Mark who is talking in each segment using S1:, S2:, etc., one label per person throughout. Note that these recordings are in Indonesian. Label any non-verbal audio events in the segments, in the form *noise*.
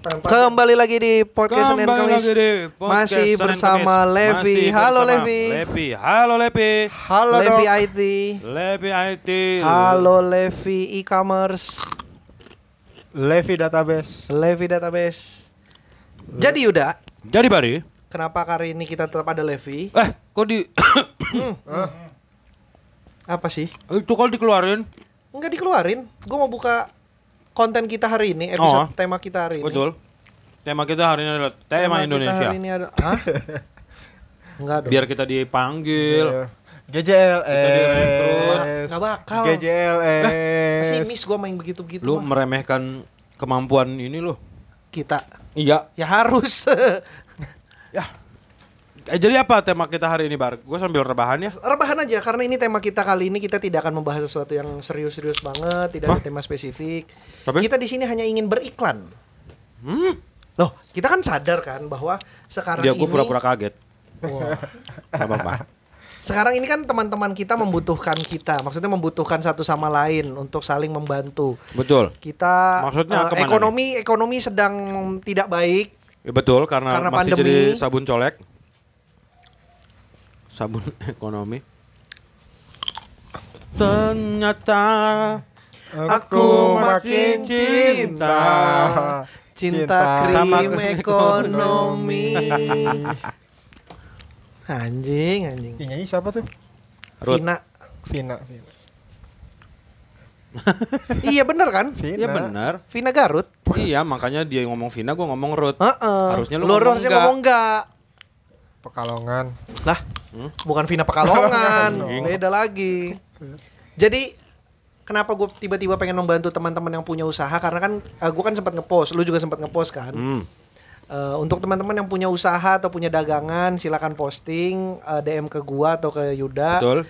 S1: Kembali lagi di podcast Senin
S2: Kembali
S1: Kamis.
S2: lagi di podcast
S1: Masih
S2: Senin
S1: bersama
S2: Kamis.
S1: Levi.
S2: Masih
S1: Halo,
S2: bersama
S1: Levi.
S2: Levi. Halo Levi.
S3: Halo
S1: Levi
S3: dok.
S1: IT.
S2: Levi IT.
S1: Halo Levi e-commerce,
S3: Levi database.
S1: Levi database. Jadi Yuda,
S2: Jadi Bari.
S1: kenapa kali ini kita tetap ada Levi?
S2: Eh, kok di *coughs*
S1: Apa sih?
S2: itu kalau dikeluarin?
S1: Enggak dikeluarin. Gue mau buka konten kita hari ini, episode
S2: Oh.
S1: tema kita hari ini.
S2: Betul. Tema kita hari ini adalah tema,
S1: kita
S2: Indonesia.
S1: hari ini ada Hah?
S2: *laughs*
S1: Enggak dong.
S2: Biar kita
S3: Iya,
S2: dipanggil.
S3: eh.
S2: direkrut.
S3: GJLS.
S1: Nggak bakal.
S3: GJLS.
S1: Pesimis gue main
S3: iya.
S1: begitu-begitu.
S2: Lu
S1: mah.
S2: meremehkan kemampuan ini lu.
S1: Kita
S2: Iya.
S1: ya harus *laughs*
S2: Ya. Eh, jadi apa tema kita hari ini, Bar? Gue sambil rebahan ya.
S1: rebahan aja karena ini tema kita kali ini kita tidak akan membahas sesuatu yang serius-serius banget, tidak ada tema spesifik.
S2: Tapi-
S1: Kita di sini hanya ingin beriklan.
S2: Hmm.
S1: Loh, kita kan sadar kan bahwa sekarang
S2: Dia
S1: ini
S2: gue Iya, pura-pura kaget.
S1: Wah.
S2: Gak apa-apa.
S1: Sekarang ini kan teman-teman kita membutuhkan kita, maksudnya membutuhkan satu sama lain untuk saling membantu.
S2: Betul.
S1: Kita eh,
S2: Maksudnya kemana
S1: ekonomi ekonomi sedang tidak baik.
S2: Ya, betul karena,
S1: Karena
S2: masih
S1: pandemi.
S2: jadi sabun colek. Sabun *laughs* ekonomi. Ternyata
S3: Aku makin cinta.
S1: Cinta,
S2: Sama
S1: krim
S2: krim *laughs*
S1: ekonomi. anjing, anjing.
S3: Yang nyanyi siapa tuh?
S2: Ruth.
S1: Vina.
S3: Vina. Vina.
S1: iya bener kan?
S3: Ya,
S2: Iya benar.
S1: Vina Garut.
S2: Iya, makanya dia ngomong Vina, gua ngomong Ruth.
S1: Heeh.
S2: Harusnya lu ngomong
S1: harusnya
S2: enggak.
S1: ngomong enggak.
S3: Pekalongan. *laughs*
S1: Lah,
S2: Hmm?
S1: bukan Vina Pekalongan,
S2: *laughs* Anjing.
S1: beda lagi. Jadi kenapa gue tiba-tiba pengen membantu teman-teman yang punya usaha karena kan gue kan sempat ngepost, lu juga sempat ngepost kan.
S2: Hmm.
S1: Eh, untuk teman-teman yang punya usaha atau punya dagangan, silakan posting eh, DM ke gua atau ke Yuda.
S2: Betul.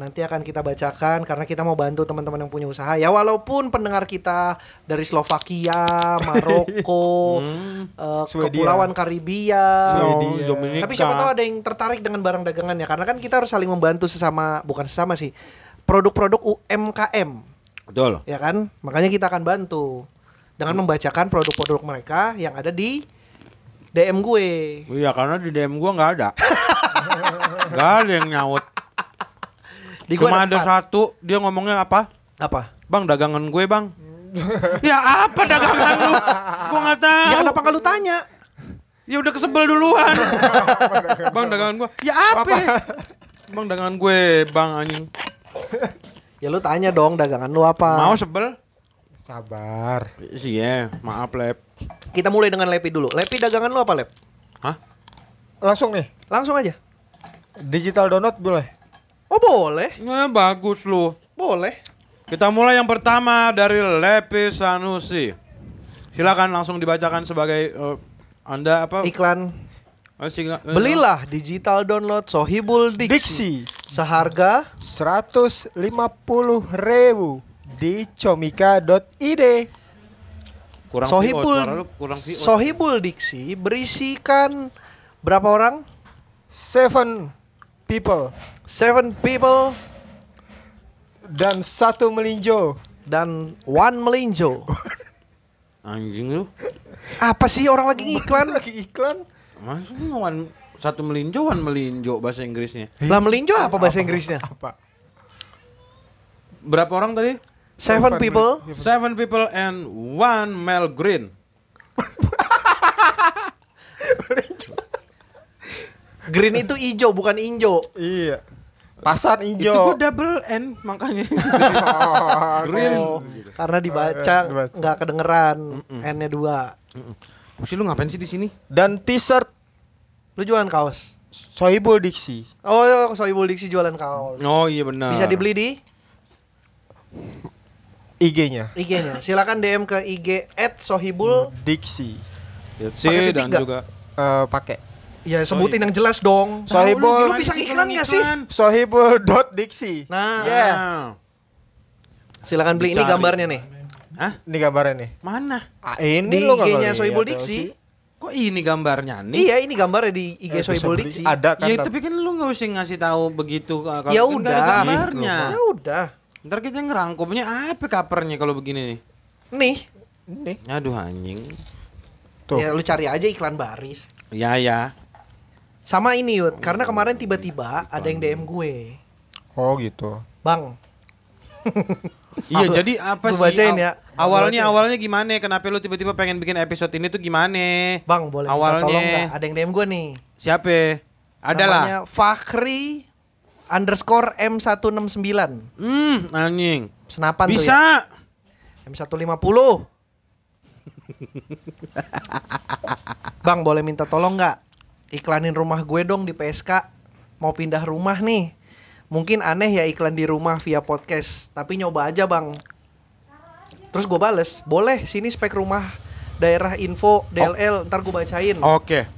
S1: Nanti akan kita bacakan karena kita mau bantu teman-teman yang punya usaha. Ya walaupun pendengar kita dari Slovakia,
S2: *laughs*
S1: Maroko,
S2: Hmm.
S1: eh,
S3: Swedia.
S1: kepulauan Karibia,
S3: Swedia.
S2: Oh, Dominika.
S1: tapi siapa tahu ada yang tertarik dengan barang dagangan ya karena kan kita harus saling membantu sesama bukan sesama sih produk-produk UMKM
S2: Betul.
S1: ya kan makanya kita akan bantu dengan membacakan produk-produk mereka yang ada di DM gue
S2: Iya, karena di DM gua nggak
S1: *laughs*
S2: ada. Nggak ada yang nyaut.
S1: di gue
S2: Cuma ada
S1: empat.
S2: satu, dia ngomongnya apa?
S1: apa
S2: Bang, dagangan gue,
S1: *laughs*
S2: Bang. ya apa dagangan lu? Gua nggak tahu.
S1: ya kenapa nggak lu tanya
S2: Ya udah kesebel duluan. bang dagangan gua. Ya apa? bang dagangan gue, Bang anjing.
S1: ya lu tanya dong dagangan lu apa
S2: Mau sebel?
S3: Sabar.
S2: Iya, maaf, Lep.
S1: kita mulai dengan Lepi dulu Lepi dagangan lu apa Lep
S2: Hah?
S3: Langsung nih.
S1: langsung aja
S3: Digital download boleh.
S1: oh boleh
S2: Nah, bagus lu.
S1: boleh
S2: Kita mulai yang pertama dari Lepi Sanusi. Silakan langsung dibacakan sebagai eh, Anda apa?
S1: iklan
S2: Eh, singa- eh,
S1: belilah digital download Sohibul Diksi
S3: Diksi
S1: seharga
S3: 150.000 di comika.id.
S2: Kurang
S1: Sohibul,
S2: VO, suara lu kurang VO.
S1: Sohibul Diksi berisikan berapa orang?
S3: Seven people
S1: Seven people
S3: dan satu melinjo.
S1: dan one
S2: *laughs*
S1: melinjo.
S2: Anjing lu.
S1: Apa sih orang lagi ngiklan?
S3: Lagi iklan.
S2: Masuk one- satu melinjo, one melinjo bahasa Inggrisnya.
S1: lah melinjo apa bahasa Inggrisnya?
S3: Apa?
S2: Berapa orang tadi?
S1: Seven people.
S2: Seven people and one male green.
S1: Green itu ijo bukan injo.
S3: Iya. Pasar
S2: Itu gua
S3: hijau. *laughs*
S2: double N makanya. Green.
S1: Oh, karena dibaca
S2: Oh, iya,
S3: Eh, dibaca.
S1: nggak kedengeran N-nya dua.
S2: Mesti lu ngapain sih di sini?
S3: Dan t-shirt
S1: Lu jualan kaos.
S3: Sohibul Diksi.
S1: Oh, Sohibul Diksi jualan kaos.
S2: Oh iya benar.
S1: Bisa dibeli di
S3: IG-nya.
S1: IG-nya. Silakan DM ke IG @sohibul.
S3: Diksi.
S2: Yotsi
S1: Pakai
S2: dan
S1: titik nggak?
S2: juga
S3: Eh pakai
S1: Ya sebutin yang jelas dong. Lu
S3: Sohibul.
S1: bisa iklan nggak sih?
S3: sohibul.diksi.
S1: Nah,
S3: Ya.
S2: Yeah.
S1: Silakan beli ini
S2: Dicari.
S1: gambarnya nih.
S2: Hah?
S3: Ini gambarnya nih.
S2: Mana?
S3: Ah, ini Iya,
S1: Di
S3: lo nggak
S1: IG-nya
S3: ngeliat,
S1: Sohibul
S3: Elsie.
S1: Diksi.
S2: Kok ini gambarnya nih?
S1: Iya, ini gambarnya di IG
S3: Eh,
S1: Sohibul Diksi.
S3: Ada kan?
S2: Ya
S3: tapi-
S2: tapi kan lu nggak usah ngasih tahu begitu kalau
S1: Ya
S2: kan nggak ada
S1: udah.
S2: gambarnya.
S1: Ya udah.
S2: Ntar kita ngerangkumnya apa kapernya kalau begini nih?
S1: Nih,
S3: Ini.
S2: Aduh anjing.
S3: Tuh.
S1: Ya lu cari aja iklan baris.
S2: Ya ya.
S1: Sama ini Yud, karena kemarin tiba-tiba ada yang DM gue.
S3: Oh gitu.
S1: Bang,
S2: Iya
S1: Aku-
S2: jadi apa
S1: aku
S2: sih?
S1: bacain
S2: aw-
S1: ya. Aku
S2: Awalnya
S1: bacain.
S2: awalnya gimana? Kenapa lu tiba-tiba pengen bikin episode ini tuh gimana?
S1: bang boleh minta
S2: Awalnya-
S1: tolong nggak? Ada yang DM gue nih.
S2: Siapa?
S1: Namanya
S2: Adalah.
S1: Fakhri underscore M169.
S2: Hmm, anjing.
S1: Senapan tuh ya.
S2: Bisa.
S1: M150. Bang, boleh minta tolong nggak? Iklanin rumah gue dong di PSK. Mau pindah rumah nih. Mungkin aneh ya iklan di rumah via podcast, tapi nyoba aja, Bang. Terus gue bales, boleh sini spek rumah daerah info
S2: Oh.
S1: DLL, ntar gue bacain.
S2: Oke.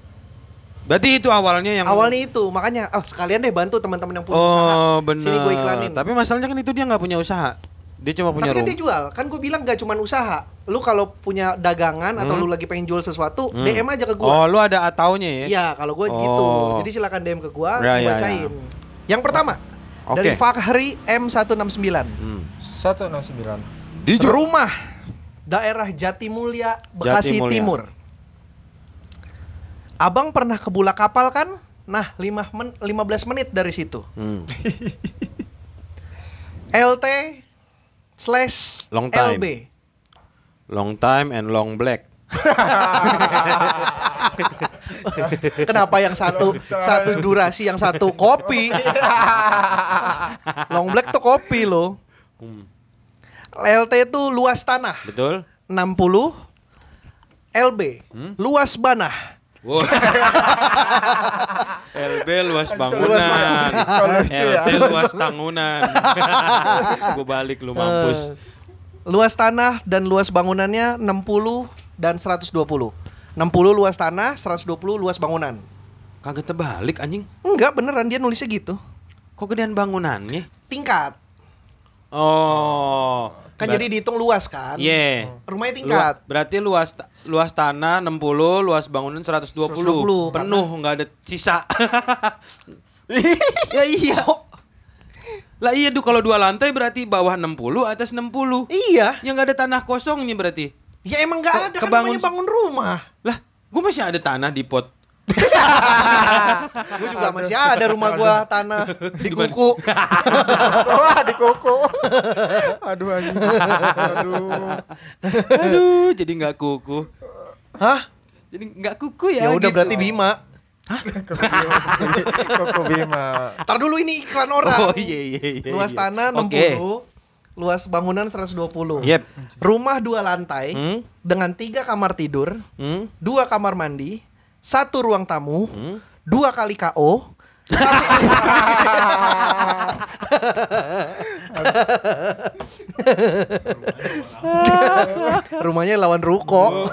S2: Berarti itu awalnya yang
S1: Awalnya itu, makanya oh sekalian deh bantu teman-teman yang punya usaha.
S2: Oh, benar.
S1: Sini gue iklanin.
S2: Tapi masalahnya kan itu dia nggak punya usaha. Dia cuma punya
S1: Tapi kan
S2: rumah.
S1: dia jual, kan gue bilang gak cuman usaha. Lu kalau punya dagangan atau
S2: Hmm.
S1: lu lagi pengen jual sesuatu,
S2: Hmm.
S1: DM aja ke gue.
S2: Oh, lu ada ataunya ya?
S1: Iya, kalau gue
S2: Oh.
S1: gitu. Jadi silakan DM ke gue,
S2: Ya,
S1: gua
S2: ya,
S1: bacain. Yang pertama
S2: Oke.
S1: dari Fakhri M169.
S2: Hmm.
S3: 169.
S1: Rumah daerah Jatimulya, Bekasi
S2: Jatimulya.
S1: Timur. Abang pernah ke Bulak Kapal kan? Nah, 5 men 15 menit dari situ.
S2: Hmm.
S1: LT slash
S2: Long time.
S1: LB.
S2: Long time and long black.
S1: Kenapa yang satu satu durasi, yang satu kopi? Long Black tuh kopi loh.
S2: Hmm.
S1: LT itu luas tanah
S2: Betul?
S1: 60 LB
S2: Hmm?
S1: luas banah. *laughs*
S2: Wow. LB luas bangunan,
S3: Luas bangunan. Kalau lucu ya.
S2: LT luas *laughs* bangunan. Gue balik lu
S1: Eh,
S2: mampus.
S1: luas tanah dan luas bangunannya 60 dan 120. 60 luas tanah, 120 luas bangunan.
S2: Kagak terbalik anjing.
S1: Enggak beneran dia nulisnya gitu.
S2: Kok gedean bangunannya?
S1: Tingkat.
S2: Oh.
S1: Kan jadi dihitung luas kan?
S2: Ye.
S1: Rumahnya tingkat.
S2: Lua- berarti luas ta- luas tanah 60, luas bangunan 120.
S1: 120,
S2: Penuh nggak ada sisa. *laughs*
S1: *laughs* ya iya.
S2: lah iya duh kalau dua lantai berarti bawah 60, atas 60.
S1: Iya.
S2: Yang nggak ada tanah kosongnya berarti.
S1: Ya emang enggak ada
S2: Ke-
S1: kan
S2: kebangun-
S1: namanya bangun rumah.
S2: Lah, gue masih ada tanah di
S1: *laughs*
S2: pot.
S1: gue juga masih ada rumah gua tanah di kuku
S3: *laughs* Wah, di koko. *laughs* Aduh anjing. Aduh.
S2: Aduh, jadi nggak kuku.
S1: hah
S2: Jadi nggak kuku ya.
S1: ya udah
S2: gitu.
S1: berarti bima
S3: Koko Bima. Koko Bima.
S1: tar dulu ini iklan
S2: *laughs*
S1: orang
S2: Oh iya iya iya.
S1: luas
S2: iya.
S1: tanah 60
S2: Oke.
S1: luas bangunan 120
S2: Yep.
S1: rumah dua lantai
S2: Hmm?
S1: dengan tiga kamar tidur
S2: Hmm?
S1: dua kamar mandi satu ruang tamu
S2: Hmm?
S1: dua kali ko satu kali *laughs* rumahnya lawan ruko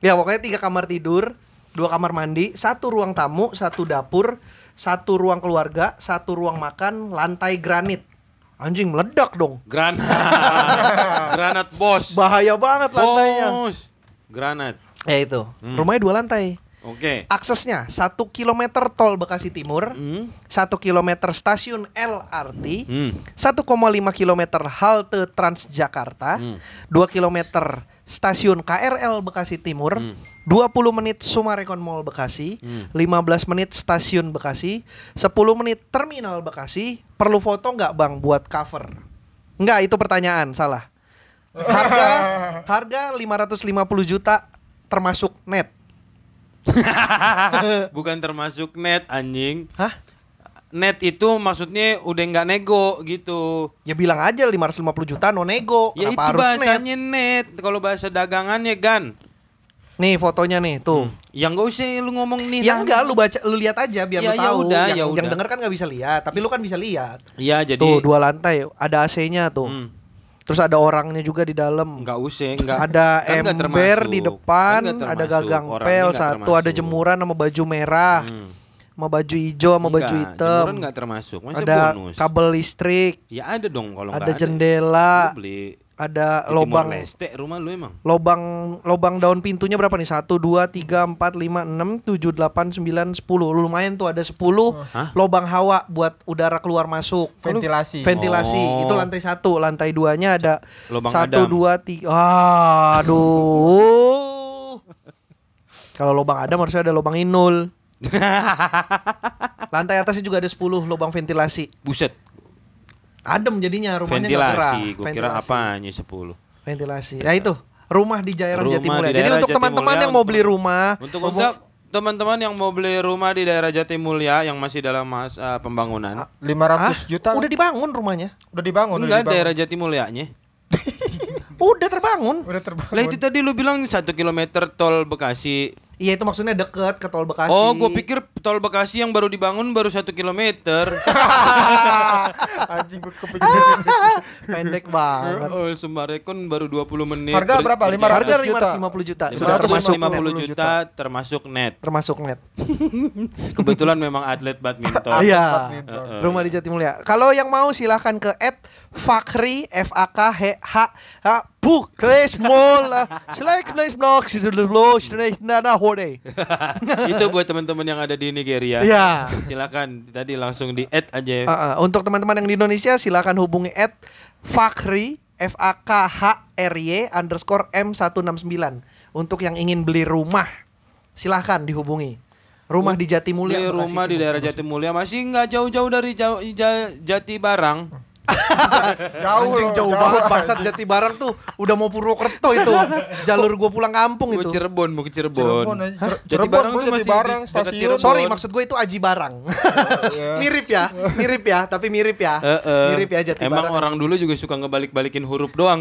S1: ya pokoknya tiga kamar tidur dua kamar mandi satu ruang tamu satu dapur satu ruang keluarga satu ruang makan lantai granit anjing meledak dong
S2: Granat. *laughs* Granat bos.
S1: bahaya banget lantainya
S2: Bos. Granat.
S1: Oh. ya itu
S2: Hmm.
S1: rumahnya dua lantai
S2: Oke.
S1: aksesnya satu kilometer tol Bekasi Timur
S2: Hmm.
S1: 1 km stasiun LRT,
S2: Hmm.
S1: 1,5 km halte Transjakarta,
S2: Hmm.
S1: 2 km stasiun KRL Bekasi Timur,
S2: Hmm.
S1: 20 menit Sumarekon Mall Bekasi, 15 menit stasiun Bekasi, 10 menit terminal Bekasi. Perlu foto nggak Bang buat cover? Nggak, itu pertanyaan, salah.
S2: *laughs*
S1: Harga harga 550 juta termasuk net.
S2: *laughs* Bukan termasuk net anjing.
S1: Hah?
S2: Net itu maksudnya udah nggak nego gitu.
S1: Ya bilang aja 550 juta no nego. Kenapa
S2: Ya itu
S1: harus net?
S2: bahasanya net. Kalau bahasa dagangannya gan.
S1: Nih fotonya nih tuh.
S2: Yang gak usah lu ngomong nih.
S1: Ya enggak lu baca lu lihat aja biar
S2: Ya,
S1: lu
S2: ya
S1: tahu.
S2: udah,
S1: yang
S2: ya
S1: yang
S2: udah.
S1: denger kan nggak bisa lihat, tapi lu kan bisa lihat.
S2: Iya jadi.
S1: tuh dua lantai, ada AC-nya tuh.
S2: Hmm.
S1: Terus ada orangnya juga di dalam.
S2: Nggak usah, nggak.
S1: Ada
S2: Kan nggak
S1: ember
S2: termasuk.
S1: di
S2: Kan nggak
S1: depan, ada
S2: termasuk.
S1: gagang
S2: Orangnya
S1: pel
S2: nggak
S1: satu,
S2: termasuk.
S1: ada jemuran sama baju merah,
S2: Hmm.
S1: sama baju hijau, sama baju
S2: Nggak,
S1: hitam.
S2: Jemuran nggak termasuk. Masa
S1: Ada
S2: bonus?
S1: kabel listrik,
S2: Ya ada dong kalau nggak
S1: ada
S2: Lu
S1: jendela,
S2: beli
S1: ada
S2: di
S1: lobang
S2: Timor Leste rumah lu emang.
S1: lobang lobang daun pintunya berapa nih? 1 2 3 4 5 6 7 8 9 10. Lumayan tuh ada 10
S2: Hah?
S1: lobang hawa buat udara keluar masuk.
S3: Ventilasi.
S1: Ventilasi.
S2: Oh.
S1: Itu lantai satu lantai duanya ada
S2: Lobang
S1: 1
S2: Adam.
S1: 2 3. Aduh. Kalau lubang Adam harusnya ada lubang
S2: *laughs*
S1: Inul. Lantai atasnya juga ada 10 lubang ventilasi.
S2: Buset,
S1: Adem jadinya rumahnya nggak
S2: ventilasi.
S1: gerah.
S2: Gue kira
S1: Ventilasi.
S2: apanya 10.
S1: Ventilasi. Ya itu, rumah di daerah
S2: Rumah
S1: Jatimulya.
S2: di
S1: Jadi
S2: daerah
S1: untuk teman-teman
S2: Jatimulya,
S1: yang mau
S2: untuk-
S1: beli rumah,
S2: Untuk
S1: mau-
S2: untuk teman-teman yang mau beli rumah di daerah Jatimulya yang masih dalam masa pembangunan.
S3: 500
S1: Ah,
S3: juta
S1: Udah dibangun rumahnya.
S3: udah dibangun udah
S2: Enggak,
S3: dibangun.
S2: daerah Jatimulyanya.
S1: Udah terbangun.
S3: Kan udah terbangun
S2: Lah itu tadi lu bilang satu kilometer tol Bekasi.
S1: Iya itu maksudnya deket ke tol Bekasi.
S2: Oh, gue pikir tol Bekasi yang baru dibangun baru satu
S3: *laughs*
S2: kilometer. *laughs*
S3: anjing gue
S1: Ah,
S3: kepikiran
S1: pendek banget.
S2: oh, Sumbarekon baru 20 menit.
S3: Harga
S2: Ber-
S3: berapa?
S2: berjalan.
S3: 500
S1: Harga
S3: juta.
S1: 550 juta.
S2: Sudah
S3: Sudah
S2: termasuk
S3: 550
S2: 50
S3: juta.
S2: juta termasuk net.
S1: termasuk net.
S2: Kebetulan memang atlet
S3: *laughs*
S2: badminton.
S1: Iya.
S3: badminton.
S2: Heeh.
S1: Rumah di Jatimulya. Kalau yang mau silahkan ke at Fakri F A K H H H Book Place Mall Slash Place Blog Sidul Blog Slash Nana Hode.
S2: Itu buat teman-teman yang ada di Nigeria.
S1: Iya.
S2: Silakan tadi langsung di add
S3: Ah,
S1: Uh,
S2: aja.
S1: uh, untuk teman-teman yang di Indonesia silahkan hubungi at Fakri F A K H R Y underscore M 169 untuk yang ingin beli rumah silahkan dihubungi rumah di Jatimulya
S2: Beli
S1: Bekasi
S2: rumah di
S1: Timur.
S2: daerah Jatimulya masih nggak jauh-jauh dari Jau- Ja- Jati Barang.
S3: jauh
S1: Anjing
S3: loh,
S1: jauh banget bangsat Jati Barang tuh udah mau Purwokerto itu jalur gue pulang kampung
S2: Gue
S1: itu
S2: Cirebon, mau ke Cirebon.
S3: Cirebon anjing.
S2: Hah?
S3: Cirebon,
S2: tuh
S3: Cirebon beli Jati
S2: masih di-
S3: Barang,
S2: dekat
S3: stasiun.
S2: Cirebon.
S1: Sorry maksud gue itu Aji Barang *laughs* Mirip ya Mirip ya Tapi mirip ya
S2: Heeh.
S1: Mirip ya Jati
S2: Eh, Emang
S1: Barang
S2: orang dulu juga suka ngebalik-balikin huruf doang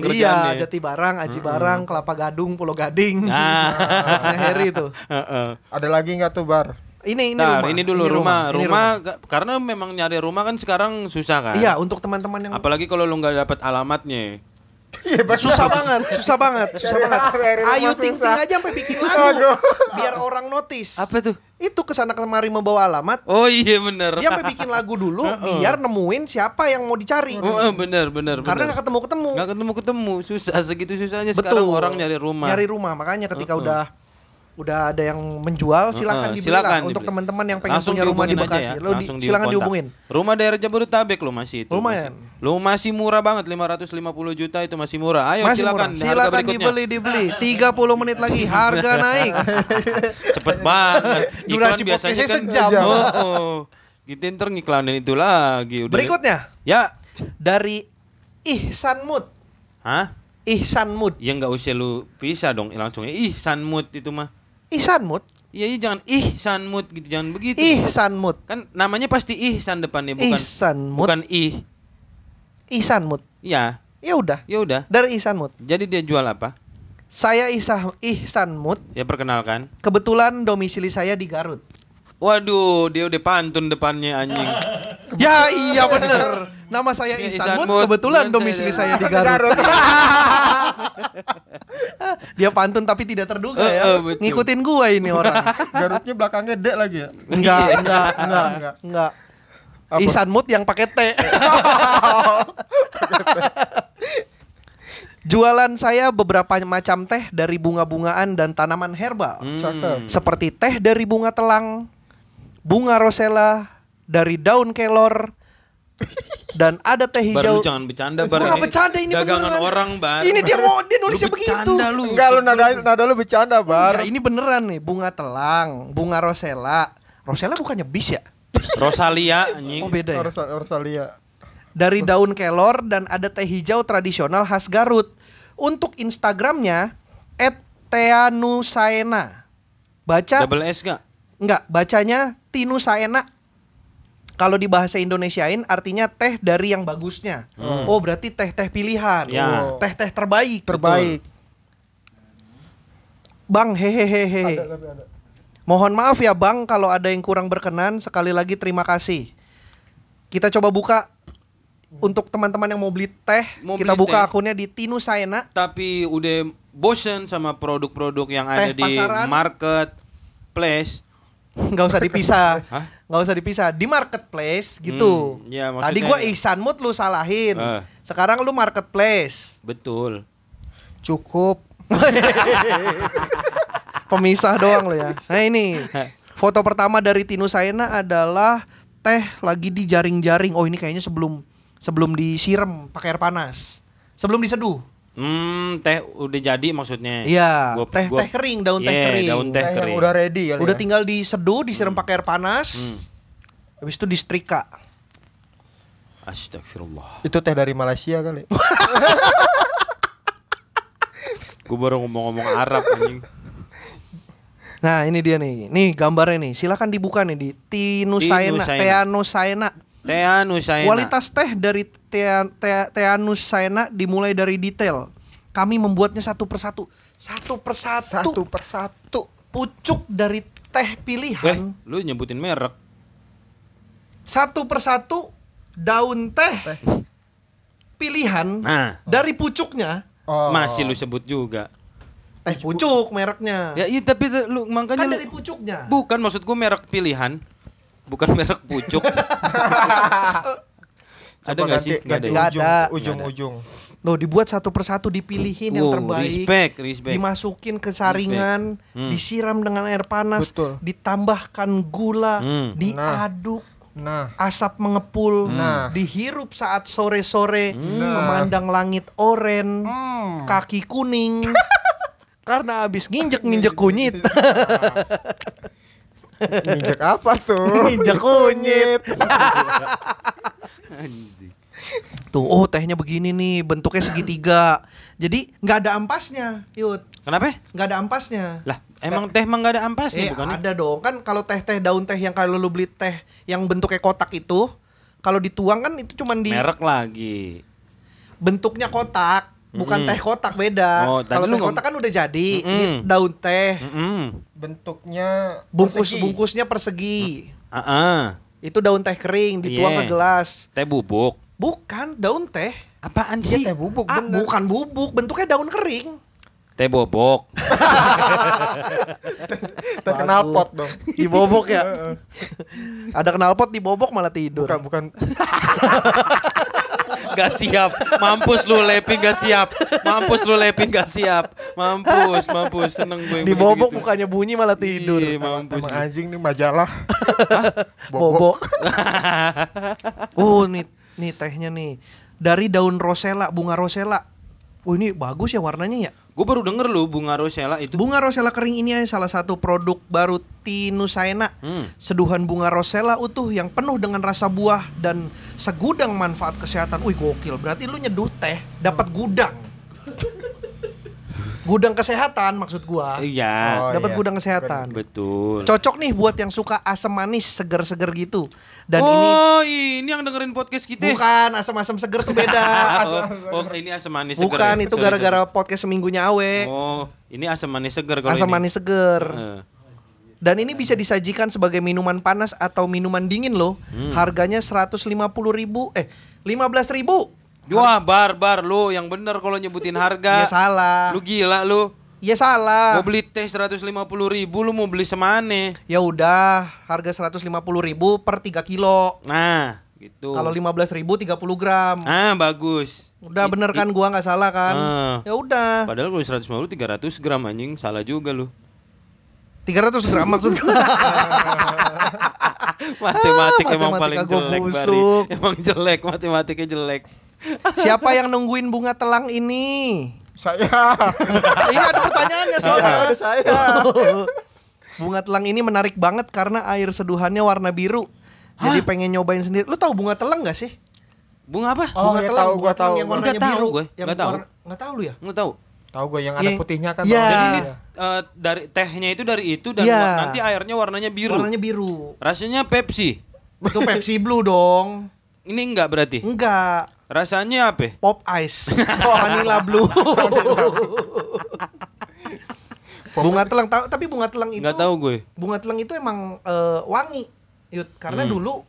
S1: Iya
S2: kerjaannya.
S1: Jati Barang Aji Barang Kelapa Gadung Pulau Gading
S2: Nah.
S1: Maksudnya Harry itu
S2: Heeh.
S3: ada lagi nggak tuh bar
S1: Ini ini
S2: Nah,
S1: rumah
S2: ini dulu rumah,
S1: ini
S2: rumah, ga- karena memang nyari rumah kan sekarang susah kan.
S1: Iya untuk teman-teman yang
S2: Apalagi kalau lu nggak dapat alamatnya.
S3: iya bener.
S1: Susah banget Susah *laughs* banget Susah
S3: Cari
S1: banget
S3: hari-hari rumah
S1: Ayu ting ting
S3: susah.
S1: aja sampai bikin lagu Biar orang notice
S2: tuh?
S1: Itu kesana kemari membawa alamat
S2: Oh iya bener.
S1: dia sampai bikin lagu dulu
S2: *laughs* Heeh.
S1: biar nemuin siapa yang mau dicari.
S2: Oh, eh, bener bener.
S1: Karena
S2: bener.
S1: nggak ketemu ketemu.
S2: Nggak ketemu ketemu susah segitu susahnya sekarang orang nyari rumah.
S1: Nyari rumah makanya ketika
S2: Heeh.
S1: udah udah ada yang menjual silakan
S2: Heeh,
S1: dibeli lah.
S2: silakan
S1: untuk
S2: dibeli.
S1: teman-teman yang pengen
S2: Langsung
S1: punya rumah di
S2: dihubungin aja
S1: Bekasi.
S2: ya,
S1: Lo di,
S2: langsung
S1: silakan
S2: dikontak.
S1: dihubungin.
S2: Rumah daerah Jabodetabek lo masih itu.
S1: Lumayan.
S2: Masih. Lo masih murah banget 550 juta itu masih murah. Ayo
S1: Masih murah.
S2: silakan harga
S1: Silakan
S2: berikutnya.
S1: dibeli dibeli. 30 menit lagi
S2: *laughs*
S1: harga naik.
S2: Cepet banget. Iklan
S1: *laughs* Durasi
S2: biasanya
S1: podcastnya sejam.
S2: Oh, oh. Kita ntar ngiklanin itu lagi udah.
S1: Berikutnya
S2: Ya.
S1: dari Ihsan Mood.
S2: Hah?
S1: Ihsan Mood.
S2: Ya nggak usah lu pisah dong langsung. ya. Ih, sanmut itu mah.
S1: Ihsan Mood.
S2: Iya, iya jangan ih sanmut gitu, jangan begitu.
S1: Ihsan Mood.
S2: Kan namanya pasti ihsan depannya Eh, bukan
S1: Ihsan Mood.
S2: bukan ih.
S1: Ihsan Mood.
S2: Ya,
S1: Ya udah.
S2: ya udah.
S1: Dari Ihsan Mood.
S2: Jadi dia jual apa?
S1: Saya Isah Ihsan Mut.
S2: Ya perkenalkan.
S1: Kebetulan domisili saya di Garut.
S2: Waduh, dia udah pantun depannya anjing.
S1: Ya iya bener. *laughs* Nama saya
S2: Iya,
S1: Ihsan
S2: Ihsan
S1: Mut.
S2: Mut.
S1: Kebetulan
S2: Iya,
S1: domisili saya
S2: saya-
S1: di Garut. *laughs*
S2: *laughs*
S1: Dia pantun tapi tidak terduga
S2: Eh,
S1: ya.
S2: eh, betul.
S1: Ngikutin gua ini
S2: *laughs*
S1: orang.
S3: Garutnya belakangnya D lagi ya
S1: Enggak,
S2: Iya.
S1: enggak, enggak,
S3: Enggak.
S1: enggak.
S3: Apa?
S1: Ihsan Mut yang pakai
S2: *laughs*
S1: T. Jualan saya beberapa macam teh dari bunga-bungaan dan tanaman herbal.
S2: Hmm.
S3: Cakep.
S1: seperti teh dari bunga telang, bunga rosella, dari daun
S2: *laughs*
S1: kelor, dan ada teh
S2: Bar lu
S1: hijau.
S2: jangan bercanda,
S1: Gua
S2: Bar.
S1: nggak
S2: Ini
S1: bercanda ini
S2: dagangan
S1: beneran.
S2: orang, Bar.
S1: Ini dia mau dia nulisnya begitu.
S2: bercanda lu.
S3: enggak lu nada nada lu bercanda bar
S1: Enggak, Ya, ini beneran nih bunga telang, bunga rosella. Rosella bukannya bis ya?
S2: Rosalia anjing.
S1: Oh beda ya.
S3: harus harus lihat
S1: Dari daun kelor dan ada teh hijau tradisional khas Garut. Untuk Instagramnya @teanusaena. Baca
S2: Double S gak?
S1: Enggak, bacanya tinusaena. Kalau di bahasa Indonesiain artinya teh dari yang bagusnya. Oh, berarti teh-teh pilihan.
S2: Ya.
S1: Oh, Teh-teh terbaik.
S3: terbaik
S1: Bang, hehehehe.
S3: Ada, ada, ada.
S1: Mohon maaf ya, Bang, kalau ada yang kurang berkenan, sekali lagi terima kasih. Kita coba buka untuk teman-teman yang mau beli teh,
S2: Mau
S1: kita
S2: beli
S1: buka
S2: teh.
S1: akunnya di tinusaena.
S2: Tapi udah bosen sama produk-produk yang ada
S1: Teh
S2: di
S1: pasaran.
S2: market place.
S1: nggak usah dipisah.
S2: *laughs* Hah?
S1: nggak usah dipisah di marketplace gitu.
S2: Hmm, ya,
S1: Tadi
S2: maksudnya-
S1: gua ihsan mood lu salahin.
S2: Eh.
S1: Sekarang lu marketplace.
S2: Betul.
S1: Cukup. Pemisah doang lo ya. Nah ini foto pertama dari Tinu Saena adalah teh lagi di jaring-jaring. Oh ini kayaknya sebelum sebelum disiram pakai air panas. Sebelum diseduh.
S2: Hmm, teh udah jadi maksudnya.
S1: Iya,
S2: Gua-
S1: teh
S2: gua-
S1: teh kering, daun teh
S2: Iya,
S1: kering.
S2: daun teh
S3: Teh yang
S2: kering.
S3: udah ready kali
S1: Udah
S3: ya.
S1: tinggal diseduh, disiram pakai air panas. Habis itu disetrika.
S2: Astagfirullah.
S3: Itu teh dari Malaysia
S1: *laughs*
S3: kali.
S2: Gue baru ngomong-ngomong Arab anjing.
S1: Nah, ini dia nih. Nih gambarnya nih. Silakan dibuka nih di Tinusaena, Teanusaena.
S2: Tinusaena. Teh anu saya.
S1: Kualitas teh dari Tea- Tea- Teanusaena dimulai dari detail. Kami membuatnya satu persatu. Satu persatu.
S3: Satu persatu.
S1: Pucuk dari teh
S2: Eh,
S1: pilihan.
S2: lu nyebutin merek.
S1: Satu persatu daun teh
S3: Teh.
S1: pilihan
S2: Nah,
S1: dari pucuknya.
S3: Oh.
S2: masih lu sebut juga.
S1: Eh, pucuk mereknya.
S2: Ya iya tapi te- lu makanya
S1: Nah. kan
S2: lu-
S1: dari pucuknya.
S2: bukan maksud gue merek pilihan. Bukan merek pucuk.
S1: *laughs*
S2: ada
S3: Coba
S2: nggak sih?
S3: ganti-
S2: Nggak ada.
S3: ganti
S1: Nggak
S2: ya?
S1: ada.
S3: Ujung,
S2: Nggak ada.
S3: ujung, ujung.
S1: Loh dibuat satu persatu dipilihin yang
S2: Wow,
S1: terbaik.
S2: Oh, respect, respect.
S1: Dimasukin ke saringan,
S2: Hmm.
S1: disiram dengan air panas,
S3: Betul.
S1: ditambahkan gula,
S2: Hmm.
S1: diaduk,
S3: Nah,
S1: asap mengepul,
S3: Nah.
S1: dihirup saat sore-sore,
S2: Hmm.
S3: Nah.
S1: memandang langit oren,
S3: Hmm.
S1: kaki
S3: *laughs*
S1: kuning. Karena abis nginjek-nginjek kunyit. *laughs*
S3: Nah. nginjek apa tuh?
S1: Nginjek kunyit. Tuh, oh tehnya begini nih, bentuknya segitiga. Jadi nggak ada ampasnya, Yud.
S2: Kenapa?
S1: Nggak ada ampasnya.
S2: Lah, emang teh emang nggak ada
S1: Eh,
S2: ampasnya bukan? ya?
S1: ada dong kan kalau teh-teh daun teh yang kalau lu beli teh yang bentuknya kotak itu kalau dituang kan itu cuman di
S2: Merek lagi.
S1: bentuknya kotak bukan
S2: Mm-mm.
S1: teh kotak beda
S2: Oh, tadi
S1: kalau
S2: lu
S1: teh
S2: ngom-
S1: kotak kan udah jadi ini
S2: Mm-mm.
S1: daun teh
S2: Mm-mm.
S3: Bentuknya
S1: bungkus
S3: persegi.
S1: bungkusnya persegi
S2: Ah,
S1: itu daun teh kering dituang
S2: Iya.
S1: ke gelas
S2: teh bubuk.
S1: bukan daun teh
S2: Apaan
S3: Iya,
S2: sih?
S3: teh bubuk
S1: ah,
S3: bener.
S1: bukan bubuk bentuknya daun kering
S2: Teh bobok.
S3: Teh knalpot dong.
S1: dibobok ya *laughs* ada knalpot dibobok malah tidur
S3: Bukan bukan
S2: Gak siap. Mampus lu Lepi gak siap. Mampus lu Lepi gak siap. Mampus, mampus. Seneng gue. yang
S1: dibobok
S3: gitu ya?
S2: begitu-gitu.
S1: bukannya bunyi malah tidur
S2: Iya, mampus.
S3: emang anjing nih majalah.
S1: bobok. *laughs* oh, nih nih tehnya nih. Dari daun rosella, bunga rosella. Oh, ini bagus ya warnanya ya.
S2: Gue baru denger lu bunga rosella itu.
S1: Bunga rosella kering ini adalah salah satu produk baru Tinusaena.
S2: Hmm.
S1: Seduhan bunga rosella utuh yang penuh dengan rasa buah dan segudang manfaat kesehatan. Wih, gokil. Berarti lu nyeduh teh dapat
S2: *laughs*
S1: gudang. gudang kesehatan maksud gua.
S2: Iya.
S3: Oh,
S1: dapat
S3: iya.
S1: gudang kesehatan.
S2: Betul.
S1: Cocok nih buat yang suka asam manis seger-seger gitu. Dan ini
S2: oh, ini yang dengerin podcast kita.
S1: Bukan, asam-asam seger tuh beda.
S2: Ah, *laughs* oh, oh, ini asam manis seger.
S1: Bukan,
S2: ya?
S1: itu
S2: Sorry,
S1: gara-gara
S2: sorry.
S1: podcast seminggunya Awe.
S2: Oh, ini asam manis seger kalau
S1: Asam
S2: ini. Ah. Eh.
S1: manis seger.
S2: Heeh.
S1: Dan ini bisa disajikan sebagai minuman panas atau minuman dingin loh.
S2: Hmm.
S1: Harganya 150 ribu, eh 15 ribu.
S2: Wah, bar bar lu yang bener kalau nyebutin
S1: Ya
S2: harga.
S1: salah.
S2: Lu gila lu.
S1: Ya salah.
S2: Mau beli teh 150 ribu lu mau beli semane.
S1: Ya udah, harga 150 ribu per 3 kilo.
S2: Nah, gitu.
S1: Kalau 15 ribu 30 gram.
S2: Ah, bagus. Iya.
S1: Udah
S2: I-
S1: bener kan gua nggak salah kan?
S2: Ah.
S1: Ya udah.
S2: Padahal kalau 150 300 gram anjing salah juga
S1: *laughs*
S2: lu.
S1: 300 gram maksud gua.
S2: *laughs* Matematik
S1: Ah,
S2: emang
S1: matematika
S2: paling
S1: gua
S2: jelek Bari.
S1: busuk.
S2: Emang jelek matematiknya jelek.
S1: Siapa yang nungguin bunga telang ini?
S3: Saya.
S1: ini ada pertanyaannya soalnya.
S3: Iya, ada saya.
S1: *laughs* bunga telang ini menarik banget karena air seduhannya warna biru. Jadi pengen nyobain sendiri. Lu tahu bunga telang gak sih?
S2: Bunga apa?
S3: Oh,
S1: bunga
S3: ya tahu,
S1: bunga
S3: gua tahu.
S1: yang
S2: Nggak
S1: warnanya
S2: tahu
S1: biru.
S2: gue,
S1: yang
S2: nggak tahu.
S1: warna- nggak tahu lu ya?
S2: Nggak tahu.
S3: Tahu gue yang
S1: Iya.
S3: ada putihnya kan.
S1: Iya.
S3: Jadi
S2: Jadi
S1: Ah.
S2: ini eh, dari tehnya itu dari itu dan
S1: Iya.
S2: nanti airnya warnanya biru.
S1: Warnanya biru.
S2: Rasanya Pepsi.
S1: Itu Pepsi Blue dong.
S2: Ini enggak berarti.
S1: Enggak.
S2: Rasanya apa?
S1: Pop
S3: *laughs*
S1: Ice. Vanilla Blue. bunga telang tahu tapi bunga telang itu
S2: Enggak tahu gue.
S1: bunga telang itu emang eh, wangi Yud
S3: Hmm.
S1: karena dulu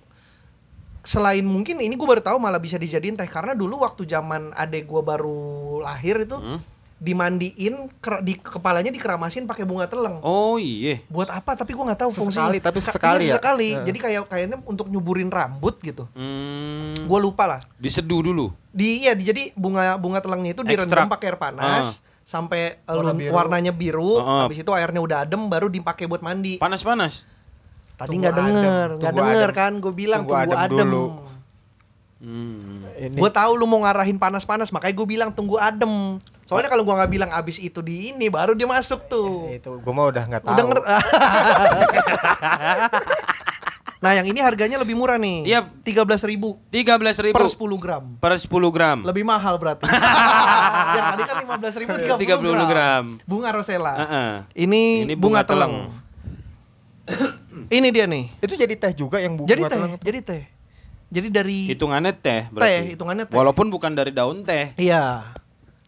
S1: selain mungkin ini gue baru tahu malah bisa dijadiin teh karena dulu waktu zaman adek gue baru lahir itu
S2: Hmm?
S1: dimandiin ker- di kepalanya dikeramasin pakai bunga telang
S2: Oh iya.
S1: buat apa tapi gue nggak tahu fungsinya
S3: Sesekali, tapi
S1: Ka- iya,
S3: sesekali ya?
S1: sesekali.
S3: Iya.
S1: jadi kayak kayaknya untuk nyuburin rambut gitu
S2: Hmm.
S1: gue lupa lah
S2: Diseduh dulu.
S1: di iya di- jadi bunga bunga telangnya itu direndam
S2: Ekstrak.
S1: pakai air panas sampai eh,
S3: Warna
S1: lun-
S3: biru.
S1: warnanya biru
S2: Ah, ah.
S1: habis itu airnya udah adem baru dipakai buat mandi
S2: Panas-panas.
S1: Tadi
S3: Tunggu
S1: nggak
S3: adem,
S1: denger, nggak
S3: tunggu
S1: denger
S3: adem.
S1: kan? Gue bilang
S3: Tunggu
S1: tunggu,
S3: adem
S1: adem.
S3: dulu.
S2: Hmm.
S3: ini
S1: Gue tahu lu mau ngarahin panas-panas, makanya gue bilang tunggu adem. Soalnya kalau gua nggak bilang abis itu di ini baru dia masuk
S2: Eh,
S1: tuh.
S3: Itu gue mah udah nggak tahu.
S1: Udah nger *laughs* Nah, yang ini harganya lebih murah nih.
S2: Iya.
S1: 13.000
S2: Tiga belas ribu
S1: per
S2: Hmm.
S1: 10 gram.
S2: per 10 gram.
S1: Lebih mahal
S2: *laughs*
S1: berarti. yang tadi kan 15.000 30
S2: 30
S1: gram.
S2: Eh, gram.
S1: Bunga rosella.
S2: Heeh.
S1: Ini,
S2: Ini
S1: bunga,
S2: bunga
S1: teleng. ini dia nih.
S3: Itu jadi teh juga yang bunga
S1: Jadi teh,
S3: telang itu.
S1: jadi teh. Jadi dari
S2: Hitungannya Iya. teh berarti.
S1: hitungannya teh.
S2: Walaupun bukan dari daun teh.
S1: Iya.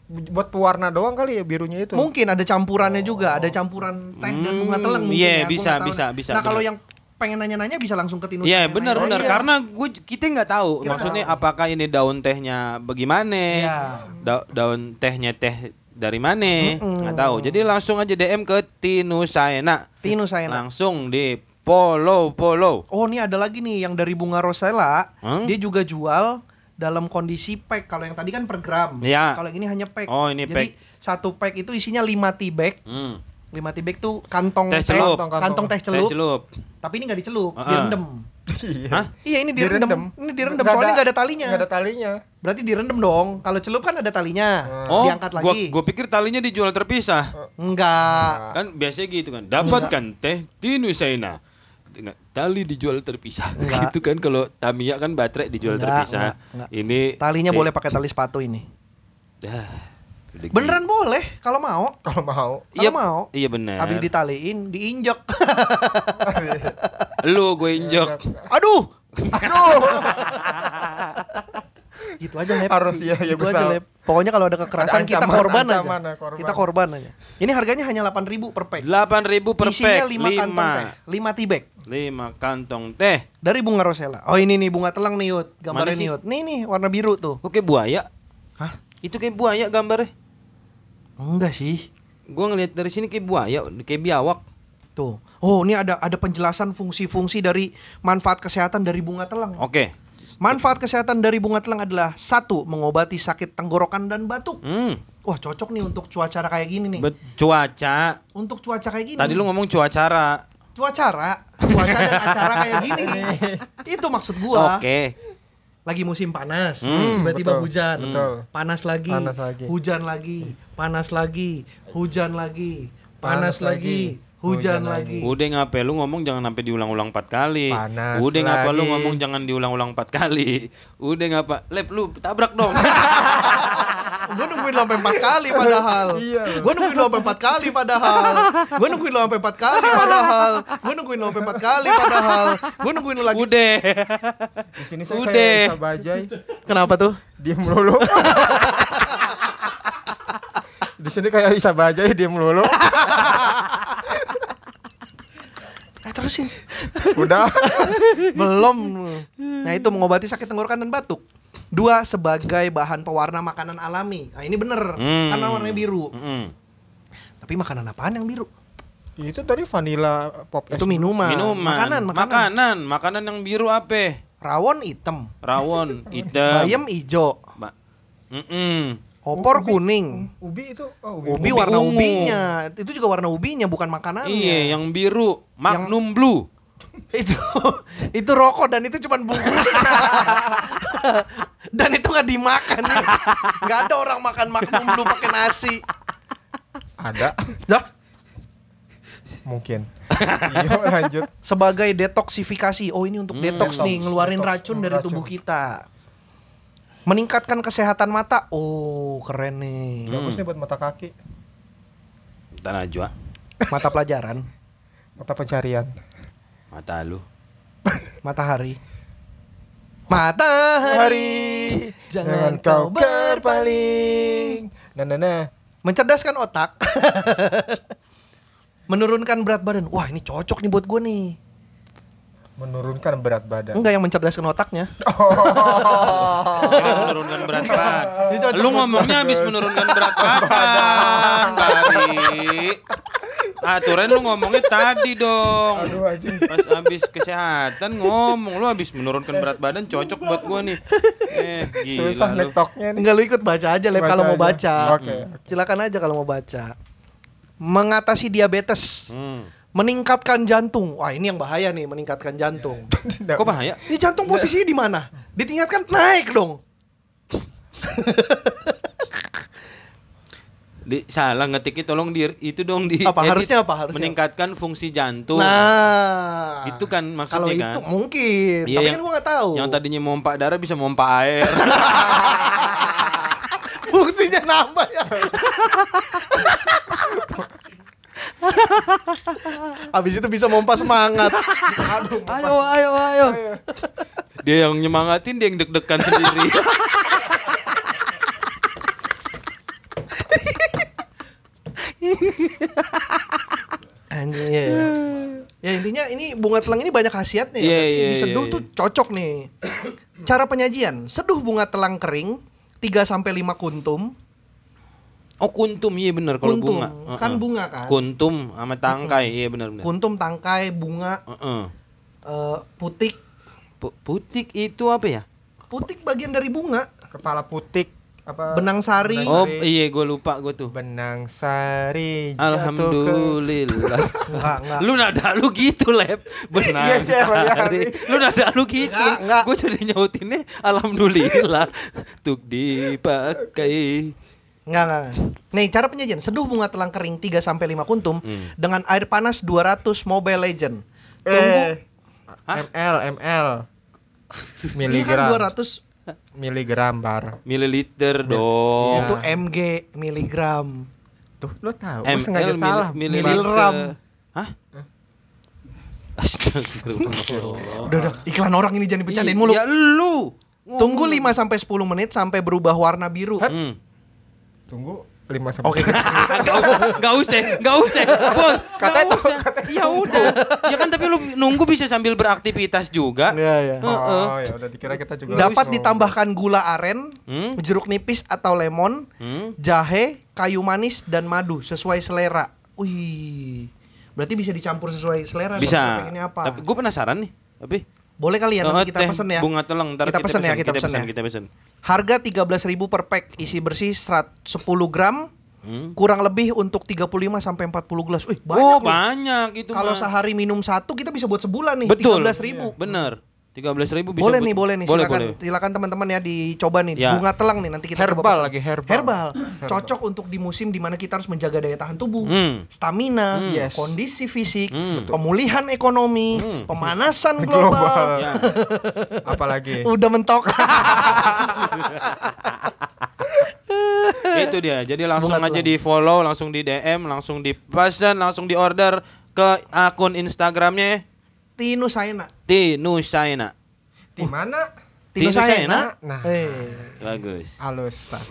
S3: Buat pewarna doang kali ya birunya itu.
S1: Mungkin ada campurannya juga, ada campuran teh dan bunga
S2: Oh. Hmm,
S1: teleng mungkin
S2: iya,
S1: ya, gua
S2: bisa,
S1: nggak tahu
S2: bisa,
S1: nih.
S2: bisa,
S1: Nah, kalau
S2: benar.
S1: yang pengen nanya-nanya bisa langsung ke Tinus.
S2: Iya
S1: nanya-nanya.
S2: benar benar
S1: Iya.
S2: karena gue kita nggak tahu
S1: Kita nggak
S2: maksudnya
S1: tahu.
S2: apakah ini daun tehnya bagaimana
S1: Iya.
S2: da- daun tehnya teh dari mana
S1: Mm-mm.
S2: nggak tahu jadi langsung aja DM ke Tinusaena
S1: Tinus saya. nak.
S2: langsung di follow follow
S1: Oh, ini ada lagi nih yang dari bunga rosella.
S2: Hmm?
S1: Dia juga jual dalam kondisi pack. Kalau yang tadi kan per gram.
S2: Iya.
S1: Kalau yang ini hanya pack.
S2: Oh, ini
S1: Jadi satu pack itu isinya 5 tea bag.
S2: Hmm.
S1: 5 tea bag tuh kantong
S2: Teh celup.
S1: Kantong, kantong teh celup.
S2: Teh celup
S1: Tapi ini nggak dicelup,
S2: Heeh.
S1: direndam.
S3: *laughs* Iya.
S2: Hah?
S1: Iya, ini direndam. Ini direndam soalnya nggak ada talinya.
S3: Nggak ada talinya.
S1: Berarti direndam dong. Kalau celup kan ada talinya.
S2: oh
S1: Diangkat
S2: gua,
S1: lagi.
S2: gua pikir talinya dijual terpisah
S1: Enggak.
S2: kan biasanya gitu kan dapatkan teh Tinusaena dengan tali dijual terpisah *laughs*
S1: Enggak.
S2: gitu kan kalau Tamiya kan baterai dijual
S1: Enggak,
S2: terpisah
S1: enggak, enggak.
S2: ini
S1: Talinya
S2: eh,
S1: boleh pakai tali sepatu ini.
S2: dah. Udah
S1: Beneran boleh kalau mau.
S3: Kalau mau.
S1: Kalau
S2: Iya
S1: mau.
S2: Iya benar.
S1: Habis ditaliin, diinjak.
S2: Lu gue injok.
S1: *laughs* Iya, Aduh.
S2: *laughs*
S1: Aduh. gitu aja Lep.
S3: Harus, iya, iya,
S1: gitu
S3: gue
S1: aja
S3: tahu.
S1: Lep. Pokoknya kalau ada kekerasan
S3: Ada
S1: kita
S3: ancaman,
S1: korban
S3: ancaman,
S1: aja.
S3: ya, korban.
S1: Kita korban aja. Ini harganya hanya 8.000 per pack.
S2: 8000 per
S1: Isinya
S2: pack.
S1: 5 kantong teh, 5 tea bag
S2: 5 kantong teh.
S1: dari bunga rosella. Oh ini nih bunga telang nih Yud, gambarnya
S2: Mana
S1: nih
S2: sih?
S1: Yud. Nih nih warna biru tuh.
S2: Kok kayak buaya?
S1: Hah?
S2: Itu kayak buaya gambarnya.
S1: Enggak sih.
S2: Gua ngelihat dari sini kayak buaya, kayak biawak.
S1: Tuh. Oh, ini ada ada penjelasan fungsi-fungsi dari manfaat kesehatan dari bunga telang.
S2: Oke.
S1: Manfaat kesehatan dari bunga telang adalah satu mengobati sakit tenggorokan dan batuk.
S2: Hmm.
S1: Wah, cocok nih untuk cuaca kayak gini nih.
S2: bet- cuaca.
S1: untuk cuaca kayak gini.
S2: Tadi lu ngomong cuacara.
S1: cuacara, cuaca dan acara kayak
S2: *laughs*
S1: gini. Itu maksud gua.
S2: Oke.
S1: Lagi musim panas,
S2: Hmm,
S1: tiba-tiba
S3: betul,
S1: hujan.
S3: betul.
S1: Panas lagi,
S3: Panas lagi.
S1: Hujan lagi, panas lagi, hujan lagi,
S3: Panas
S1: panas, lagi,
S3: lagi,
S1: hujan
S3: hujan
S1: lagi.
S2: Udah ngapain lu ngomong jangan sampai diulang-ulang 4 kali.
S3: Panas
S2: Udah ngapa lu
S3: lagi.
S2: ngomong jangan diulang-ulang 4 kali. Udah ngapa? Lep lu tabrak dong.
S1: Gue nungguin lo sampai empat kali padahal.
S3: Iya.
S1: Gue nungguin lo sampai empat kali padahal. Gue nungguin lo sampai empat kali padahal. Gue nungguin lo sampai empat kali padahal. Gue nungguin lo lagi.
S2: Udah.
S3: Di sini saya
S2: Udah.
S3: kayak Isa Bajai.
S1: Kenapa tuh?
S3: Diem lulu. Di sini kayak Isa Bajai diem lulu.
S1: Eh, terusin.
S3: Udah.
S1: Belum. Nah itu mengobati sakit tenggorokan dan batuk. Dua sebagai bahan pewarna makanan alami. Nah ini bener
S2: Hmm.
S1: karena warnanya biru.
S2: Mm-mm.
S1: Tapi makanan apaan yang biru?
S3: Ya, Itu tadi vanilla pop
S1: Itu minuman.
S2: Minuman.
S1: Makanan, makanan.
S2: makanan, makanan yang biru apa?
S1: Rawon hitam, *laughs*
S2: Rawon, hitam.
S1: bayam ijo,
S2: Ba- Mm-mm.
S1: opor kuning.
S3: Ubi itu oh,
S1: Ubi,
S2: Ubi
S1: warna
S2: ungu.
S1: ubinya. Itu juga warna ubinya bukan makanannya.
S2: Iya, yang biru, Magnum Blue.
S1: itu *laughs* itu rokok dan itu cuman *laughs* bungkus dan itu nggak dimakan nggak ada orang makan makmum dulu pakai nasi
S3: Ada *laughs*
S1: dah
S3: mungkin.
S1: *laughs*
S3: Iya lanjut.
S1: sebagai detoksifikasi oh ini untuk detox nih ngeluarin
S3: detox,
S1: racun
S3: hmm,
S1: dari
S3: racun.
S1: tubuh kita meningkatkan kesehatan mata oh keren nih
S3: Bagus nih buat mata kaki,
S2: Bentar Najwa,
S1: mata pelajaran
S3: mata pencarian.
S2: mata lu.
S1: matahari matahari jangan kau berpaling
S3: Nah, nah, nah.
S1: mencerdaskan otak *laughs* menurunkan berat badan wah ini cocok nih buat gue nih
S3: Menurunkan berat badan.
S1: enggak yang mencerdaskan otaknya
S2: Jangan menurunkan berat badan.
S1: Ini cocok
S2: Lu
S1: buat
S2: ngomongnya habis menurunkan berat badan tadi. Aturan lu ngomongnya tadi dong.
S3: Aduh anjing.
S2: Pas habis kesehatan ngomong lu habis menurunkan berat badan cocok buat gua nih. Eh, gila
S3: Susah
S2: lu.
S3: netoknya nih.
S1: enggak lu ikut baca aja Lep
S3: Kan Baca
S1: kalau mau
S3: aja.
S1: baca Hmm.
S3: Oke.
S1: silakan aja kalau mau baca mengatasi diabetes
S2: Hmm.
S1: meningkatkan jantung wah ini yang bahaya nih meningkatkan jantung
S3: Iya,
S2: Kok bahaya?
S1: ini jantung posisinya di mana ditingkatkan naik dong
S2: Di, salah ngetiknya tolong di itu dong di
S1: Apa,
S2: edit.
S1: harusnya apa, harusnya?
S2: meningkatkan fungsi jantung.
S1: Nah,
S2: Itu kan maksudnya
S1: Kalau
S2: kan?
S1: itu mungkin,
S2: Iya,
S1: tapi
S2: yang-
S1: kan gua nggak tahu.
S2: Yang tadinya mompa darah bisa mompa air.
S1: *laughs* fungsinya nambah
S2: *laughs*
S1: ya. Abis itu bisa mompa semangat.
S3: Aduh,
S2: ayo ayo ayo. dia yang nyemangatin, dia yang deg-degan sendiri.
S1: Anjir.
S2: iya,
S1: Ya, intinya ini bunga telang ini banyak khasiatnya. ya.
S2: Iya,
S1: Berarti
S2: iya,
S1: diseduh
S2: iya,
S1: tuh cocok nih. Cara penyajian, seduh bunga telang kering 3 sampai 5 kuntum.
S2: *laughs* Oh kuntum, iya bener kalau
S1: Kuntum,
S2: bunga.
S1: kan
S2: Heeh.
S1: bunga kan?
S2: Kuntum sama tangkai, iya bener bener.
S1: Kuntum, tangkai, bunga,
S2: Heeh.
S1: eh, putik.
S2: Pu- Putik itu apa ya?
S1: Putik bagian dari bunga.
S3: Kepala putik apa?
S1: Benang sari.
S2: Oh iya gue lupa gue tuh.
S3: Benang sari. jatuh ke-
S2: Alhamdulillah.
S1: Enggak, enggak.
S2: Lu nada lu gitu, Lep. Benar.
S3: Iya, siapa ya,
S2: Sari. Lu nada lu gitu.
S1: Enggak, enggak.
S2: Gue jadi nyautinnya alhamdulillah tuk dipakai.
S1: Enggak, enggak. enggak. Nih, cara penyajian seduh bunga telang kering 3 sampai 5 kuntum
S2: Hmm.
S1: dengan air panas 200 Mobile Legend. Tunggu.
S3: Eh, ML, ML.
S1: Ini kan
S3: Miligram.
S1: 200
S3: Miligram bar.
S2: Mililiter dong.
S1: itu mg miligram.
S3: Tuh, lo tahu.
S2: ML
S3: Gua sengaja
S2: mili-
S3: salah.
S2: mililiter.
S1: Miligram.
S2: Hah? Astagfirullah.
S1: Udah, udah, iklan orang ini jangan dipecandain mulu.
S2: Ya lu.
S1: Tunggu 5 sampai 10 menit sampai berubah warna biru.
S2: Hmm.
S3: Tunggu 5 sampai
S2: *laughs*
S1: Oke.
S2: Gak usah, gak usah. Bos, gak
S3: Katanya
S2: usah. Ya udah. Ya kan tapi lu nunggu bisa sambil beraktivitas juga.
S1: Iya, iya.
S2: Heeh.
S3: Oh, ya udah dikira kita juga.
S1: Dapat
S3: langsung.
S1: ditambahkan gula aren,
S2: Hmm?
S1: jeruk nipis atau lemon,
S2: Hmm?
S1: jahe, kayu manis dan madu sesuai selera. Wih. Berarti bisa dicampur sesuai selera. soalnya
S2: Bisa.
S1: pengennya apa?
S2: Tapi gue penasaran nih. Tapi
S1: Boleh kali ya
S2: Oh,
S1: nanti kita
S2: teh
S1: pesen ya.
S2: Bunga telang ntar
S1: kita, pesen ya, kita, pesen, ya.
S2: Kita gitu. pesen.
S1: Harga 13.000 per pack, isi bersih 100 10 gram,
S2: Hmm?
S1: kurang lebih untuk 35 sampai 40 gelas. Wih, banyak. loh.
S2: oh, banyak itu
S1: Kalau
S2: mah.
S1: sehari minum satu kita bisa buat sebulan nih,
S2: Betul. Iya,
S1: 13.000.
S2: Bener. 13.000 ribu bisa
S1: Boleh
S2: buat-
S1: nih, boleh nih.
S2: Boleh,
S1: silakan,
S2: boleh.
S1: silakan teman-teman ya dicoba nih.
S2: Ya.
S1: Bunga telang nih nanti kita coba
S3: Herbal
S1: pesen.
S3: lagi, herbal.
S2: *clears throat*
S1: Herbal. Cocok untuk di musim dimana kita harus menjaga daya tahan tubuh,
S2: Hmm.
S1: stamina,
S2: Hmm.
S3: Yes.
S1: kondisi fisik,
S2: Hmm.
S1: pemulihan ekonomi,
S2: Hmm.
S1: pemanasan
S2: *laughs*
S1: global.
S2: Ya.
S3: global. *laughs* Apalagi
S1: Udah mentok. *laughs*
S2: *laughs* itu dia. Jadi langsung
S1: Bunga
S2: aja
S1: telang.
S2: di follow, langsung di DM, langsung di pesan, langsung di order ke akun Instagramnya
S1: Tinusaena.
S2: Tinusaina.
S3: di mana?
S1: Tinusaena.
S3: Tinusaena. Nah.
S1: Eh.
S2: Bagus.
S3: Halus, Pak.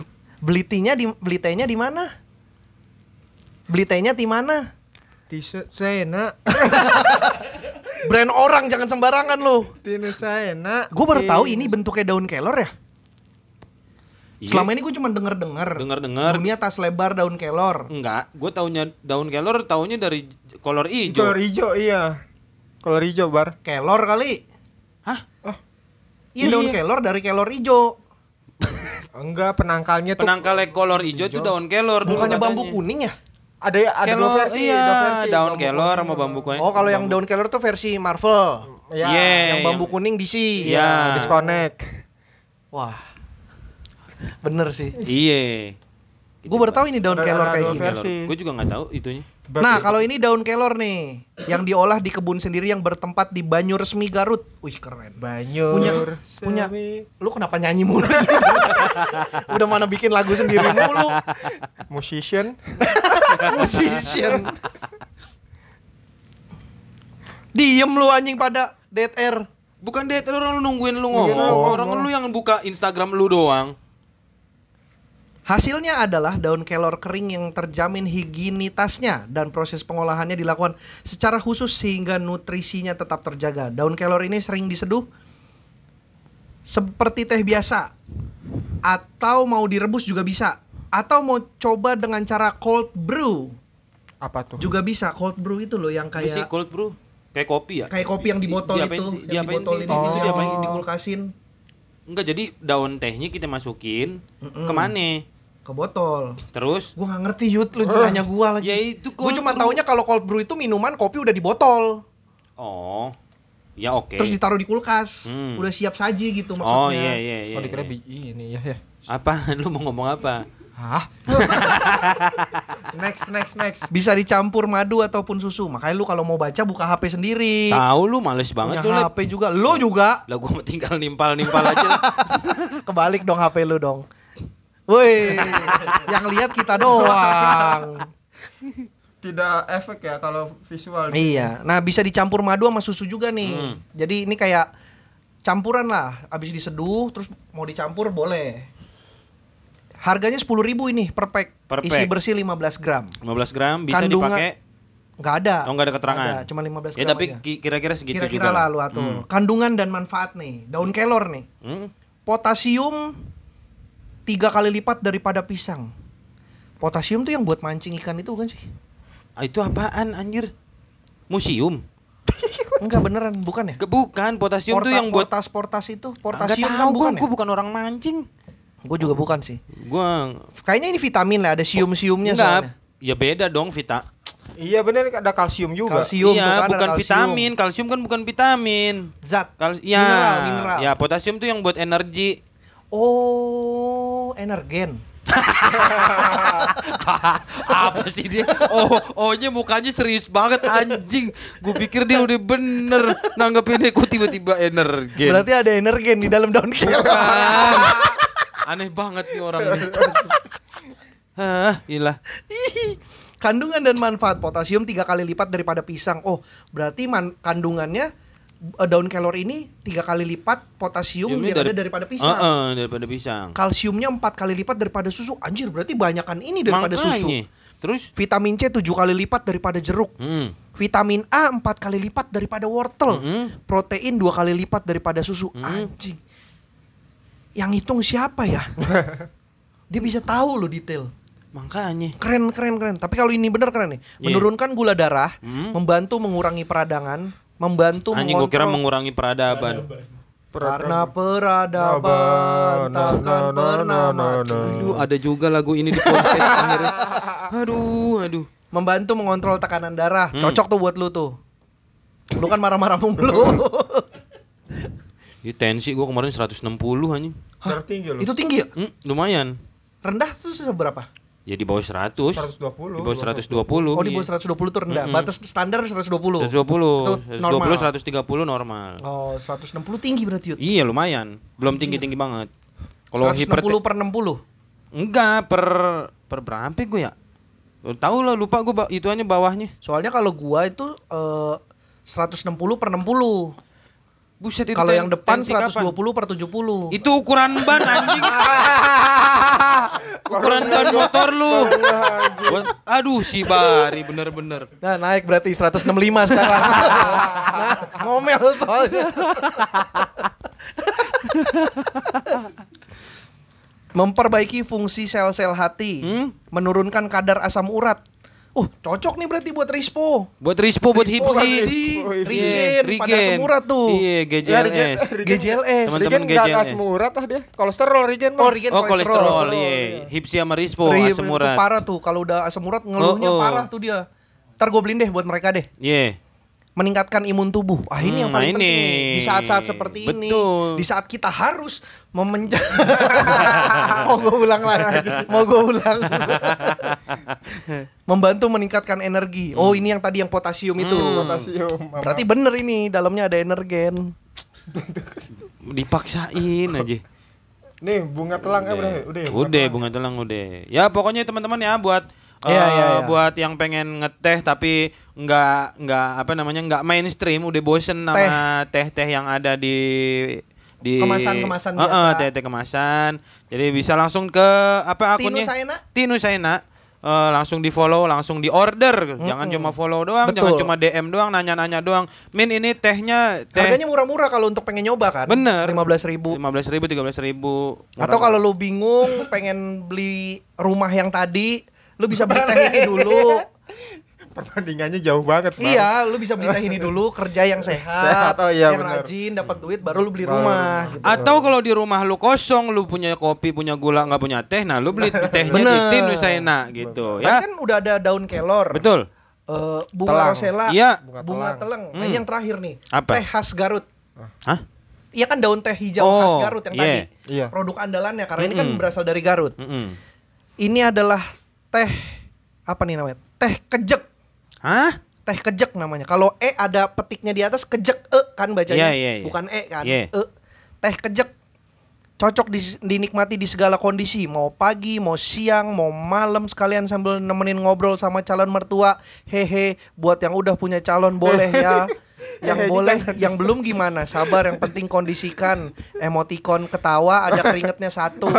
S1: Beli tinya di beli tehnya di mana? Beli tehnya di mana?
S3: Di Sena,
S1: Brand orang jangan sembarangan lu.
S3: di Nusaena.
S1: Gue baru
S3: di-
S1: tahu ini bentuknya daun kelor ya.
S2: Iya.
S1: Selama ini gue cuma denger-denger.
S2: Denger-denger.
S1: Dunia tas lebar daun kelor.
S2: Enggak, gue taunya daun kelor taunya dari j- kolor hijau.
S3: kolor hijau iya. Kolor hijau
S2: Hmm.
S3: bar.
S1: Kelor kali.
S2: Hah?
S1: Iya daun
S2: Iya.
S1: kelor dari kelor ijo.
S3: Enggak, penangkalnya tuh
S2: Penangkalnya kolor hijau itu daun kelor dulu
S1: Bukannya bambu
S2: katanya.
S1: kuning ya?
S3: ada ada
S2: kelor,
S3: dua versi,
S2: iya,
S3: dua versi,
S2: daun
S3: bambu
S2: kelor
S3: kuning.
S2: sama bambu kuning.
S1: Oh kalau yang daun kelor tuh versi Marvel.
S3: Iya,
S2: Iya. Eh,
S1: yang bambu
S2: yang-
S1: kuning DC.
S2: Iya.
S3: disconnect.
S1: Wah. Bener sih.
S2: Iya.
S1: Gue baru tahu ini daun
S3: Ada-
S1: kelor
S3: ada
S1: kayak
S3: daun
S1: gini.
S3: kelor. versi.
S2: Gue juga nggak tahu itunya.
S1: Nah, kalau ini daun kelor nih, yang diolah di kebun sendiri yang bertempat di Banyu Resmi Garut. Wih, keren.
S3: Banyur
S1: Punya punya lu kenapa nyanyi mulu sih? *laughs* Udah mana bikin lagu sendiri mulu.
S3: musician
S1: Musician. Diem lu anjing pada dead air.
S2: Bukan deh, lu orang nungguin lu ngomong.
S3: Nungguin lu
S2: Orang lu
S3: ngomong.
S2: yang buka Instagram lu doang.
S1: Hasilnya adalah daun kelor kering yang terjamin higienitasnya dan proses pengolahannya dilakukan secara khusus sehingga nutrisinya tetap terjaga. Daun kelor ini sering diseduh seperti teh biasa atau mau direbus juga bisa atau mau coba dengan cara cold brew
S3: apa tuh?
S1: juga bisa. Cold brew itu loh yang
S2: Kayak sih
S1: kayak
S2: cold brew. Kayak kopi ya?
S1: kayak kopi yang di botol
S2: Diapain sih?
S1: itu, yang di
S2: Diapain
S1: botol
S2: sih?
S1: ini
S3: Oh.
S1: itu diapain dikulkasin
S2: Enggak, jadi daun tehnya kita masukin
S1: Mm-mm.
S2: kemana?
S1: ke botol.
S2: Terus
S1: Gua nggak ngerti Yud, lu nanya gua lagi.
S2: Ya itu
S1: Gue
S2: cold
S1: cuma
S2: brew.
S1: taunya kalau cold brew itu minuman kopi udah di botol,
S2: Oh. Ya oke.
S1: terus ditaruh di kulkas,
S2: Hmm.
S1: udah siap saji gitu maksudnya.
S2: Oh iya iya iya.
S3: Oh dikira
S2: iya. *laughs*
S3: bi- ini ya ya.
S2: Apaan? Lu mau ngomong apa?
S3: Hah? *laughs* next, next, next.
S1: Bisa dicampur madu ataupun susu. Makanya lu kalau mau baca buka HP sendiri.
S2: Tahu lu males banget
S1: Punya
S2: tuh. Lep.
S1: HP juga. Lu juga
S2: Lah gua tinggal nimpal-nimpal aja.
S1: *laughs*
S2: lah.
S1: kebalik dong HP lu dong.
S2: *laughs*
S1: Woi, yang lihat kita doang.
S3: Tidak efek ya kalau visual.
S1: Iya. Nah, bisa dicampur madu sama susu juga nih.
S2: Hmm.
S1: Jadi ini kayak campuran lah. Abis diseduh terus mau dicampur boleh. Harganya 10.000 ini per pack.
S2: Per
S1: Isi
S2: pack.
S1: bersih 15 gram.
S2: 15 gram bisa
S1: Kandungan-
S2: dipakai.
S1: Nggak ada.
S2: Oh, nggak ada keterangan.
S1: Nggak Cuma 15 gram.
S2: Ya tapi
S1: aja.
S2: ki- kira-kira segitu
S1: kira-kira
S2: juga.
S1: lah lu atur. Kandungan dan manfaat nih. Daun kelor nih.
S2: Hmm.
S1: Potasium tiga kali lipat daripada pisang. Potasium tuh yang buat mancing ikan itu bukan sih?
S2: Ah, itu apaan anjir? Museum.
S1: Enggak beneran, bukan ya?
S2: Ke- Bukan potasium tuh
S1: Porta-
S2: yang buat
S1: portas portas itu
S2: Nggak
S1: portasium kan
S2: tahu
S1: bukan
S2: gua, gua bukan orang mancing.
S1: ya? Gue juga bukan sih.
S2: Gua
S1: Kayaknya ini vitamin lah, ada sium-siumnya soalnya.
S2: enggak. Ya beda dong, Vita.
S3: Iya bener ada kalsium juga.
S1: Kalsium tuh
S2: iya,
S1: kan ada
S2: bukan
S1: kalsium.
S2: vitamin. Kalsium kan bukan vitamin.
S1: Zat.
S2: Kal ya,
S1: Mineral, mineral.
S2: ya potasium tuh yang buat energi.
S1: Oh, energen.
S2: *laughs* Apa sih dia? Oh, ohnya mukanya serius banget anjing. Gue pikir dia udah bener nanggepinnya kok tiba-tiba energi. *laughs*
S1: Berarti ada energen di dalam daun kelor.
S2: Bukan. Aneh banget nih orang ini. *laughs* Hah, gila.
S1: Hihi. Kandungan dan manfaat potasium tiga kali lipat daripada pisang. Oh, berarti man- kandungannya eh, daun kelor ini tiga kali lipat potasium
S2: Ini
S1: yang
S2: dari-
S1: ada daripada pisang.
S2: Heeh, daripada pisang.
S1: Kalsiumnya empat kali lipat daripada susu. Anjir, berarti banyakan ini daripada susu.
S2: Makanya. Terus?
S1: Vitamin C tujuh kali lipat daripada jeruk.
S2: Hmm.
S1: Vitamin A empat kali lipat daripada wortel.
S2: Mm-mm.
S1: Protein dua kali lipat daripada susu.
S2: Mm.
S1: Anjing. Yang hitung siapa
S2: *laughs*
S1: ya? Dia bisa tahu loh detail.
S2: Makanya.
S1: Keren, keren, keren. Tapi kalau ini bener keren nih.
S2: Iya.
S1: Menurunkan gula darah,
S2: Hmm.
S1: membantu mengurangi peradangan, membantu
S2: Anjing gue kira
S1: mengontrol-
S2: mengurangi peradaban.
S1: karena peradaban
S3: Peradaban.
S1: takkan
S3: Na, na,
S1: pernah
S3: na, na,
S1: mati.
S3: na.
S2: Aduh, ada juga lagu ini di *laughs* podcast akhirnya. Aduh, aduh.
S1: Membantu mengontrol tekanan darah.
S2: Hmm.
S1: Cocok tuh buat lu tuh. Lu kan marah-marah mulu.
S2: Ini tensi gue kemarin 160 anjing.
S3: Tertinggi loh.
S1: Itu tinggi ya?
S2: Hmm, lumayan.
S1: Rendah tuh seberapa?
S2: Ya di bawah 100.
S3: 120.
S2: Di bawah 120.
S1: Oh di
S2: iya.
S1: bawah 120 tuh rendah.
S2: Mm-mm.
S1: Batas standar 120.
S2: 120. 120,
S1: normal.
S2: 130 normal.
S1: Oh, 160 tinggi berarti Yud.
S2: Iya, lumayan. Belum tinggi-tinggi banget. Kalau
S1: 160
S2: hiper
S1: per 60.
S2: enggak per per berapa gue ya? Tahu lah lupa gue ba- ituannya bawahnya.
S1: Soalnya kalau gua itu eh, 160 per 60.
S2: Buset itu.
S1: Kalau
S2: ten-
S1: yang depan
S2: tensi kapan?
S1: 120 per 70.
S2: Itu ukuran ban
S1: *laughs*
S2: anjing. ukuran ban motor lu. Buat- Aduh si Bari bener-bener.
S1: Nah, naik berarti 165
S2: *laughs*
S1: sekarang. nah, ngomel soalnya. Memperbaiki fungsi sel-sel hati,
S2: Hmm?
S1: menurunkan kadar asam urat. Uh, cocok nih berarti buat Rispo.
S2: Buat Rispo, buat
S1: Rispo, buat
S2: Hipsi.
S3: Rispo,
S2: Iya,
S1: Hipsi. Rigen, pada semurah tuh.
S2: Iya,
S3: Eh,
S2: GJLS.
S1: GJLS.
S2: Teman-teman
S3: Regen gak
S2: GJLS.
S3: asam urat ah dia. Kolesterol Regen
S1: Oh,
S3: mah.
S1: Rigen
S2: Oh, kolesterol,
S1: Ri-
S2: iya. Hipsi sama Rispo,
S1: itu
S2: asam urat.
S1: parah tuh kalau udah asam urat ngeluhnya
S2: Oh, oh.
S1: parah tuh dia. Ntar gue beliin deh buat mereka deh.
S2: Iya.
S1: meningkatkan imun tubuh. Ah ini yang
S2: Hmm,
S1: paling
S2: nah
S1: penting
S2: ini.
S1: nih. Di saat-saat seperti ini,
S2: Betul.
S1: di saat kita harus memenjam *laughs* mau gue ulang lagi, mau gue
S2: *laughs*
S1: ulang. Membantu meningkatkan energi. Oh
S2: Hmm.
S1: ini yang tadi yang potasium itu.
S3: Potasium. Mama.
S1: Berarti bener ini dalamnya ada energen.
S2: Dipaksain aja.
S3: nih bunga telang eh, udah udah ya,
S2: Udah, bunga
S3: bunga.
S2: telang udah. Ya pokoknya teman-teman ya buat
S1: Iya,
S2: eh,
S1: iya, iya.
S2: buat yang pengen ngeteh tapi nggak nggak apa namanya nggak mainstream udah bosen sama teh-teh yang ada di di
S1: Kemasan-kemasan
S2: Eh, eh,
S1: biasa.
S2: teh-teh kemasan. Jadi bisa langsung ke apa akunnya?
S1: Tinu Saena.
S2: Tinu Saena. Eh, langsung di follow, langsung di order. Jangan cuma follow doang, jangan
S1: Betul.
S2: cuma DM doang, nanya-nanya doang. Min ini tehnya teh
S1: Harganya murah-murah kalau untuk pengen nyoba kan.
S2: Bener.
S1: 15 ribu.
S2: lima belas ribu, tiga belas ribu.
S1: Atau kalau lu bingung pengen beli rumah yang tadi, lu bisa beli teh ini dulu.
S3: Perbandingannya jauh banget. Bang.
S1: Iya, lu bisa beli teh ini dulu, kerja yang sehat,
S3: Sehat, oh iya,
S1: yang
S3: benar.
S1: rajin, dapat duit, baru lu beli
S3: Baru
S1: rumah.
S3: rumah.
S1: Gitu.
S2: Atau kalau di rumah lu kosong, lu punya kopi, punya gula, nggak punya teh, nah lu
S1: *laughs*
S2: beli tehnya di
S1: Bener.
S2: tin Nusaina gitu
S1: Tadi
S2: ya.
S1: kan udah ada daun kelor,
S2: Betul.
S1: eh, bunga
S3: Telang.
S1: rosella,
S2: Iya.
S1: bunga,
S3: Bunga telang.
S1: teleng. Nah,
S2: Hmm.
S1: ini yang terakhir nih,
S2: Apa?
S1: teh khas Garut.
S2: Hah?
S1: Iya kan daun teh hijau
S2: Oh, Hmm.
S1: khas Garut yang
S2: iya.
S1: tadi.
S3: Iya.
S1: Produk andalannya karena ini kan
S2: Mm-mm.
S1: berasal dari Garut.
S2: Mm-mm.
S1: Ini adalah teh apa nih namanya? Teh kejek.
S2: Hah?
S1: Teh kejek namanya. Kalau e ada petiknya di atas kejek e kan bacanya.
S2: Iya, iya, iya.
S1: Bukan e kan.
S2: Iya.
S1: E. Teh kejek cocok dis- dinikmati di segala kondisi, mau pagi, mau siang, mau malam sekalian sambil nemenin ngobrol sama calon mertua. Hehe, buat yang udah punya calon boleh
S2: *laughs*
S1: ya. Yang
S3: Hehe,
S1: boleh,
S3: jangan.
S1: yang belum gimana? Sabar, yang penting kondisikan. Emotikon ketawa, ada keringetnya
S2: *laughs*
S1: satu.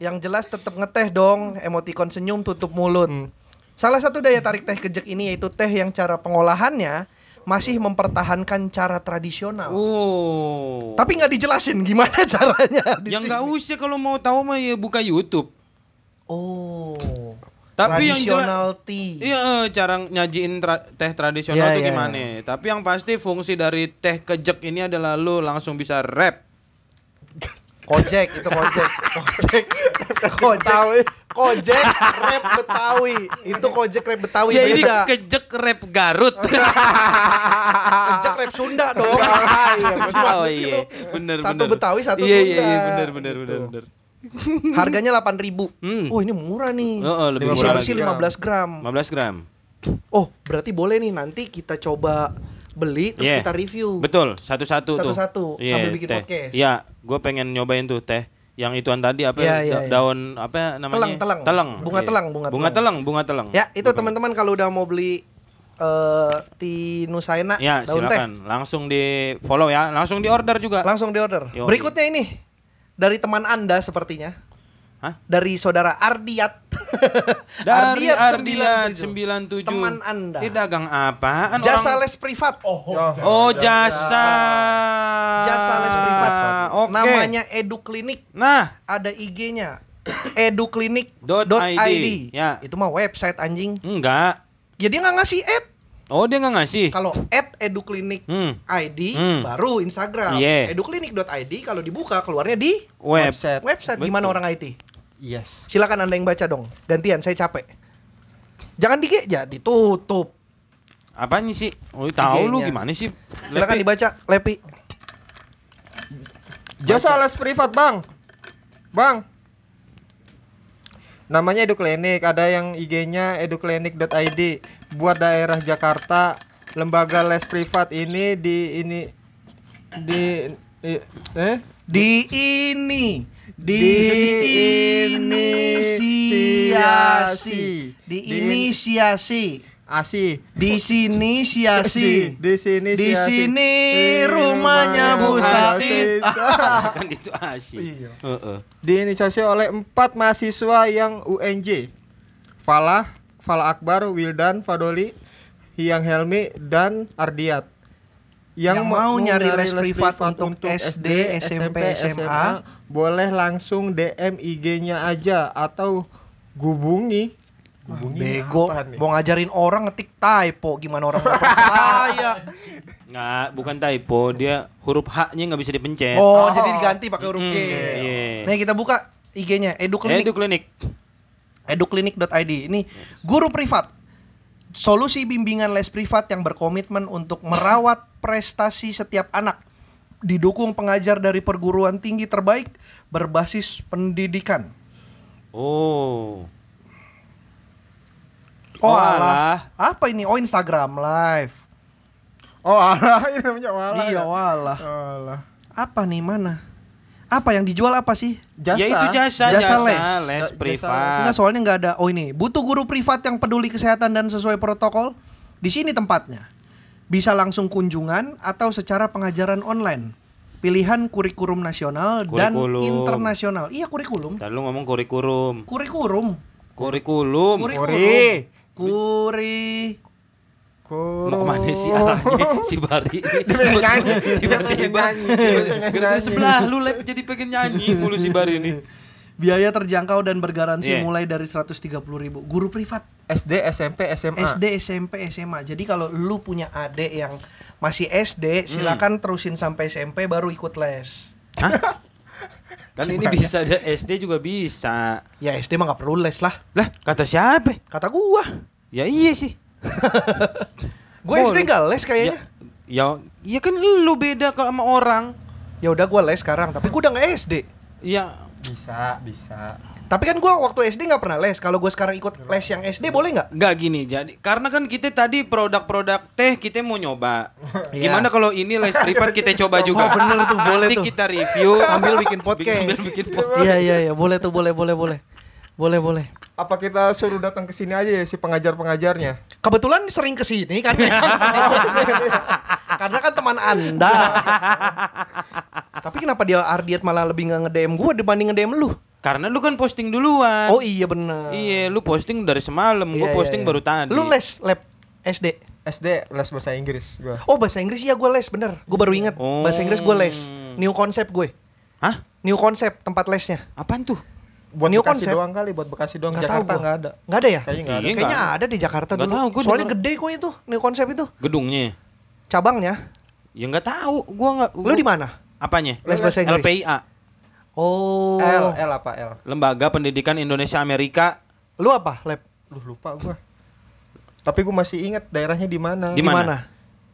S1: Yang jelas tetap ngeteh dong, emotikon senyum tutup mulut.
S2: Hmm.
S1: Salah satu daya tarik teh kejek ini yaitu teh yang cara pengolahannya masih mempertahankan cara tradisional.
S2: Oh.
S1: Tapi nggak dijelasin gimana *laughs* caranya. di
S2: yang
S1: sini.
S2: nggak usah kalau mau tahu mah ya buka YouTube.
S1: Oh.
S2: Tapi yang
S1: tradisional tea.
S2: Iya, eh, cara nyajiin tra- teh tradisional
S1: Iya,
S2: tuh
S1: iya,
S2: gimana? Tapi yang pasti fungsi dari teh kejek ini adalah lu langsung bisa rap.
S1: Kojek itu
S2: *laughs*
S1: kojek. Kojek. Kojek. Kojek rap Betawi. Itu kojek rap Betawi
S2: ya ini
S1: beda.
S2: kejek rap
S1: *laughs*
S2: Garut.
S1: Kejek rap Sunda dong.
S2: oh iya, bener
S1: Satu
S2: bener.
S1: Betawi, satu
S2: iya, Iya
S1: Sunda.
S2: iya, bener bener
S1: Gitu.
S2: bener bener.
S1: Harganya 8.000.
S2: Hmm.
S1: Oh, ini murah nih.
S2: Oh, oh, lebih
S3: murah
S1: Isi-isi
S3: lagi.
S1: 15 gram.
S2: 15 gram.
S1: Oh, berarti boleh nih nanti kita coba beli terus
S2: Iya.
S1: kita review.
S2: Betul, satu-satu tuh.
S1: Satu-satu,
S2: Iya,
S1: sambil bikin
S2: teh.
S1: podcast.
S2: Iya, gue pengen nyobain tuh teh yang ituan tadi apa
S1: Iya,
S2: da-
S1: iya, iya.
S2: daun apa namanya?
S1: Teleng, teleng. Bunga
S2: Iya.
S1: teleng, bunga
S2: Bunga
S1: teleng.
S2: teleng, bunga teleng.
S1: Ya, itu
S2: Gua pengen.
S1: teman-teman kalau udah mau beli eh ti Nusaina
S2: Ya, silakan. Langsung di follow ya. Langsung di order juga.
S1: langsung di order.
S2: Yoi.
S1: Berikutnya ini dari teman Anda sepertinya.
S2: Hah?
S1: Dari saudara Ardiat.
S2: *laughs* Dari Ardian
S1: Ardiat
S2: 97.
S1: Teman Anda.
S2: Ini dagang apaan
S1: Jasa
S2: orang?
S1: les privat.
S2: Oh, jasa.
S1: Jasa les privat.
S2: Ah, Oke.
S1: Namanya Edu Klinik.
S2: Nah,
S1: Ada *coughs* IG-nya. eduklinik.id.
S2: Dot ID. Ya.
S1: Itu mah website anjing.
S2: enggak.
S1: Ya dia nggak ngasih ad.
S2: Oh, dia nggak ngasih.
S1: Kalau at eduklinik
S2: Hmm.
S1: ID
S2: Hmm.
S1: baru Instagram.
S2: Iya.
S1: Eduklinik.id kalau dibuka keluarnya di
S2: Web.
S3: Website.
S1: website
S2: Betul.
S1: gimana orang IT.
S3: Yes.
S1: Silakan Anda yang baca dong. Gantian saya capek. Jangan dike ya ditutup.
S2: Apanya sih? Oh, tahu lu
S1: IG-nya.
S2: gimana sih?
S1: iya. Silakan
S2: Lepi.
S1: dibaca Lepi.
S3: Jasa les privat, Bang. Bang. Namanya Eduklinik, ada yang IG-nya eduklinik.id. Buat daerah Jakarta, lembaga les privat ini di ini di i- eh
S1: Di ini di, inisiasi
S3: inisiasi.
S1: di
S3: Di-
S1: inisiasi
S3: ASI.
S1: di sini siasi
S3: Di sini
S1: di
S3: siasi.
S1: sini
S3: Di
S1: rumahnya Bu
S3: rumahnya Bu
S1: Sasi.
S3: *laughs* Sasi.
S2: kan itu asih.
S3: Iya.
S2: Heeh.
S3: diinisiasi oleh empat mahasiswa yang UNJ Falah, Falah Akbar, Wildan, Fadoli, Hiyang Helmi, dan Ardiat
S1: Yang mau nyari les privat untuk SD, SMP, SMA,
S3: boleh langsung DM IG-nya aja atau hubungi hubungi
S1: Bego,
S3: apa nih?
S1: mau ngajarin orang ngetik typo gimana orang mau percaya.
S2: *laughs* Nggak, bukan typo, dia huruf H-nya nggak bisa dipencet.
S1: Oh, jadi diganti pakai huruf
S2: Mm,
S1: G.
S2: iya.
S1: Nih kita buka IG-nya eduklinik.
S2: Klinik. Edu Eh, klinik.
S1: eduklinik.id. Ini guru privat. Solusi bimbingan les privat yang berkomitmen untuk merawat prestasi setiap anak. Didukung pengajar dari perguruan tinggi terbaik berbasis pendidikan.
S2: Oh.
S1: Oh,
S2: Oh,
S1: alah. Apa ini? Oh, Instagram live.
S3: oh alah ini namanya alah
S1: iya,
S3: ya?
S1: walah.
S3: alah
S1: Apa nih mana? Apa yang dijual apa sih?
S3: jasa
S2: Ya itu jasa,
S1: Jasa
S2: jasa,
S1: les.
S2: les.
S3: Jasa les.
S2: privat.
S1: Enggak soalnya nggak ada. Oh ini butuh guru privat yang peduli kesehatan dan sesuai protokol. Di sini tempatnya. Bisa langsung kunjungan atau secara pengajaran online. Pilihan kurikulum nasional dan
S2: Kurikulum.
S1: internasional. Iya kurikulum.
S2: Tadi lu ngomong kurikulum.
S1: Kurikulum.
S2: Kurikulum.
S1: Kurikulum.
S3: Kuri.
S1: Kuri.
S3: Kuro.
S2: Mau kemana sih arahnya si Bari?
S3: Oh. *laughs* Dia pengen nyanyi, dia
S2: *laughs*
S3: pengen
S2: Tiba-tiba
S3: nyanyi, dia pengen
S2: gara-gara
S3: nyanyi.
S2: sebelah lu lep jadi pengen nyanyi mulu si Bari
S3: *laughs*
S2: ini.
S1: Biaya terjangkau dan bergaransi
S2: Iya.
S1: mulai dari 130.000. Guru privat.
S3: SD SMP SMA
S1: SD, SMP, SMA. Jadi kalau lu punya adik yang masih
S2: Hmm.
S1: SD, silakan terusin sampai SMP baru ikut les.
S2: Kan ini bisa ada SD juga bisa.
S1: Ya SD mah nggak perlu les lah.
S2: Lah, kata siapa?
S1: Kata gua.
S2: Ya iya sih.
S1: Gue
S2: Boleh.
S1: SD nggak les kayaknya.
S2: Ya, ya, ya kan lu beda kalau sama orang.
S1: Ya udah gua les sekarang, tapi gua udah nggak SD.
S2: Ya
S3: bisa bisa
S1: Tapi kan gua waktu SD nggak pernah les. Kalau gue sekarang ikut les yang SD boleh nggak?
S2: Nggak gini jadi karena kan kita tadi produk-produk teh kita mau nyoba.
S1: *laughs* Iya.
S2: Gimana kalau ini les privat kita
S1: *laughs*
S2: coba juga?
S1: Oh, bener tuh, boleh
S2: Nanti
S1: tuh.
S2: kita review
S1: Sambil *laughs* bikin podcast.
S2: Sambil bikin podcast.
S1: Iya iya iya boleh tuh boleh boleh boleh boleh boleh.
S3: Apa kita suruh datang ke sini aja ya si pengajar-pengajarnya?
S1: Kebetulan sering kesini *laughs* kan Karena kan teman anda Tapi kenapa dia Ardiet malah lebih nggak nge-DM gue dibanding nge-DM lu
S2: Karena lu kan posting duluan.
S1: Oh iya bener
S2: Iya, lu posting dari semalam,
S1: Iya,
S2: gua
S1: iya,
S2: posting
S1: iya.
S2: baru tadi.
S1: Lu les lab SD
S3: SD les bahasa Inggris gua.
S1: Oh bahasa Inggris ya gue les bener Gue baru inget
S2: Oh.
S1: Bahasa Inggris gue les New concept gue
S2: Hah?
S1: New concept tempat lesnya
S2: Apaan tuh?
S3: Buat
S1: New
S3: Bekasi
S1: konsep.
S3: doang kali, buat Bekasi doang.
S1: Nggak tahu
S3: Jakarta
S1: gua.
S3: nggak ada.
S1: Nggak ada ya?
S3: Kayaknya nggak ada.
S2: Iya,
S1: Kayaknya
S2: nggak.
S1: ada di Jakarta
S2: Nggak
S1: dulu
S2: tahu, gua
S1: Soalnya
S2: denger.
S1: gede kok itu New concept itu
S2: Gedungnya.
S1: Cabangnya
S2: Ya nggak tahu, gua nggak.
S1: Lu di mana?
S2: Apanya?
S1: Les bahasa Inggris
S2: LPIA,
S1: Oh
S3: L, L apa L?
S2: Lembaga Pendidikan Indonesia Amerika.
S1: Lu apa lab?
S3: Duh lupa gua. Tapi gua masih ingat daerahnya di mana.
S2: Di
S1: Di
S2: mana?
S1: mana?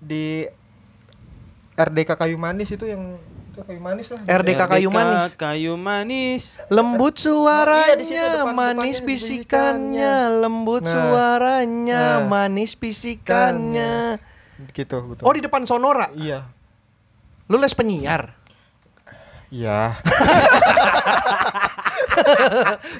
S3: Di RDK Kayu Manis itu yang itu Kayu Manis lah.
S1: RDK Kayu Manis
S2: Kayu
S1: *laughs*
S2: Manis.
S1: Lembut suaranya,
S3: Iya, di situ depan-
S1: manis
S3: depannya,
S1: bisikannya. Lembut
S3: Nah.
S1: suaranya,
S3: Nah.
S1: manis bisikannya.
S3: Gitu betul.
S1: Oh di depan Sonora.
S3: Iya.
S1: Lu les penyiar.
S3: Iya.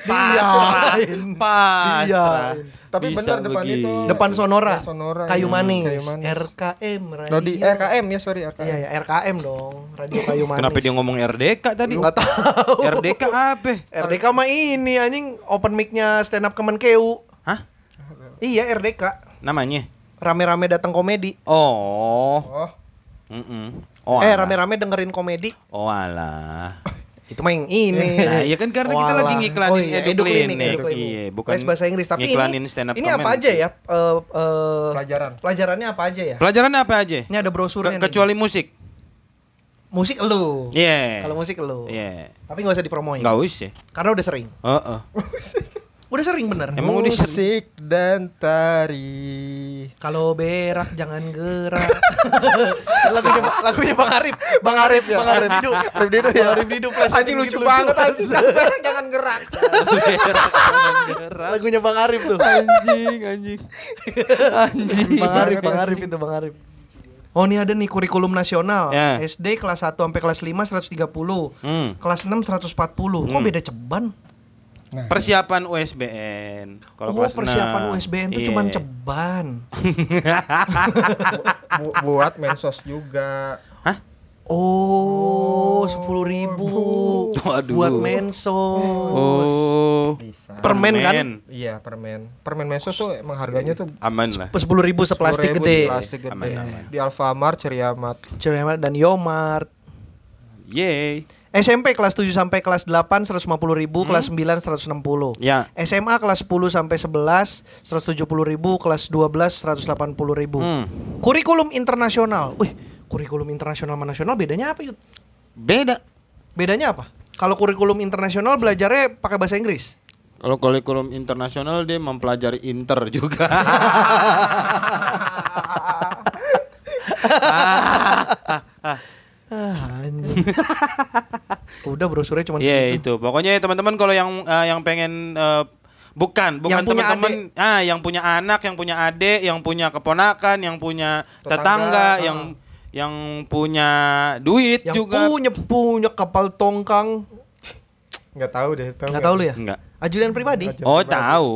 S3: Iya.
S2: Pasrah.
S1: Iya.
S2: Pasrah.
S3: Tapi
S2: Bisa
S3: benar depan
S2: begitu.
S3: itu.
S1: Depan Sonora.
S3: Iya, Sonora,
S1: Kayu
S3: iya,
S1: manis.
S3: Kayu Manis.
S1: RKM. Radio.
S3: Rodi RKM ya sorry RKM.
S1: Iya ya RKM dong.
S3: *laughs*
S1: Radio Kayu Manis.
S2: Kenapa dia ngomong RDK tadi?
S1: Nggak tahu.
S2: RDK apa?
S1: RDK mah ini anjing open mic-nya stand up Kemenkeu.
S2: Hah?
S1: Iya RDK.
S2: Namanya?
S1: Rame-rame datang komedi.
S2: Oh.
S3: Oh,
S2: Mm-mm. Oh.
S1: eh
S2: alah.
S1: rame-rame dengerin komedi.
S2: Oh alah.
S1: Itu mah yang ini.
S2: *laughs*
S1: Oh, iya,
S2: Nah, iya kan karena kita lagi
S1: edu
S2: ngiklanin
S1: klinik,
S2: Eduklinik.
S1: edu klinik.
S2: Iya, bukan
S1: Les bahasa Inggris tapi
S2: ngiklanin
S1: ini
S2: stand up
S1: ini apa
S2: comedy.
S1: aja ya? Eh, eh,
S3: pelajaran.
S1: pelajarannya apa aja ya?
S2: Pelajaran apa aja?
S1: Ini ada
S2: Ke-
S1: brosurnya nih.
S2: kecuali musik.
S1: musik lu.
S2: Iya.
S1: Kalau musik oh. lu.
S2: Iya.
S1: Tapi nggak usah dipromoin.
S2: Enggak usah. ya?
S1: Karena udah sering. *laughs*
S2: Heeh.
S1: Udah sering bener.
S2: Emang udah sering?
S3: musik dan tari.
S1: Kalau berak jangan
S2: *laughs*
S1: gerak. lagunya lagunya Bang Arif. Bang Arif, Bang Arif
S2: *laughs*
S1: hidup.
S3: Arif Didu ya.
S1: Bang Arif hidup. flash
S3: Anjing lucu
S1: gitu,
S3: banget
S1: *laughs*
S3: anjing. Jangan jangan
S2: *laughs*
S3: gerak.
S1: Lagunya Bang Arif tuh.
S2: anjing, anjing. Anjing.
S1: Bang Arif, Bang Arif itu Bang Arif. Oh ini ada nih kurikulum nasional
S2: Ya.
S1: SD kelas 1 sampai kelas 5 130
S2: Hmm.
S1: Kelas 6 140 Kok
S2: Hmm.
S1: beda ceban?
S3: Nah,
S2: Persiapan USBN. Kalau
S1: oh
S2: kelas
S1: persiapan
S2: enam.
S1: USBN tuh
S2: Iya.
S1: cuman ceban
S3: Bu- buat mensos juga.
S2: Hah?
S1: Oh sepuluh ribu
S2: Waduh.
S1: Buat mensos
S2: Oh.
S3: Bisa.
S1: Permen kan?
S3: Iya, permen. Permen mensos tuh emang harganya tuh
S2: Aman lah.
S1: Sepuluh ribu seplastik
S3: 10.000
S1: gede
S3: Plastik gede.
S2: Aman, aman.
S3: Di Alfamart Ceriamat.
S1: Cermat dan Yomart
S2: Yeay.
S1: SMP kelas 7 sampai kelas 8 150 ribu Kelas 9 160
S2: Ya.
S1: SMA kelas 10 sampai 11 170 ribu kelas 12 180 ribu
S2: Hmm.
S1: kurikulum internasional wih kurikulum internasional sama nasional bedanya apa Yud?
S2: Beda.
S1: bedanya apa kalau kurikulum internasional belajarnya pakai bahasa Inggris
S2: Kalau kurikulum internasional dia mempelajari inter juga.
S1: ah, anjing. *laughs* udah brosurnya cuma
S2: Iya
S1: segitu
S2: itu. Pokoknya ya, teman-teman kalau yang eh, yang pengen eh, bukan bukan
S1: Yang punya
S2: teman-teman ah yang punya anak, yang punya adik, yang punya keponakan, yang punya tetangga,
S3: Tetangga,
S2: yang yang punya duit
S1: ah, yang
S2: juga.
S1: punya punya kapal tongkang
S3: Enggak tahu deh, tahu.
S1: nggak tahu lu ya
S2: Enggak.
S1: ajudan pribadi
S3: Ajudan.
S2: Oh,
S3: Coba.
S2: tahu.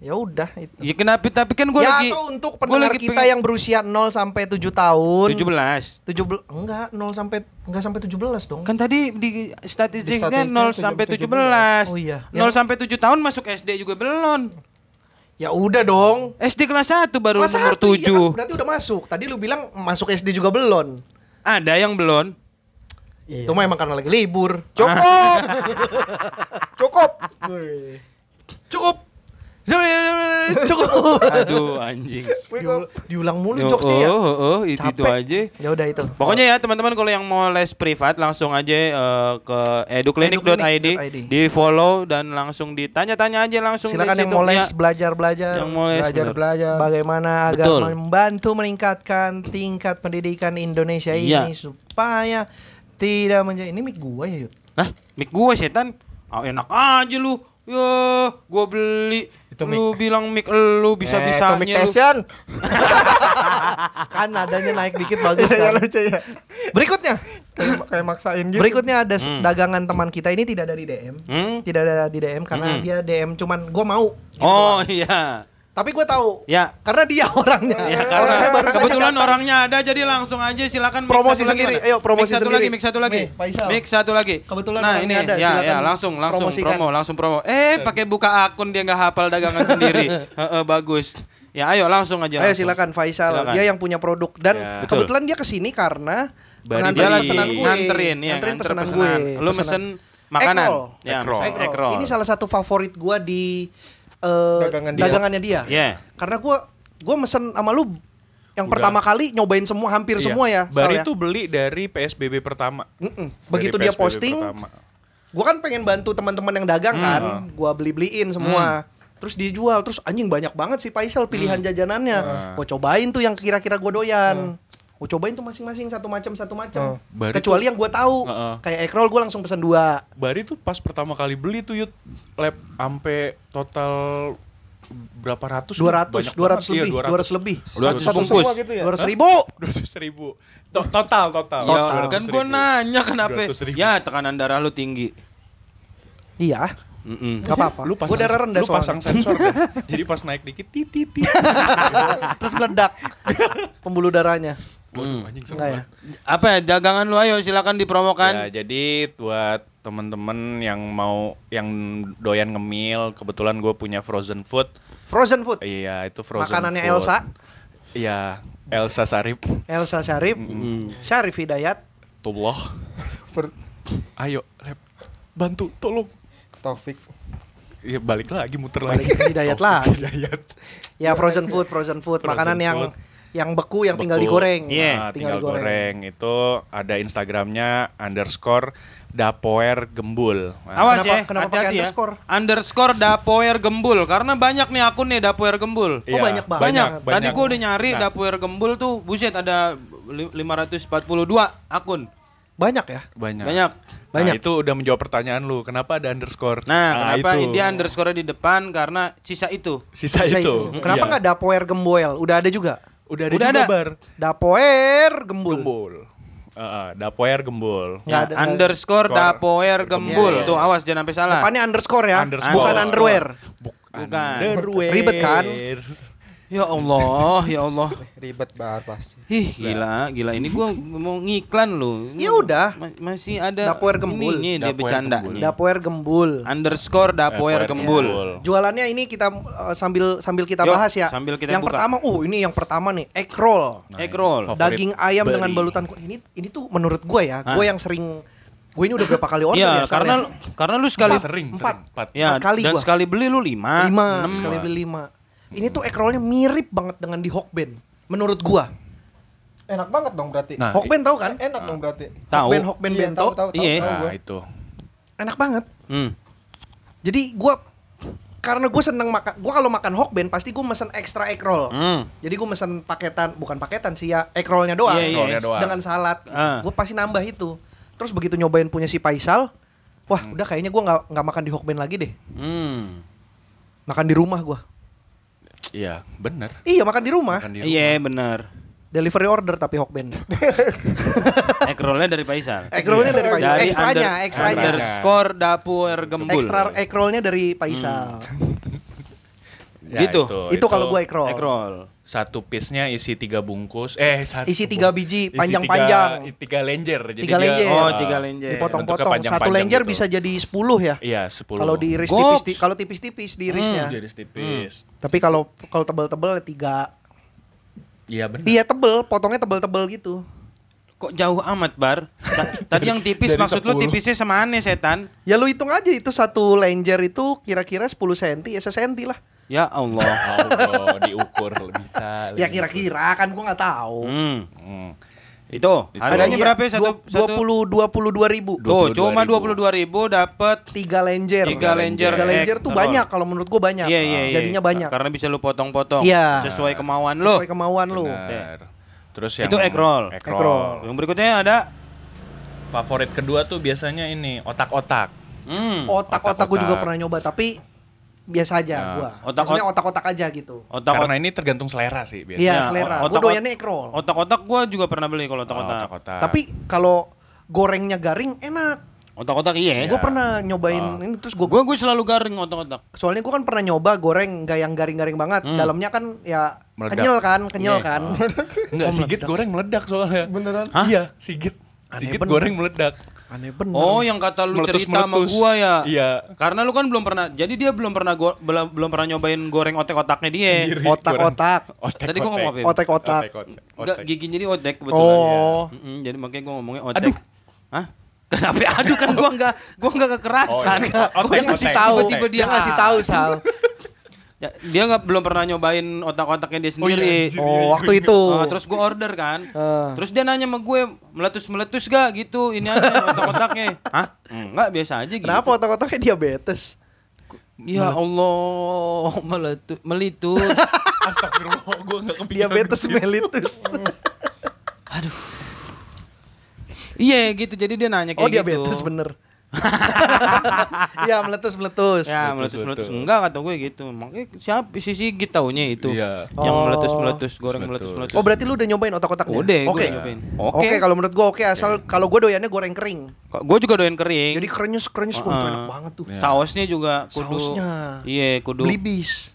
S1: ya udah itu
S2: Ya kenapa tapi kan gue
S1: ya
S2: lagi
S1: atau untuk
S2: gua
S1: pendengar
S2: lagi
S1: kita
S2: pengen-
S1: yang berusia 0 sampai 7 tahun
S2: 17.
S1: 17 enggak 0 sampai enggak sampai 17 dong.
S2: Kan tadi di statistiknya
S3: Di
S2: 0
S3: statistik
S2: sampai 17.
S3: 17.
S1: Oh, iya.
S2: 0 sampai 7 tahun masuk SD juga belum.
S1: Ya udah dong.
S2: SD kelas 1 baru
S1: Kelas 1 iya
S2: nomor
S1: kan,
S2: 7.
S1: berarti udah masuk. Tadi lu bilang masuk SD juga belum.
S2: Ada yang belum.
S3: Iya.
S1: Itu mah emang karena lagi libur.
S3: Cukup. Cukup.
S1: Cukup. *laughs* Cukup.
S2: Aduh anjing.
S1: Diul- diulang mulu
S2: Oh,
S1: jokesnya ya.
S2: oh, oh, oh, itu, itu
S1: Capek.
S2: aja.
S1: Ya udah itu.
S2: Pokoknya ya teman-teman kalau yang mau les privat langsung aja eh, ke eduklinik.id
S1: eduklinik.id.
S2: di follow dan langsung ditanya-tanya aja langsung di
S1: silakan yang
S2: situ.
S1: mau les
S2: Ya,
S1: belajar-belajar. Ya,
S2: yang mau les
S3: Belajar
S2: bener.
S3: belajar.
S1: Bagaimana agar
S2: Betul.
S1: membantu meningkatkan tingkat pendidikan Indonesia ini
S2: Iya.
S1: supaya tidak menjadi ini mic gua ya, Yud.
S2: Lah, mic gua setan. Ah, enak aja lu. Ya, gua beli.
S3: Itu
S2: lu bilang mic elu bisa-bisanya
S3: eh, Tommy
S2: lu.
S3: Passion.
S1: Kan nadanya naik dikit bagus *laughs*
S3: Iya, iya,
S1: kan.
S3: lucu ya.
S1: Berikutnya.
S3: Kayak- Kayak maksain gitu.
S1: Berikutnya ada s-
S2: Hmm.
S1: dagangan teman kita ini tidak dari DM.
S2: Hmm?
S1: Tidak ada di DM karena
S2: Hmm.
S1: dia DM cuman gua mau. gitu
S2: Oh
S1: doang.
S2: iya.
S1: Tapi gue tahu.
S2: Ya.
S1: Karena dia orangnya.
S2: Ya
S1: Orangnya
S2: karena
S1: Iya, baru saja
S2: kebetulan
S1: datang.
S2: orangnya ada jadi langsung aja silakan mic
S1: Promosi
S2: satu lagi
S1: sendiri.
S2: mana?
S1: Ayo, promosi
S2: mic satu
S1: sendiri.
S2: lagi, mic satu lagi.
S1: Nih, Faisal.
S2: Mic satu lagi.
S1: Kebetulan
S2: nah,
S1: orangnya
S2: ini
S1: ada,
S2: ya, ya,
S1: silakan
S2: langsung langsung
S1: promosikan.
S2: promo, langsung promo. Eh, pakai buka akun dia nggak hafal
S1: *laughs*
S2: dagangan sendiri. Heeh, bagus. Ya, ayo langsung aja.
S1: Ayo
S2: langsung.
S1: silakan Faisal.
S2: Silakan.
S1: Dia yang punya produk dan
S2: Ya. Betul.
S1: kebetulan dia kesini karena
S2: Bari
S1: mengantar
S2: bari.
S1: pesanan gue.
S2: Nganterin, ya,
S1: Nganterin
S2: nganter
S1: pesanan, gue.
S2: Lu
S1: Pesanan.
S2: mesen makanan.
S1: Eggroll.
S2: Ya,
S4: Eggroll.
S2: mesen
S1: Eggroll.
S2: eggroll.
S1: Ini salah satu favorit gue di eh,
S3: Dagangan dia.
S1: dagangannya dia.
S2: Iya.
S1: Karena gue gue mesen sama lu yang
S5: Udah.
S1: pertama kali nyobain semua hampir
S5: Iya.
S1: semua ya. Sal,
S5: Bari
S1: ya.
S5: tuh beli dari PSBB pertama.
S1: Mm-mm.
S5: Dari
S1: Begitu dia
S5: PSBB
S1: posting,
S5: pertama.
S1: gue kan pengen bantu teman-teman yang dagang kan.
S5: Hmm.
S1: Gue beli-beliin semua. Terus dijual, terus anjing banyak banget sih Faisal pilihan
S5: Hmm.
S1: jajanannya. Gue cobain tuh yang kira-kira gue
S3: Hmm.
S1: doyan. Gue cobain tuh masing-masing satu macam satu macam.
S5: Oh. Baru
S1: Kecuali yang gue tahu,
S5: Heeh.
S1: kayak ekrol gue langsung pesen dua.
S5: Bari tuh pas pertama kali beli tuh yut lab ampe total berapa ratus? Iya,
S1: 200, 200 lebih, 200 lebih.
S2: 200
S1: Satu
S2: bungkus.
S1: semua gitu ya? 200 ribu.
S5: dua ratus ribu To- total total.
S2: Ya, kan
S5: 200.000.
S2: gue nanya kenapa?
S5: 200.000.
S2: Ya, tekanan darah lu tinggi.
S1: Iya,
S2: Mm-mm.
S1: gak apa-apa.
S5: Lu pasang,
S1: Gue darah rendah
S5: lu pasang
S1: soalnya.
S5: sensor
S1: *laughs*
S5: kan? Jadi pas naik dikit tit tit tit.
S1: Terus
S5: *laughs*
S1: meledak pembuluh darahnya.
S5: Waduh, anjing seru
S1: Enggak ya?
S5: banget.
S2: Apa ya, dagangan lu ayo silakan
S6: Ya,
S2: dipromokan.
S6: jadi buat temen-temen yang mau yang doyan ngemil, kebetulan gue punya frozen food.
S1: Frozen food.
S6: Iya, itu frozen
S1: Makanannya
S6: food.
S1: Elsa.
S6: Iya, Elsa Sarip.
S1: Elsa Syarif, Syarif Hidayat,
S6: Tubloh.
S5: Ayo, lab. Bantu, tolong.
S3: Taufik.
S5: Ya balik lagi muter
S1: Balik
S5: lagi.
S1: ke
S5: *laughs*
S1: Hidayat
S5: Taufik
S1: lagi.
S5: Hidayat.
S1: ya frozen food, frozen food,
S5: Frozen
S1: makanan yang
S5: food.
S1: yang beku yang tinggal
S6: Beku.
S1: digoreng.
S6: Iya,
S1: Nah,
S6: tinggal, goreng. Itu ada Instagramnya underscore dapoer gembul. Nah,
S1: Kenapa-
S2: Awas ya,
S1: kenapa pakai
S2: hati-hati ya.
S1: underscore?
S2: Underscore Dapoer Gembul karena banyak nih akun nih Dapoer Gembul.
S1: Oh, banyak banget.
S2: Banyak. Tadi
S6: banyak.
S2: gue udah nyari
S6: Nah.
S2: Dapoer Gembul tuh buset ada li- 542 akun.
S1: Banyak ya?
S5: Banyak.
S2: Banyak.
S5: Nah,
S1: Banyak.
S5: itu udah menjawab pertanyaan lu. Kenapa ada underscore?
S2: Nah, kenapa
S5: itu.
S2: dia underscore di depan karena sisa itu.
S5: Sisa,
S1: Bisa
S5: itu.
S1: Kenapa
S5: Iya.
S1: nggak dapoer gemboel? Udah ada juga.
S5: Udah ada
S2: Udah
S5: juga,
S2: ada.
S5: Bar.
S1: Dapoer gembul.
S6: Gembul. Eh, eh, dapoer gembul.
S1: Nggak ada-
S2: Ya, underscore Dapoer Gembul.
S1: Iya, iya.
S2: Tuh awas jangan sampai salah.
S1: Depannya underscore ya,
S5: Underscore.
S1: bukan underwear.
S2: Bukan.
S5: Underwear.
S1: Nah, Ribet kan?
S2: Ya Allah, ya Allah.
S3: Eh, Ribet banget pasti.
S2: Ih, gila, gila. Ini gua mau ngiklan lu.
S1: Ya udah.
S2: Ma- masih ada
S1: Dapoer Gembul.
S2: ininya dia
S5: Dapoer
S2: bercanda.
S5: Gembul.
S2: nih.
S1: Dapoer gembul.
S2: underscore dapoer
S6: Dapoer
S2: gembul.
S6: Gembul.
S1: Jualannya ini kita eh, sambil sambil kita
S2: Yuk,
S1: bahas ya.
S2: sambil kita
S1: yang
S2: buka.
S1: pertama, uh ini yang pertama nih, egg roll.
S2: Egg roll.
S6: Favorit
S1: daging ayam
S6: beri.
S1: dengan balutan ku- ini ini tuh menurut gue ya gue yang sering gue ini udah berapa kali order ya,
S2: Iya,
S1: Sal,
S2: karena
S1: ya?
S2: karena lu sekali
S5: Empat. Sering,
S1: empat Gitu.
S5: sering. Empat.
S2: ya
S1: empat kali
S2: dan
S1: gua.
S2: sekali beli lu lima,
S1: lima
S2: enam.
S1: sekali beli lima ini tuh ekrolnya mirip banget dengan di Hokben menurut gue
S3: Enak banget dong berarti.
S5: Nah,
S1: Hokben tahu kan
S3: Enak dong
S2: Eh,
S3: berarti.
S2: Tahu.
S1: Hokben Hokben
S3: Iya,
S1: bento
S3: tahu, tahu, tahu,
S2: Iya.
S3: tahu
S5: Nah,
S3: gua.
S5: itu.
S1: enak banget
S2: Hmm.
S1: jadi gue karena gue seneng makan gue kalau makan Hokben pasti gue mesen ekstra ekrol
S2: Hmm.
S1: jadi gue mesen paketan bukan paketan sih ya ekrolnya doang
S2: Iya, iya. Eggrollnya
S6: doang.
S1: dengan salad
S2: Ah.
S1: gue pasti nambah itu terus begitu nyobain punya si Faisal wah udah kayaknya gue nggak nggak makan di Hokben lagi deh
S2: Hmm.
S1: makan di rumah gua.
S5: Iya, bener.
S1: Iya makan di rumah.
S5: Makan di rumah.
S2: Iya, benar.
S1: Delivery order tapi Hokben.
S2: Egg rollnya dari
S1: *laughs*
S2: Faisal. Iya.
S1: Ekrolnya dari Faisal.
S2: Dari
S1: Ekstranya,
S2: under-
S1: ekstranya.
S2: Underscore dapur gembul.
S1: Ekstra ekrolnya dari Faisal.
S6: Ya,
S2: Gitu.
S1: *laughs* Itu kalau gua ekrol.
S2: Egg roll.
S6: satu piece-nya isi tiga bungkus eh satu
S1: Isi tiga
S6: bungkus.
S1: biji,
S6: Isi
S1: panjang-panjang.
S6: tiga, tiga lenjer jadi
S1: Tiga
S6: dia-
S1: lenjer.
S2: Oh,
S6: Ah,
S2: tiga lenjer.
S1: Dipotong-potong.
S6: bentuknya
S1: Satu
S6: panjang-panjang
S1: lenjer
S6: gitu.
S1: bisa jadi 10 ya.
S6: iya sepuluh
S1: Kalau diiris tipis,
S2: Gops.
S1: ti- kalau tipis-tipis diirisnya.
S5: Hmm,
S6: jadi tipis
S1: Tapi kalau kalau tebel-tebel ya tiga.
S6: iya benar
S1: Iya tebel, potongnya tebel-tebel gitu.
S2: Kok jauh amat, Bar? Ta- Tadi yang tipis
S5: dari
S2: maksud lu
S5: 10.
S2: tipisnya sama aneh, setan.
S1: Ya lu hitung aja itu satu lenjer itu kira-kira 10 cm ya sesenti lah.
S2: Ya Allah.
S5: *laughs* Allah, diukur bisa.
S1: Ya kira-kira kan gua nggak tahu.
S2: Hmm.
S6: Hmm.
S2: Itu harganya
S1: Iya,
S2: berapa ya? satu
S1: dua- 20 22 ribu.
S2: Tuh, cuma 22.000 ribu dapat
S1: tiga lenjer.
S2: Tiga lenjer.
S1: Tiga lenjer tuh
S2: Ekstrol.
S1: banyak kalau menurut gua banyak. Ah.
S2: Iya, iya, iya.
S1: Jadinya banyak.
S2: Karena bisa lu potong-potong
S1: Iya.
S2: sesuai kemauan lu. Iya.
S1: Sesuai kemauan lu.
S6: Benar. terus yang
S2: Itu
S1: eh
S2: egg roll.
S6: egg
S1: Egg roll.
S6: roll.
S2: Yang berikutnya ada
S6: favorit kedua tuh biasanya ini otak-otak
S2: Hmm,
S1: Otak-otak gue juga pernah nyoba tapi biasa aja
S2: Ya,
S1: gua.
S2: otak-ot-
S1: Maksudnya otak-otak aja gitu.
S2: otak
S5: Karena ini tergantung selera sih biasanya.
S2: Ya,
S1: Iya, selera.
S2: otak-ot-
S1: Gue doyannya ekrol.
S2: otak-otak gua juga pernah beli kalau
S5: Oh, Ah, Otak-otak.
S2: otak-otak.
S1: Tapi kalau gorengnya garing enak.
S2: Otak-otak iya. Ah.
S1: Gue pernah nyobain ini terus gue
S2: Gue gue selalu garing otak-otak.
S1: soalnya gue kan pernah nyoba goreng nggak yang garing-garing banget. Dalamnya kan ya
S5: Meledak.
S1: kenyal kan, kenyal
S2: Hmm. Iya.
S1: kan. ya?
S5: Enggak, Sigit goreng meledak soalnya.
S3: Beneran?
S5: Hah? Iya, Sigit. Sigit
S1: bener.
S5: goreng meledak.
S1: *laughs* Aneh bener.
S2: Oh, yang kata lu cerita sama
S5: Meletus-meletus.
S2: gua ya.
S5: Iya.
S2: Karena lu kan belum pernah. Jadi dia belum pernah go- belum belum pernah nyobain goreng otak-otaknya dia.
S5: Sendiri.
S1: otak-otak,
S5: Otek,
S2: Tadi gua ngomong apa? ya?
S1: otak-otak.
S5: Otek, otek.
S2: Enggak, giginya jadi otek kebetulan.
S1: Oh,
S2: Mm-mm, jadi makanya gua ngomongnya otek. Hah? Kenapa? *laughs* Aduh kan gua enggak gua enggak kekerasan.
S5: Oh, iya.
S2: Gua
S1: dia
S5: Otek,
S1: ngasih
S5: otek,
S1: tahu,
S2: tiba-tiba
S1: dia
S2: dia
S1: ngasih tahu
S2: *laughs*
S1: Sal.
S2: Ya, dia nggak belum pernah nyobain otak-otaknya dia sendiri.
S1: Oh, waktu itu.
S2: Oh, terus gue order kan.
S1: Ah.
S2: Terus dia nanya sama gue, meletus-meletus gak gitu ini aja otak-otaknya. Hah? Enggak, biasa aja gitu.
S1: Kenapa otak-otaknya diabetes?
S2: Ya Allah, meletu melitus.
S5: Astagfirullah, gua enggak kepikiran.
S1: Diabetes mellitus.
S2: Iya gitu, jadi dia nanya *laughs* kayak
S1: oh,
S2: gitu.
S1: diabetes bener. ya meletus-meletus.
S2: Ya meletus-meletus enggak kata gue gitu. Makanya siapa si Sigit taunya itu.
S5: Iya.
S2: Yang
S1: Oh.
S2: meletus-meletus, goreng
S5: Meletus.
S2: meletus-meletus.
S1: Oh, berarti lu udah nyobain otak-otaknya?
S2: Udah, gue
S1: Oke.
S2: nyobain. Ya.
S1: Oke, kalau menurut gua oke asal kalau gua doyannya goreng kering.
S2: Kok- Gue juga doyan kering.
S1: Jadi kerenyes kerenyes wah itu
S2: Heeh.
S1: enak banget tuh.
S5: Ya.
S2: sausnya juga kudu.
S1: Sausnya.
S2: Iya, kudu.
S1: Belibis.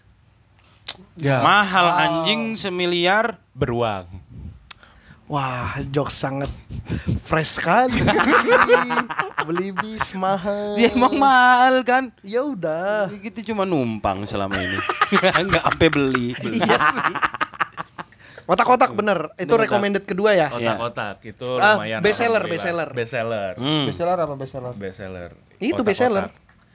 S1: Iya.
S5: Ya,
S2: Mahal anjing
S1: *laughs*
S2: semiliar.
S5: beruang.
S1: Wah, jok sangat fresh sekali. Belibis Iya, mahal.
S2: Ya emang mahal kan?
S1: Ya udah.
S2: Kita cuma numpang selama ini. *laughs* Enggak sampai beli.
S1: iya sih. Otak-otak bener. Itu
S2: Otak-otak.
S1: recommended kedua ya.
S5: Oh, Otak-otak itu
S1: Ah,
S5: lumayan.
S1: best seller,
S5: alhamdulillah.
S1: best seller.
S5: Best seller.
S2: Hmm.
S3: Bestseller apa bestseller?
S5: Best seller.
S1: Itu
S5: Otak-otak.
S1: best seller.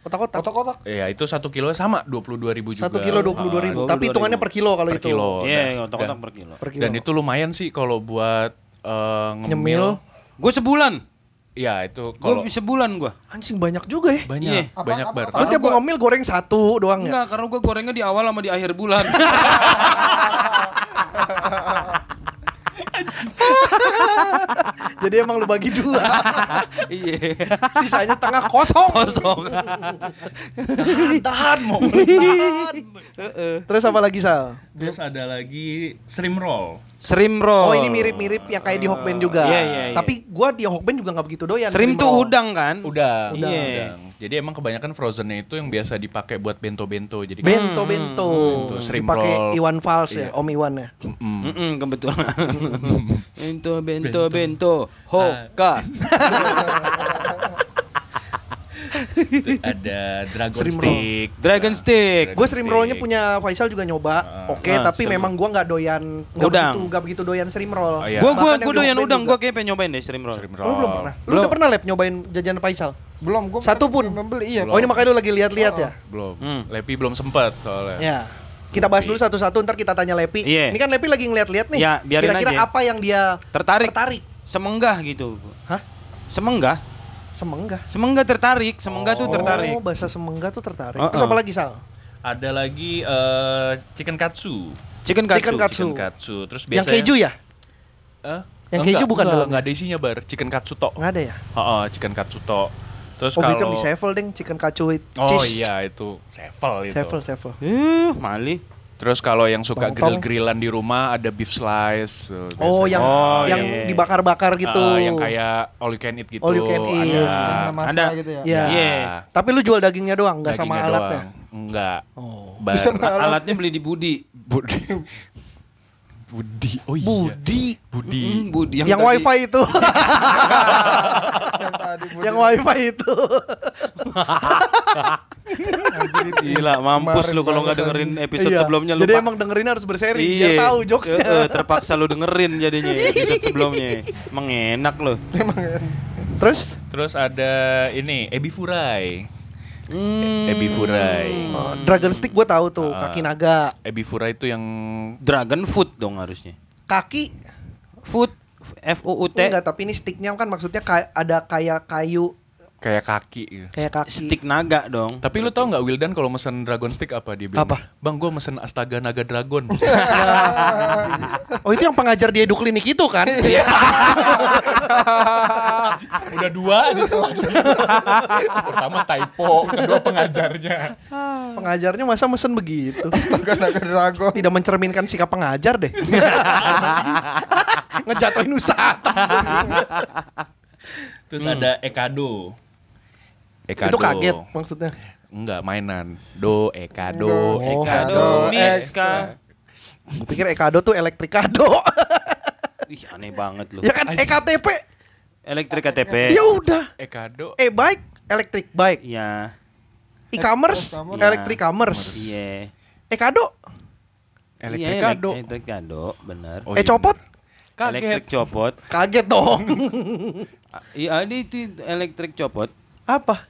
S1: Otak-otak.
S3: Kotak-kotak.
S5: Iya, itu satu kilo sama 22.000 juga.
S1: Satu kilo dua puluh dua ribu. Tapi
S2: 22.000.
S1: hitungannya per kilo kalau
S5: Per
S1: itu.
S5: kilo.
S2: Iya,
S5: Oh, Dah,
S2: otak-otak
S5: dah.
S2: per kilo.
S1: Per kilo.
S5: Dan itu lumayan sih kalau buat eh,
S1: nyemil.
S5: ngemil.
S2: Gue sebulan.
S5: Iya, itu kalau
S2: Gue sebulan gue.
S1: Anjing banyak juga ya.
S2: Iya.
S5: banyak banyak
S3: Apa-
S5: bar.
S1: Lu tiap gua ngemil goreng satu doang ya.
S2: Enggak, karena gue gorengnya di awal sama di akhir
S1: *laughs*
S2: bulan.
S1: Jadi emang lu bagi dua.
S2: *laughs* Iya.
S1: Sisanya tengah kosong.
S2: Kosong.
S1: tahan
S2: *laughs*
S1: mau tahan. Terus apa lagi Sal?
S5: Terus ada lagi stream roll.
S2: Shrimp
S1: Oh
S2: roll.
S1: ini mirip-mirip yang kayak di Hokben juga.
S2: Iya, iya, iya.
S1: Tapi gua di Hokben juga nggak begitu doyan.
S2: Shrimp tuh
S1: roll.
S2: Iya, udang kan?
S5: Udah,
S2: Udah. Iya.
S5: udang. Jadi emang kebanyakan frozennya itu yang biasa dipakai buat bento-bento. Jadi kan-
S2: Hmm.
S1: Bento bento.
S5: Bento, shrimp
S1: Dipakai
S5: roll.
S1: Iwan Fals
S2: Iya.
S1: ya, Om Iwan ya.
S5: Mm-mm.
S2: Mm-mm, *laughs* kebetulan. bento, bento, Ah, bento. Hoka.
S5: Itu ada dragon
S1: Shrimp roll.
S5: stick.
S2: Dragon stick.
S1: Gue stream rollnya punya Faisal juga nyoba, oke,
S2: Ah,
S1: tapi
S2: seru.
S1: memang gua nggak doyan, nggak
S2: Udang.
S1: begitu, nggak begitu doyan stream roll.
S5: Oh, iya.
S2: Gue gue
S1: Bahkan yang
S2: gue
S1: di
S2: doyan
S1: Hokben
S2: udang.
S1: juga.
S2: Gue kayaknya pengen nyobain deh shrimp roll.
S5: Shrimp roll.
S1: Lu belum pernah? Lu
S2: Belum.
S1: udah pernah lab nyobain jajanan Faisal?
S3: Belum, gua
S1: Satu pun?
S3: membeli iya.
S1: Oh ini makanya lu lagi lihat-lihat ya?
S5: Belum.
S2: Hmm.
S5: Lepi belum sempet
S3: Oh.
S5: soalnya.
S1: Ya. Kita bahas dulu satu-satu, ntar kita tanya Lepi.
S2: Iya.
S1: Ini kan Lepi lagi ngeliat-liat nih.
S2: Ya, biarin
S1: Kira-kira
S2: aja.
S1: apa yang dia
S2: Tertarik.
S1: tertarik?
S2: Semenggah gitu.
S1: Hah?
S2: Semenggah?
S1: Semengga.
S2: Semengga tertarik, semengga tuh tertarik.
S1: Oh, bahasa semengga tuh tertarik.
S2: Uh-uh.
S1: Terus apa lagi Sal?
S5: Ada lagi eh, chicken katsu.
S2: Chicken katsu.
S1: Chicken katsu.
S5: Chicken katsu. Terus
S1: Yang
S5: biasanya
S1: keju ya?
S5: Eh?
S1: Yang
S5: Enggak,
S1: keju bukan
S5: enggak,
S1: dalamnya?
S5: enggak ada isinya bar. Chicken katsu tok.
S1: Nggak ada ya?
S6: Oh,
S5: Heeh, chicken katsu tok. Terus
S1: Oh,
S5: kalau
S1: Beckham di Sevel, Deng. Chicken kacu with
S5: Oh
S1: cheese.
S5: iya itu sevel itu.
S1: Sevel, Sevel.
S2: Eh, mali.
S5: Terus kalau yang suka
S1: Tong-tong.
S5: grill-grillan di rumah ada beef slice. tuh,
S1: Oh,
S5: biasanya.
S1: yang
S2: Oh,
S1: yang
S2: iya.
S1: dibakar-bakar gitu.
S5: Ah, yang kayak all you can eat gitu.
S1: All you can eat.
S5: Ada.
S3: Yang masa
S2: Ada.
S3: gitu ya.
S1: Iya.
S2: Iya.
S1: Tapi lu jual dagingnya doang, nggak sama
S5: Dagingnya
S1: alatnya.
S5: doang. Enggak.
S1: Oh.
S5: Bar.
S2: Alatnya beli di Budi.
S5: Budi. Budi. Oh iya.
S1: Budi.
S5: Budi.
S2: Mm, Budi
S1: Yang,
S2: tadi-
S1: wifi itu.
S3: Yang tadi gua
S1: yang wifi itu.
S2: Gila, mampus
S3: Kemarin
S2: lu kalau nggak
S3: barusan.
S2: dengerin episode
S1: Iya.
S2: sebelumnya lu.
S1: Jadi
S2: pak-
S1: emang dengerin harus berseri, biar
S2: Iya.
S1: tahu jokesnya.
S2: Eh, eh, terpaksa lu dengerin jadinya ya,
S1: *laughs*
S2: episode sebelumnya. Emang enak lu.
S1: Terus?
S5: Terus ada ini ebi furai.
S2: Hmm.
S5: Ebi furai.
S1: Oh, Dragon Stick gue tahu tuh,
S5: Ah.
S1: kaki naga.
S5: Ebi furai itu yang
S2: Dragon food dong harusnya.
S1: Kaki
S2: Food F U U T.
S1: enggak, tapi ini sticknya kan maksudnya kay- ada kayak kayu
S6: kayak kaki gitu.
S1: Kayak kaki.
S2: Stick naga dong.
S5: Tapi lu tau nggak Wildan kalau mesen Dragon Stick apa dia bilang?
S1: Apa?
S5: Bang, gue mesen Astaga Naga Dragon.
S1: Oh itu yang pengajar di eduklinik itu kan?
S5: *laughs* Udah dua aja tuh. Pertama typo, kedua pengajarnya.
S1: Pengajarnya masa mesen begitu?
S3: Astaga naga dragon.
S1: Tidak mencerminkan sikap pengajar
S5: *laughs*
S1: deh. Ngejatuhin usaha.
S6: Terus ada Ekado. Hmm. Ekado.
S1: Itu kaget maksudnya.
S6: Enggak mainan. Do Ekado,
S1: Oh,
S6: Ekado.
S3: Kado X.
S1: Gue pikir Ekado tuh elektrikado.
S2: Ih, aneh banget lu.
S1: ya kan EKTP.
S5: Eh.
S2: Elektrik KTP.
S1: Ya udah.
S5: Ekado.
S1: Eh bike, electric bike.
S2: Iya.
S5: Eh,
S1: E-commerce,
S2: Iya.
S1: electric commerce. E
S2: Iya.
S1: Ekado,
S2: Iya,
S5: Elektrik kado.
S2: Elektrik kado, bener.
S5: Oh,
S1: eh
S5: iya
S1: copot.
S2: Elektrik copot.
S1: Kaget dong.
S2: A- Iya, ini itu elektrik copot.
S1: Apa?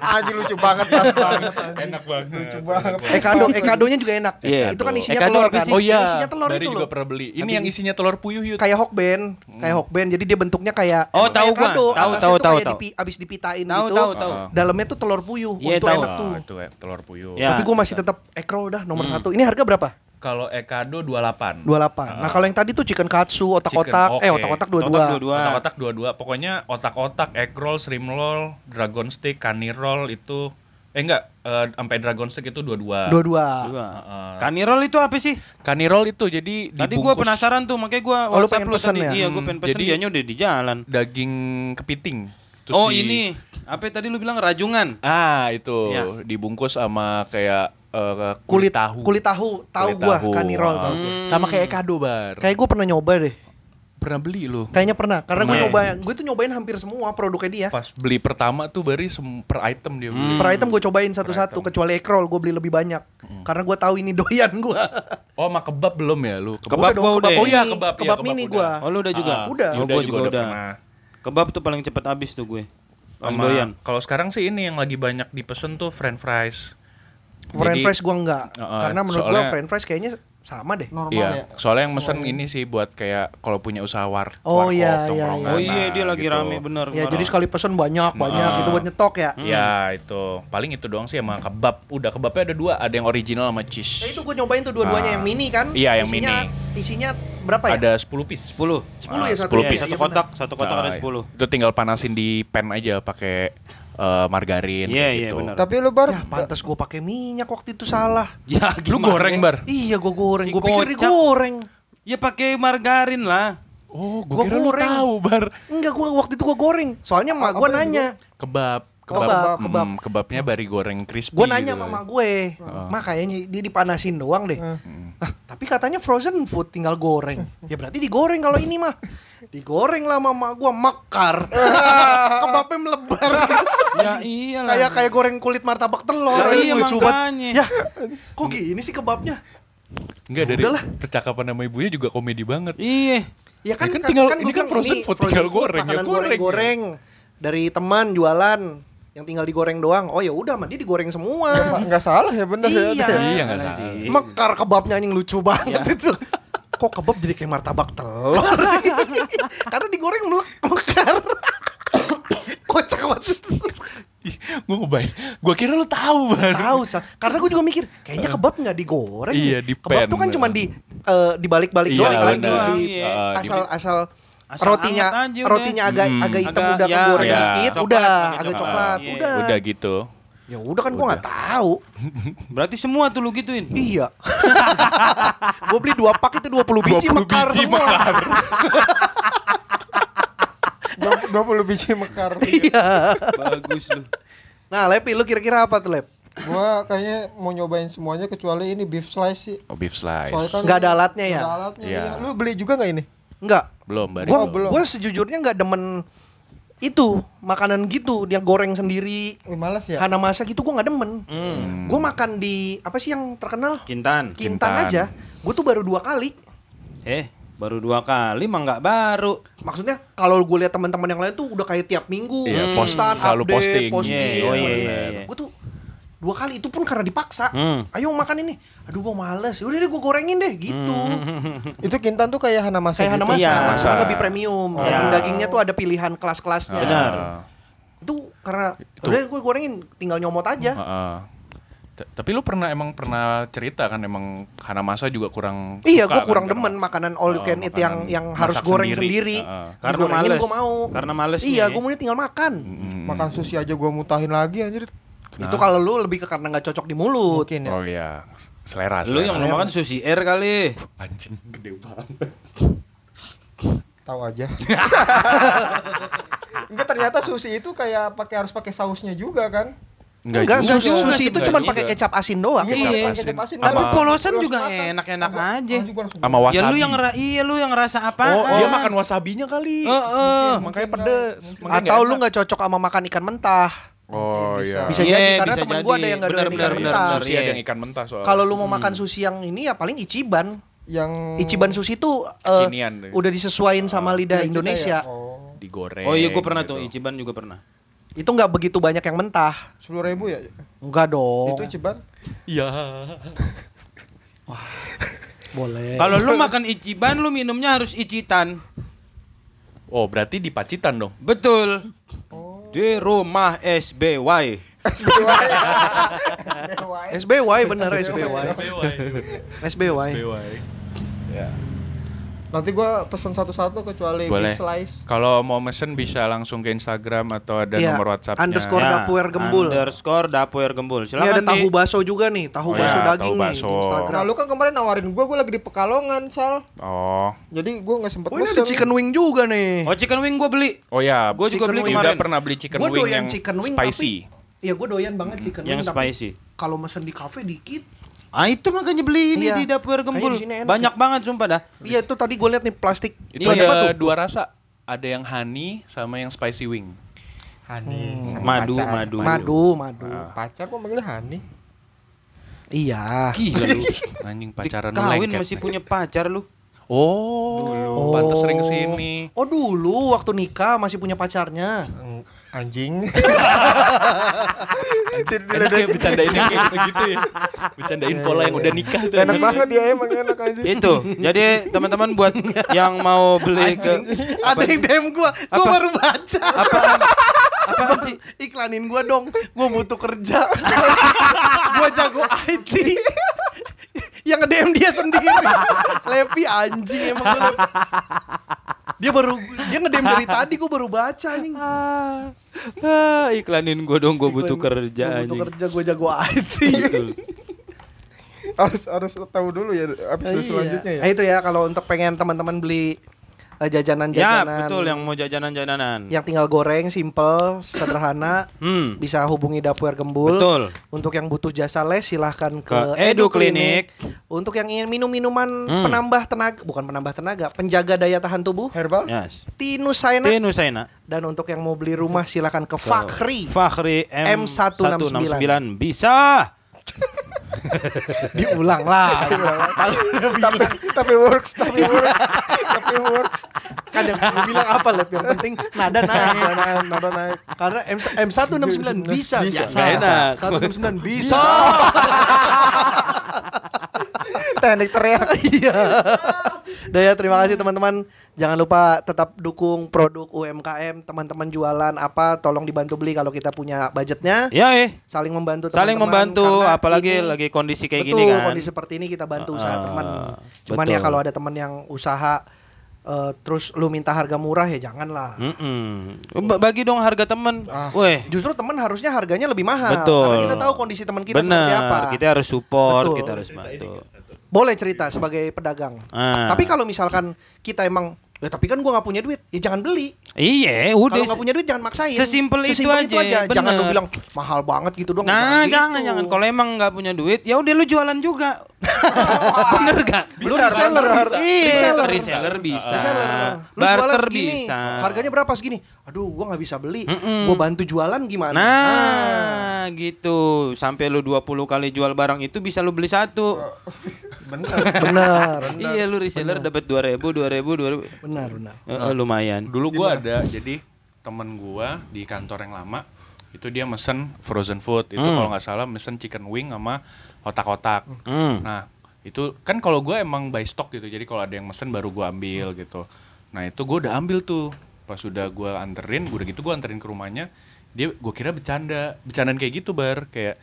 S3: Anjing lucu banget pas banget. anjing.
S5: Enak banget.
S3: Lucu banget.
S1: Ekado, ekadonya eh, juga enak.
S2: Iya.
S1: Itu kan isinya
S2: Ekado
S1: telur
S2: apa
S1: kan.
S2: sih?
S5: Oh iya,
S1: Isinya telur
S5: dari
S1: itu
S5: juga
S1: loh.
S5: pernah beli. Ini yang isinya telur puyuh yuk.
S1: Kayak hokben, kayak hokben. Jadi dia bentuknya kayak
S2: Oh,
S1: emang
S2: tahu
S1: kayak
S2: gua.
S1: kado.
S2: Tahu,
S1: Atasnya
S2: tahu,
S1: tuh
S2: tahu,
S1: kayak
S2: tahu.
S1: dipi- abis dipitain
S2: Tahu,
S1: gitu.
S2: tahu, tahu.
S1: Dalamnya tuh telur puyuh. Oh,
S2: Iya,
S1: Itu
S2: tahu.
S1: enak tuh.
S6: Ah, itu ya, telur puyuh.
S2: Ya.
S1: Tapi gue masih tetap ekro dah
S2: Hmm.
S1: nomor satu. Ini harga berapa?
S6: Kalau Ekado 28.
S2: Ah.
S1: 28. Nah kalau yang tadi tuh chicken katsu, otak-otak,
S6: Chicken,
S1: eh
S6: oke.
S1: otak-otak
S2: Otak
S1: 22.
S2: dua-dua. Dua.
S6: Otak-otak dua-dua. Pokoknya otak-otak, egg roll, shrimp roll, dragon stick, kani roll itu eh enggak, eh, sampai dragon stick itu dua-dua.
S1: Dua-dua.
S5: Ah,
S2: Dua.
S6: Heeh.
S2: Kanirol itu apa sih?
S5: Kani roll itu
S2: Tadi
S5: jadi
S2: gua
S5: dibungkus
S2: penasaran tuh, makanya gua
S1: Oh, lu pengen pesen
S2: tadi.
S1: ya?
S2: Iya, gua pengen pesen,
S5: Jadi-
S2: dianya udah di jalan.
S5: daging kepiting. Terus
S2: Oh,
S5: di-
S2: ini. Apa tadi lu bilang rajungan?
S5: Ah, itu
S2: Ya.
S5: dibungkus sama kayak eh,
S1: Kulit
S5: kulit, tahu.
S1: Kulit tahu, tahu
S5: Kulit
S1: gue
S5: tahu.
S1: kanirol
S5: Ah.
S1: tahu
S2: Hmm.
S1: gua.
S5: Sama kayak kado bar.
S1: Kayak gue pernah nyoba deh.
S5: Pernah beli lu.
S1: Kayaknya pernah. Karena
S2: Nah.
S1: gue
S6: Pernah.
S1: nyoba, gue tuh nyobain hampir semua produknya dia.
S5: Pas beli pertama tuh bari sem- per item dia beli.
S2: Hmm.
S1: Per item gue cobain satu-satu, kecuali ekrol gue beli lebih banyak. Karena gue tahu ini *laughs* doyan gue.
S5: Oh, sama kebab belum ya lu?
S1: dong,
S2: Kebab gua udah.
S1: mini.
S5: Oh iya, kebab, iya,
S1: Kebab
S5: kebab
S1: mini
S5: udah.
S1: gue.
S2: Oh, lu udah juga?
S1: Ah, udah.
S2: Oh, gua juga, udah.
S6: pernah.
S2: Kebab tuh paling cepet habis tuh gue. Paling
S6: Sama-
S2: doyan.
S6: Kalau sekarang sih ini yang lagi banyak dipesen tuh french fries.
S1: French
S6: Jadi-
S1: fries gue enggak.
S6: Heeh,
S1: Karena menurut gue
S5: soalnya-
S1: French fries kayaknya sama deh.
S3: Normal
S5: Iya,
S3: ya.
S5: soalnya yang mesen ini sih buat kayak kalau punya usaha war,
S1: Oh,
S5: warkop,
S1: iya, iya,
S5: tongkrongan,
S2: Oh iya, dia
S6: nah,
S2: lagi
S6: gitu.
S2: rame bener.
S1: Ya
S2: kemarin.
S1: jadi sekali pesen banyak banyak
S6: Nah.
S1: gitu buat nyetok ya.
S6: Ya itu paling itu doang sih sama kebab. Udah kebabnya ada dua, ada yang original sama
S1: Nah,
S6: cheese.
S1: itu gue nyobain tuh dua-duanya
S6: Ah.
S1: yang mini kan.
S6: Iya, yang
S1: isinya, Isinya berapa ya?
S6: Ada 10 piece.
S2: 10.
S1: 10 ya satu
S6: 10
S1: ya?
S6: piece.
S2: Satu
S1: Iya,
S2: kotak, satu kotak ada
S6: Nah,
S2: 10.
S6: Itu tinggal panasin di pan aja pakai eh,
S2: Iya,
S6: margarin kayak
S2: iya,
S6: gitu.
S2: benar.
S3: Tapi lu bar
S1: Ya pantas gue pakai minyak waktu itu salah.
S2: Ya,
S5: Lu
S2: gimana?
S5: goreng bar.
S1: Iya gue goreng,
S2: Si
S1: gue pikir
S2: kocak.
S1: digoreng.
S2: Ya pakai margarin lah.
S5: Oh,
S1: Gua
S5: gua kira lu
S1: goreng.
S5: tahu bar.
S1: Enggak gue waktu itu gue goreng. Soalnya mak gue
S3: apa yang
S1: nanya.
S5: Kebab,
S1: Oh,
S5: kebab,
S1: kebab,
S5: Mm,
S1: kebab.
S5: kebabnya bari goreng crispy.
S1: Gue nanya
S5: gitu.
S1: sama mak gue. Mak kayaknya dia dipanasin doang deh. Ah, tapi katanya frozen food tinggal goreng. Ya berarti digoreng kalau ini mah. Digoreng lah mama gua mekar. Kebabnya melebar.
S2: ya iyalah.
S1: kayak kayak goreng kulit martabak telur.
S5: Ya
S2: Lah, iya,
S1: Lucu banget.
S2: makanya.
S1: Ya, kok gini sih kebabnya?
S5: Enggak dari
S1: Udahlah.
S5: percakapan sama ibunya juga komedi banget.
S2: Iya.
S1: Ya kan,
S5: Ya kan
S1: ka-
S5: tinggal-
S1: gua
S5: ini kan
S1: bilang
S5: frozen food, tinggal goreng, ya
S1: makanan
S5: goreng.
S1: goreng-goreng dari teman jualan yang tinggal digoreng doang. Oh ya udah, mah dia digoreng
S5: *laughs*
S1: semua.
S3: nggak salah ya bener
S1: Iya.
S3: ya.
S5: Iya enggak salah.
S1: Mekar kebabnya anjing lucu banget itu. Kok kebab jadi kayak martabak telur? *laughs* Karena digoreng melek mekar. *coughs* Kocak banget.
S5: Ih, Gua ngebayang. Gua kira lu tahu bar.
S1: Tahu Sal. Karena gue juga mikir, kayaknya kebab nggak digoreng. nih.
S5: Iya, di
S1: Kebab
S5: pan.
S1: tuh kan cuma di eh, dibalik-balik
S5: Iya,
S1: doang kan
S5: bener.
S1: di, di-
S2: Iya.
S5: Eh,
S1: asal asal
S2: Asal
S1: rotinya
S2: anget aja udah.
S1: rotinya agak
S5: Hmm.
S1: agak hitam
S2: Agak-
S1: udah
S2: ya,
S1: kegoreng
S6: ya.
S1: dikit,
S2: Coklat,
S1: udah
S2: agak
S1: agak coklat,
S2: coklat. Iya.
S1: udah.
S6: Udah gitu.
S1: Ya udah kan gua nggak tahu.
S2: Berarti semua tuh lu gituin.
S1: Iya. *laughs* gua beli dua pak itu 20 biji
S5: 20
S1: mekar
S5: biji
S1: semua.
S3: Dua puluh biji mekar.
S1: *laughs* Iya.
S2: Bagus lu.
S1: Nah, Lepi lu kira-kira apa tuh, Lep?
S3: Gua kayaknya mau nyobain semuanya kecuali ini beef slice sih.
S6: Oh, beef slice.
S3: Soalnya kan
S1: Nggak ada alatnya ya?
S3: nggak ada alatnya,
S6: Iya.
S3: iya. Lu beli juga nggak ini?
S1: Enggak.
S6: Belum baru.
S1: Gua
S6: belum.
S3: belum.
S1: gua sejujurnya nggak demen itu makanan gitu dia goreng sendiri
S3: Wih, malas ya.
S1: Hana masa gitu gua nggak demen
S2: Hmm.
S1: Gua makan di apa sih yang terkenal
S2: Cintan.
S1: Kintan,
S6: Kintan.
S1: aja Gua tuh baru dua kali
S2: Eh, baru dua kali mah nggak baru.
S1: maksudnya kalau gue lihat teman-teman yang lain tuh udah kayak tiap minggu
S5: Iya,
S1: postan,
S5: post- selalu posting.
S2: Iya, oh iya, iya, iya.
S1: gue tuh dua kali itu pun karena dipaksa
S7: Hmm.
S1: ayo makan ini aduh gua males udah deh gua gorengin deh gitu
S3: Itu Kintan tuh kayak Hanamasa
S1: kayak Hana
S3: gitu.
S1: Masa,
S8: Iya,
S1: cuman
S8: Masa.
S1: lebih premium daging dagingnya tuh ada pilihan kelas-kelasnya
S8: Benar.
S6: Ah,
S1: itu karena
S6: Itu.
S1: udah gue gorengin tinggal nyomot
S5: Oh.
S1: aja
S6: Heeh. Ta- ah, Tapi lu pernah emang pernah cerita kan emang karena masa juga kurang
S1: iya
S6: suka
S1: gue kurang
S6: kan, karena-
S1: demen makanan all you
S6: Oh,
S1: can eat yang
S6: makanan
S1: yang harus
S6: masak
S1: goreng
S6: sendiri.
S1: sendiri,
S6: Heeh.
S7: Karena
S1: Digorengin
S7: males.
S1: gua mau
S7: Karena males
S1: iya
S7: nih.
S1: gue maunya tinggal makan
S6: Mm-mm.
S3: Makan sushi aja gua mutahin lagi anjir.
S1: itu kalau lu lebih ke karena nggak cocok di mulut
S3: Mungkin ya.
S6: Oh iya, selera.
S2: Lu yang
S6: selera.
S2: lu makan sushi air kali.
S6: anjing gede banget.
S3: Tahu aja. *laughs* Enggak ternyata sushi itu kayak pakai harus pakai sausnya juga kan?
S1: Enggak,
S2: juga.
S1: sushi,
S2: Enggak
S1: sushi itu
S2: juga.
S1: cuma pakai kecap asin doang.
S3: Iya,
S2: kecap
S3: pakai kecap asin.
S2: Tapi
S3: Sama-
S2: polosan juga
S3: Langsung makan.
S2: enak-enak
S3: Sama-
S2: aja.
S3: langsung langsung
S6: Sama
S2: Ya
S6: wasabi.
S2: lu yang ngera iya lu yang ngerasa apa?
S1: Oh,
S6: Dia makan wasabinya kali.
S2: Heeh.
S7: Makanya pedes. Makanya
S1: Atau
S7: nggak
S1: lu
S7: enak.
S1: nggak cocok sama makan ikan mentah.
S7: Oh iya.
S1: Bisa
S2: Iya,
S1: jadi karena
S2: bisa
S1: temen gua
S2: jadi.
S1: ada yang nggak
S2: Benar,
S1: doyan
S2: benar,
S1: ikan
S2: benar,
S1: mentah.
S2: benar.
S6: Sushi ada yang ikan mentah soalnya.
S1: Kalau lu mau makan sushi yang ini ya paling Ichiban.
S3: yang
S1: Ichiban sushi tuh eh,
S6: Kekinian deh.
S1: udah disesuaiin sama lidah
S3: Kita ya?
S1: Indonesia.
S3: Oh.
S6: digoreng.
S2: Oh iya gua pernah tuh
S6: gitu.
S2: Ichiban juga pernah.
S1: Itu nggak begitu banyak yang mentah.
S3: 10.000 ya?
S1: Enggak dong.
S3: Itu Ichiban. *laughs*
S6: Iya.
S1: Boleh.
S2: Kalau lu makan Ichiban lu minumnya harus Ichitan.
S6: Oh, berarti di Pacitan dong.
S2: Betul.
S1: Oh.
S2: Di rumah SBY.
S1: SBY bener SBY. SBY.
S3: Nanti gua pesan satu-satu kecuali
S6: Boleh.
S3: beef slice.
S6: Kalau mau mesen bisa langsung ke Instagram atau ada
S1: Iya,
S6: nomor WhatsApp-nya.
S1: underscore dapur gembul.
S2: Ya, Underscore dapur gembul.
S1: Ini
S2: Silakan
S1: ada tahu
S2: di-
S1: bakso juga nih, tahu
S6: Oh
S1: bakso
S6: iya,
S1: daging
S6: tahu
S1: nih
S6: bakso.
S1: di Instagram.
S3: Nah, lu kan kemarin nawarin gua, gua lagi di Pekalongan, Sal.
S6: Oh.
S3: Jadi gua nggak sempet Hmm.
S1: Oh, ini ada chicken wing juga nih.
S2: Oh chicken wing gua beli.
S6: Oh ya,
S2: Gua juga beli
S6: Yuda
S2: kemarin.
S6: pernah beli chicken
S1: Gua
S6: wing
S1: doyan
S6: yang
S1: chicken wing,
S6: spicy.
S1: Iya, gue doyan banget chicken wing.
S2: Yang
S1: tapi
S2: spicy.
S1: Kalau mesen di cafe dikit.
S2: Ah itu makanya beli ini
S1: Iya.
S2: di dapur
S1: Kayaknya
S2: gembul.
S1: di sini enak
S2: Banyak
S1: ya.
S2: banget sumpah dah.
S1: Iya, itu tadi gue liat nih plastik.
S6: Itu
S2: Iya.
S6: ada dua rasa. Ada yang honey sama yang spicy wing.
S2: Madu, madu.
S1: Madu, madu.
S6: Ah.
S3: Pacar kok manggilnya
S1: *laughs*
S3: Hani.
S1: Iya.
S2: Gila lu.
S6: Anjing pacaran lu
S2: Kawin
S6: lengket.
S2: masih punya pacar lu.
S6: Oh,
S1: Oh.
S6: pantas sering kesini.
S1: Oh dulu waktu nikah masih punya pacarnya.
S3: Eng, Anjing.
S6: Enak ya bercandain yang kayak gitu ya. Bercandain
S2: Iya,
S6: pola yang udah nikah tuh.
S3: enak banget ya emang enak anjing.
S2: Itu. Jadi teman-teman
S1: *laughs*
S2: buat yang mau beli ke
S1: Ada yang DM gue, gue
S2: Apa?
S1: baru baca. *laughs*
S2: apa
S1: Bang, Iklanin gue dong, gue butuh
S2: *laughs*
S1: kerja. gue jago IT. yang nge-DM dia sendiri. Lepi anjing emang lu. Lepi. Dia baru dia nge-DM dari tadi gue baru baca anjing.
S2: Ah, iklanin gue dong, gue butuh
S1: Iklan-
S2: kerja
S1: gua butuh
S2: anjing.
S1: kerja gue jago Iya. IT.
S2: Betul.
S3: harus harus tahu dulu ya episode
S1: Iya.
S3: selanjutnya ya.
S1: Eh, itu ya kalau untuk pengen teman-teman beli eh,
S2: Ya,
S1: jajanan-jajanan.
S2: betul yang mau jajanan-jajanan.
S1: yang tinggal goreng, simple, sederhana,
S2: Hmm.
S1: Ya. bisa hubungi dapur gembul.
S2: Betul.
S1: Untuk yang butuh jasa les silahkan ke,
S2: Ke
S1: Edu
S2: Edu
S1: Klinik.
S2: Klinik.
S1: Untuk yang ingin minum minuman
S2: Hmm.
S1: penambah tenaga, bukan penambah tenaga, penjaga daya tahan tubuh,
S3: Herbal?
S2: Yes.
S1: Tinus Saina.
S2: Tinusaina.
S1: Dan untuk yang mau beli rumah silahkan ke Fakri.
S2: Fakhri M
S1: M169.
S2: Bisa.
S1: *laughs* Diulang lah.
S3: tapi *laughs* tapi works, tapi works. tapi works.
S1: Kadang lu bilang apa Lep, yang penting nada
S3: Nada
S1: naik.
S3: naik, nada naik.
S1: Karena M M169 bisa, Ya,
S3: Bisa.
S1: biasa.
S2: Nggak enak.
S1: 169 *laughs* bisa.
S3: Teknik teriak.
S1: Iya. Daya terima kasih teman-teman. Jangan lupa tetap dukung produk UMKM, teman-teman jualan apa tolong dibantu beli kalau kita punya budgetnya.
S2: Ya, eh.
S1: Saling membantu teman-teman.
S2: Saling membantu
S1: karena
S2: apalagi
S1: ini-
S2: lagi kondisi kayak
S1: betul,
S2: gini kan.
S1: kondisi seperti ini kita bantu usaha
S2: Ah,
S1: teman. Cuman
S2: betul.
S1: ya kalau ada teman yang usaha eh, terus lu minta harga murah ya janganlah.
S2: Mm-mm. Ba- Bagi dong harga temen.
S3: Ah.
S2: Weh,
S1: Justru teman harusnya harganya lebih mahal
S2: Betul.
S1: Ah, karena kita tahu kondisi teman kita
S2: bener.
S1: seperti apa.
S2: Kita harus support,
S1: Betul.
S2: kita harus bantu.
S1: Boleh cerita sebagai pedagang.
S2: Ah.
S1: Tapi kalau misalkan kita emang ya tapi kan gua nggak punya duit, ya jangan beli.
S2: Iya, udah.
S1: Kalau nggak punya duit jangan maksain.
S2: sesimpel itu aja,
S1: Jangan lu
S2: bener.
S1: bilang mahal banget gitu dong.
S2: Nah,
S1: gitu.
S2: jangan jangan. Kalau emang nggak punya duit, ya udah lu jualan
S1: *laughs*
S2: juga. Bener gak?
S1: Lu reseller, bisa.
S2: Iya,
S1: reseller.
S2: reseller, bisa.
S1: Reseller. Lu jualan
S2: Barter
S1: segini,
S2: bisa.
S1: harganya berapa segini? Aduh, gua nggak bisa beli.
S2: Mm-mm.
S1: Gua bantu jualan gimana? Ah.
S2: Nah, gitu. Sampai lu 20 kali jual barang itu bisa lu beli satu.
S3: Bener.
S1: Benar,
S2: Iya, lu reseller dapat 2000, 2000, 2000.
S1: benar, benar.
S2: Eh, eh, lumayan.
S6: Dulu gua ada jadi temen gua di kantor yang lama
S5: itu dia mesen frozen food itu
S2: Hmm.
S5: kalau nggak salah mesen chicken wing sama otak-otak
S2: Hmm.
S5: nah itu kan kalau gue emang by stock gitu jadi kalau ada yang mesen baru gue ambil gitu nah itu gue udah ambil tuh pas udah gue anterin gue udah gitu gue anterin ke rumahnya dia gue kira bercanda bercandaan kayak gitu bar kayak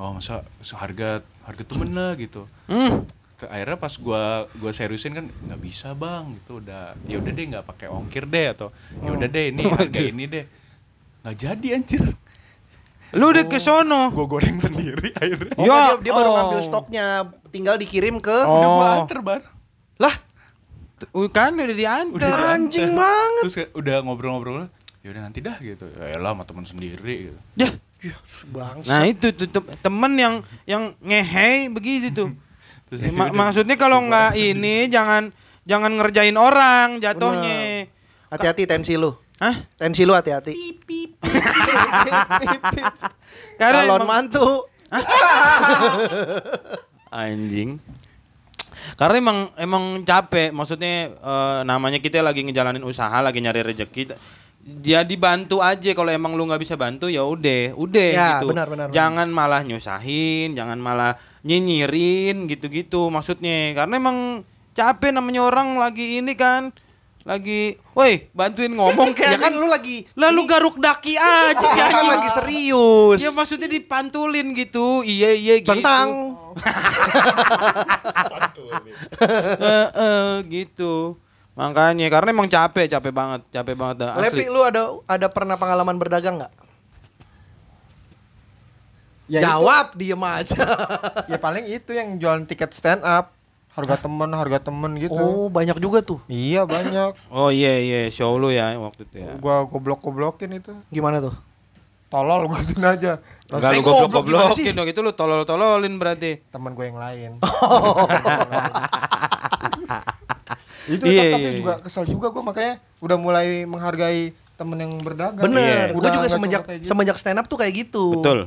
S5: oh masa seharga harga tuh bener gitu
S2: Hmm.
S5: Ter- akhirnya pas gua gua seriusin kan nggak bisa bang gitu udah ya udah deh nggak pakai ongkir deh atau ya udah
S2: Oh.
S5: deh ini harga ini deh nggak jadi anjir
S2: Lu udah ke sono.
S5: gua goreng sendiri akhirnya
S1: Oh,
S2: Ya,
S1: dia, dia baru
S2: oh.
S1: ngambil stoknya, tinggal dikirim ke
S5: udah gua
S2: Oh.
S5: anter bar
S1: lah
S2: Uh, Kan udah diantar.
S1: anjing banget.
S5: terus kayak udah ngobrol-ngobrol ya udah nanti dah gitu ya elah sama teman sendiri gitu.
S2: Dah.
S1: Bang.
S2: Nah itu tuh tem- temen yang yang ngehei begitu tuh.
S5: *laughs* Terus
S2: Ma-
S5: akhirnya
S2: maksudnya kalau nggak ini jangan jangan ngerjain orang jatuhnya.
S1: Hati-hati tensi lu.
S2: Hah?
S1: Tensi lu hati-hati.
S2: Karena
S1: Calon
S2: emang-
S1: mantu.
S2: anjing. Karena emang emang capek, maksudnya eh, namanya kita lagi ngejalanin usaha, lagi nyari rezeki. Jadi dibantu aja kalau emang lu nggak bisa bantu ya udah, udah
S1: Ya,
S2: gitu.
S1: benar, benar, benar.
S2: jangan malah nyusahin, jangan malah nyinyirin gitu-gitu maksudnya. Karena emang capek namanya orang lagi ini kan lagi, woi bantuin
S1: *laughs*
S2: ngomong
S1: Ya
S2: kayak
S1: kan lu lagi
S2: lalu garuk daki aja sih
S1: ya kan
S2: anjing.
S1: lagi serius.
S2: Ya maksudnya dipantulin gitu, iya iya gitu.
S1: Tentang
S2: Eh, eh, gitu. Makanya karena emang capek, capek banget, capek banget dah, asli.
S1: Lepi lu ada ada pernah pengalaman berdagang nggak?
S3: *laughs* Ya
S1: Jawab diem aja.
S3: itu- ya paling itu yang jualan tiket stand up. Harga temen, harga temen gitu.
S1: Oh, banyak juga tuh.
S3: Iya banyak.
S2: Oh iya iya, show lu ya waktu itu ya.
S3: Gua goblok-goblokin itu.
S1: Gimana tuh?
S3: Tolol gua tuh aja. Terus
S2: Enggak
S1: Eh, goblok gimana sih?
S2: lu goblok-goblokin dong, itu gitu lu tolol-tololin berarti.
S3: temen gue yang
S1: *laughs*
S3: lain. *laughs* itu
S2: Iya, iya,
S3: tetap ya
S2: iya.
S3: juga kesel juga gua makanya udah mulai menghargai temen yang berdagang.
S1: Bener.
S3: Udah
S1: Gue juga
S3: nggak iya. cuma
S1: semenjak
S3: kayak gitu.
S1: semenjak stand up tuh kayak gitu.
S2: Betul.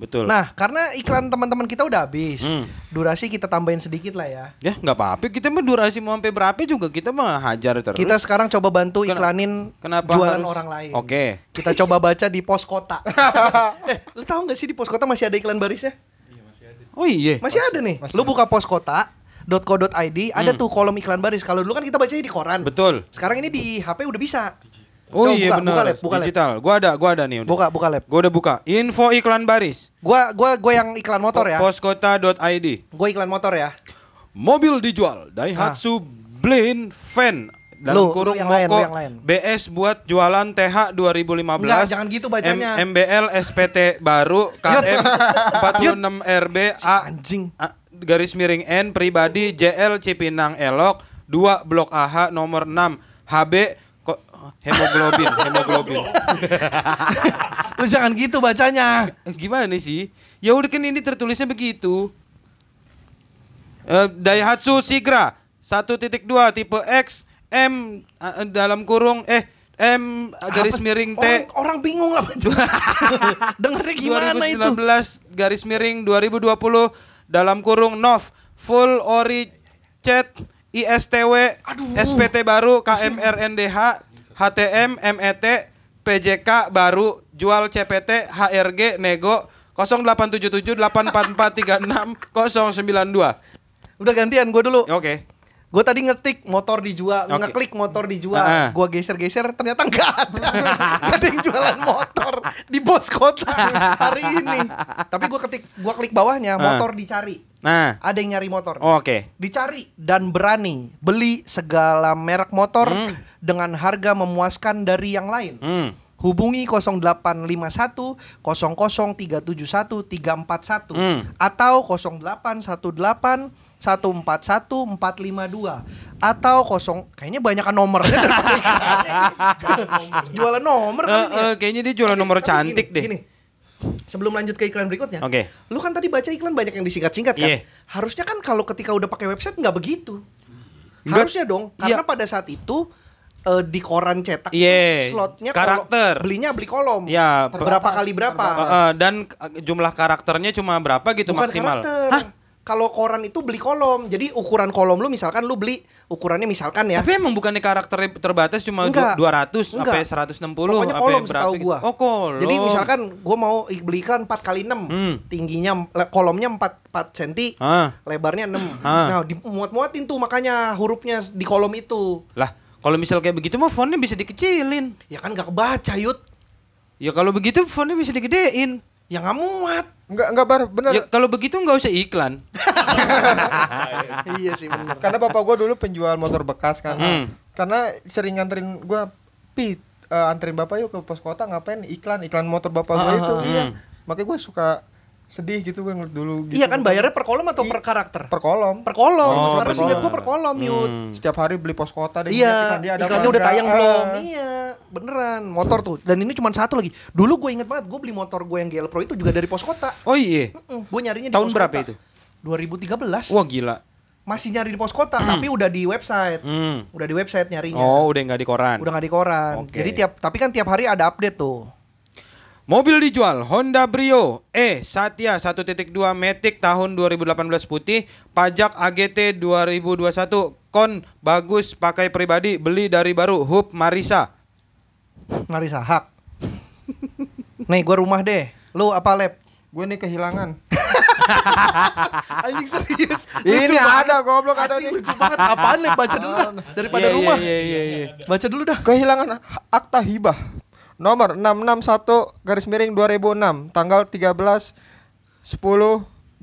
S2: Betul.
S1: Nah, karena iklan teman-teman kita udah habis.
S2: Hmm.
S1: Durasi kita tambahin sedikit lah ya.
S2: ya nggak apa-apa, kita mah durasi mau sampai berapa juga kita mah hajar terus.
S1: Kita sekarang coba bantu
S2: Ken-
S1: iklanin
S2: kenapa
S1: jualan
S2: harus-
S1: orang lain.
S2: Oke.
S1: Kita coba baca di pos kota. eh, lu tahu nggak sih di pos kota masih ada iklan barisnya?
S2: Oh
S1: Eh,
S2: iya.
S1: Masih ada nih. Lu buka pos kota ada tuh kolom iklan baris. Kalau dulu kan kita bacanya di koran.
S2: Hmm. Betul.
S1: Sekarang ini di HP udah bisa.
S2: Oh
S1: Coba
S2: iya
S1: buka, Buka
S2: benar.
S1: lab, buka lab.
S2: Digital. Gua ada, gua ada nih udah.
S1: Buka, buka lab.
S2: Gua udah buka. Info iklan baris.
S1: Gua gua gua yang iklan motor ya.
S2: Poskota.id.
S1: Gua iklan motor
S2: *laughs*
S1: ya.
S2: Mobil dijual Daihatsu Blind Van dalam
S1: Lu- lu
S2: kurung
S1: Ah. yang lain,
S2: Moko
S1: lu yang lain.
S2: BS buat jualan TH 2015
S1: Enggak, jangan gitu bacanya.
S2: M- MBL SPT
S1: *laughs*
S2: baru KM 46 RB A,
S1: Anjing.
S2: A- garis miring N pribadi JL Cipinang Elok 2 Blok AH nomor 6 HB ko- hemoglobin
S1: *laughs*
S2: hemoglobin
S1: Lu jangan gitu bacanya.
S2: gimana sih? Ya udah kan ini tertulisnya begitu. Eh, Daihatsu Sigra 1.2 tipe X M eh, dalam kurung eh M garis
S1: Apa- Oh,
S2: miring T
S1: Orang, orang bingung lah
S2: *laughs*
S1: bacanya. Dengarnya gimana itu?
S2: 2019 garis miring 2020 dalam kurung NOV full ori chat ISTW SPT baru KMRNDH HTM MET PJK baru jual CPT HRG nego 0877 844 092
S1: Udah gantian gua dulu.
S2: Oke
S1: Gue tadi ngetik motor dijual,
S2: Oke.
S1: ngeklik motor dijual.
S2: Ah, ah.
S1: Gua geser-geser ternyata nggak
S2: *laughs*
S1: ada. Nggak ada yang jualan motor di pos kota hari ini. Tapi gua ketik, gua klik bawahnya
S2: Ah.
S1: motor dicari.
S2: Nah
S1: Ada yang nyari motor.
S2: Oke
S1: Dicari dan berani beli segala merek motor
S2: Hmm.
S1: dengan harga memuaskan dari yang lain.
S2: Hmm.
S1: Hubungi 0851 00371 341
S2: Hmm.
S1: atau 0818 141 452 atau kosong kayaknya banyakan nomornya daripada
S2: *laughs*
S1: iklannya. jualan nomor
S2: Eh,
S1: kali ini ya.
S2: eh, Kayaknya dia jualan nomor
S1: Tapi
S2: cantik
S1: gini,
S2: deh
S1: gini. Sebelum lanjut ke iklan berikutnya,
S2: Oke.
S1: lu kan tadi baca iklan banyak yang disingkat-singkat kan?
S2: Iya.
S1: Harusnya kan kalau ketika udah pakai website nggak begitu.
S2: Nggak-
S1: Harusnya dong,
S2: Iya.
S1: karena pada saat itu eh, di koran cetak itu
S2: Iya.
S1: slotnya
S2: Karakter.
S1: kalau belinya beli kolom.
S2: Ya,
S1: berapa kali berapa?
S2: Eh, eh, dan eh, jumlah karakternya cuma berapa gitu
S1: Bukan
S2: maksimal?
S1: karakter.
S2: Hah?
S1: kalau koran itu beli kolom. Jadi ukuran kolom lu misalkan lu beli ukurannya misalkan ya.
S2: Tapi emang bukannya karakternya terbatas cuma
S1: Enggak.
S2: dua 200 sampai
S1: Enggak.
S2: 160
S1: Pokoknya
S2: sampai
S1: kolom
S2: berapa
S1: setahu
S2: gitu.
S1: gua.
S2: Oh, kolom.
S1: Jadi misalkan gua mau i- beli iklan 4 kali 6.
S2: Hmm.
S1: Tingginya le- kolomnya 4 4 cm,
S2: Ah,
S1: lebarnya 6. Nah,
S2: Ah.
S1: dimuat-muatin tuh makanya hurufnya di kolom itu.
S2: lah kalau misal kayak begitu mah fontnya bisa dikecilin.
S1: Ya kan gak kebaca, Yut.
S2: Ya kalau begitu fontnya bisa digedein.
S1: Ya gak muat.
S3: Enggak enggak bar, bener.
S2: Ya kalau begitu nggak usah iklan.
S1: *laughs* iya sih bener.
S3: Karena bapak gua dulu penjual motor bekas kan.
S2: Hmm.
S3: Karena sering nganterin gua pit eh, anterin bapak yuk ke pos kota ngapain iklan iklan motor bapak gua itu. Iya. Makanya gua suka sedih gitu gua ngeliat dulu gitu.
S1: Iya kan bayarnya per kolom atau
S3: I-
S1: per karakter?
S3: per kolom.
S1: Per kolom.
S2: Oh, Hmm.
S1: Karena
S2: per
S1: seingat gua
S2: kolom.
S1: per kolom, Yut.
S3: Setiap hari beli pos kota deh
S1: Iya,
S3: ngeliat apa
S1: iklannya udah
S3: enggak.
S1: tayang
S3: Ah.
S1: belum? Iya, beneran. Motor tuh. Dan ini cuma satu lagi. Dulu gue inget banget, gue beli motor gue yang GL Pro itu juga dari pos kota.
S2: Oh iya.
S1: Mm, gue nyarinya di
S2: Tahun
S1: pos
S2: berapa
S1: kota.
S2: itu?
S1: 2013.
S2: Wah gila.
S1: Masih nyari di pos kota, tapi udah di website.
S2: Hmm.
S1: Udah di website nyarinya.
S2: Oh, udah nggak di koran.
S1: Iya. Udah nggak di koran.
S2: Oke.
S1: Jadi tiap tapi kan tiap hari ada update tuh.
S2: Mobil dijual Honda Brio E Satya 1.2 Matic tahun 2018 putih, pajak AGT 2021, kon bagus pakai pribadi, beli dari baru Hub Marisa.
S1: Ngari sahak. *laughs* Nih, gue rumah deh. Lu apa lab?
S3: Gua nih
S1: *laughs*
S3: kehilangan.
S1: Anjing serius.
S3: Ini ada, goblok, ada
S1: Anjing
S3: nih.
S1: lucu banget. Apaan lab baca dulu
S2: *laughs*
S1: dah daripada
S2: Iya, iya,
S1: rumah.
S2: iya, iya, iya.
S1: Baca dulu dah.
S3: Kehilangan h- akta hibah nomor 661 garis miring 2006 tanggal 13 10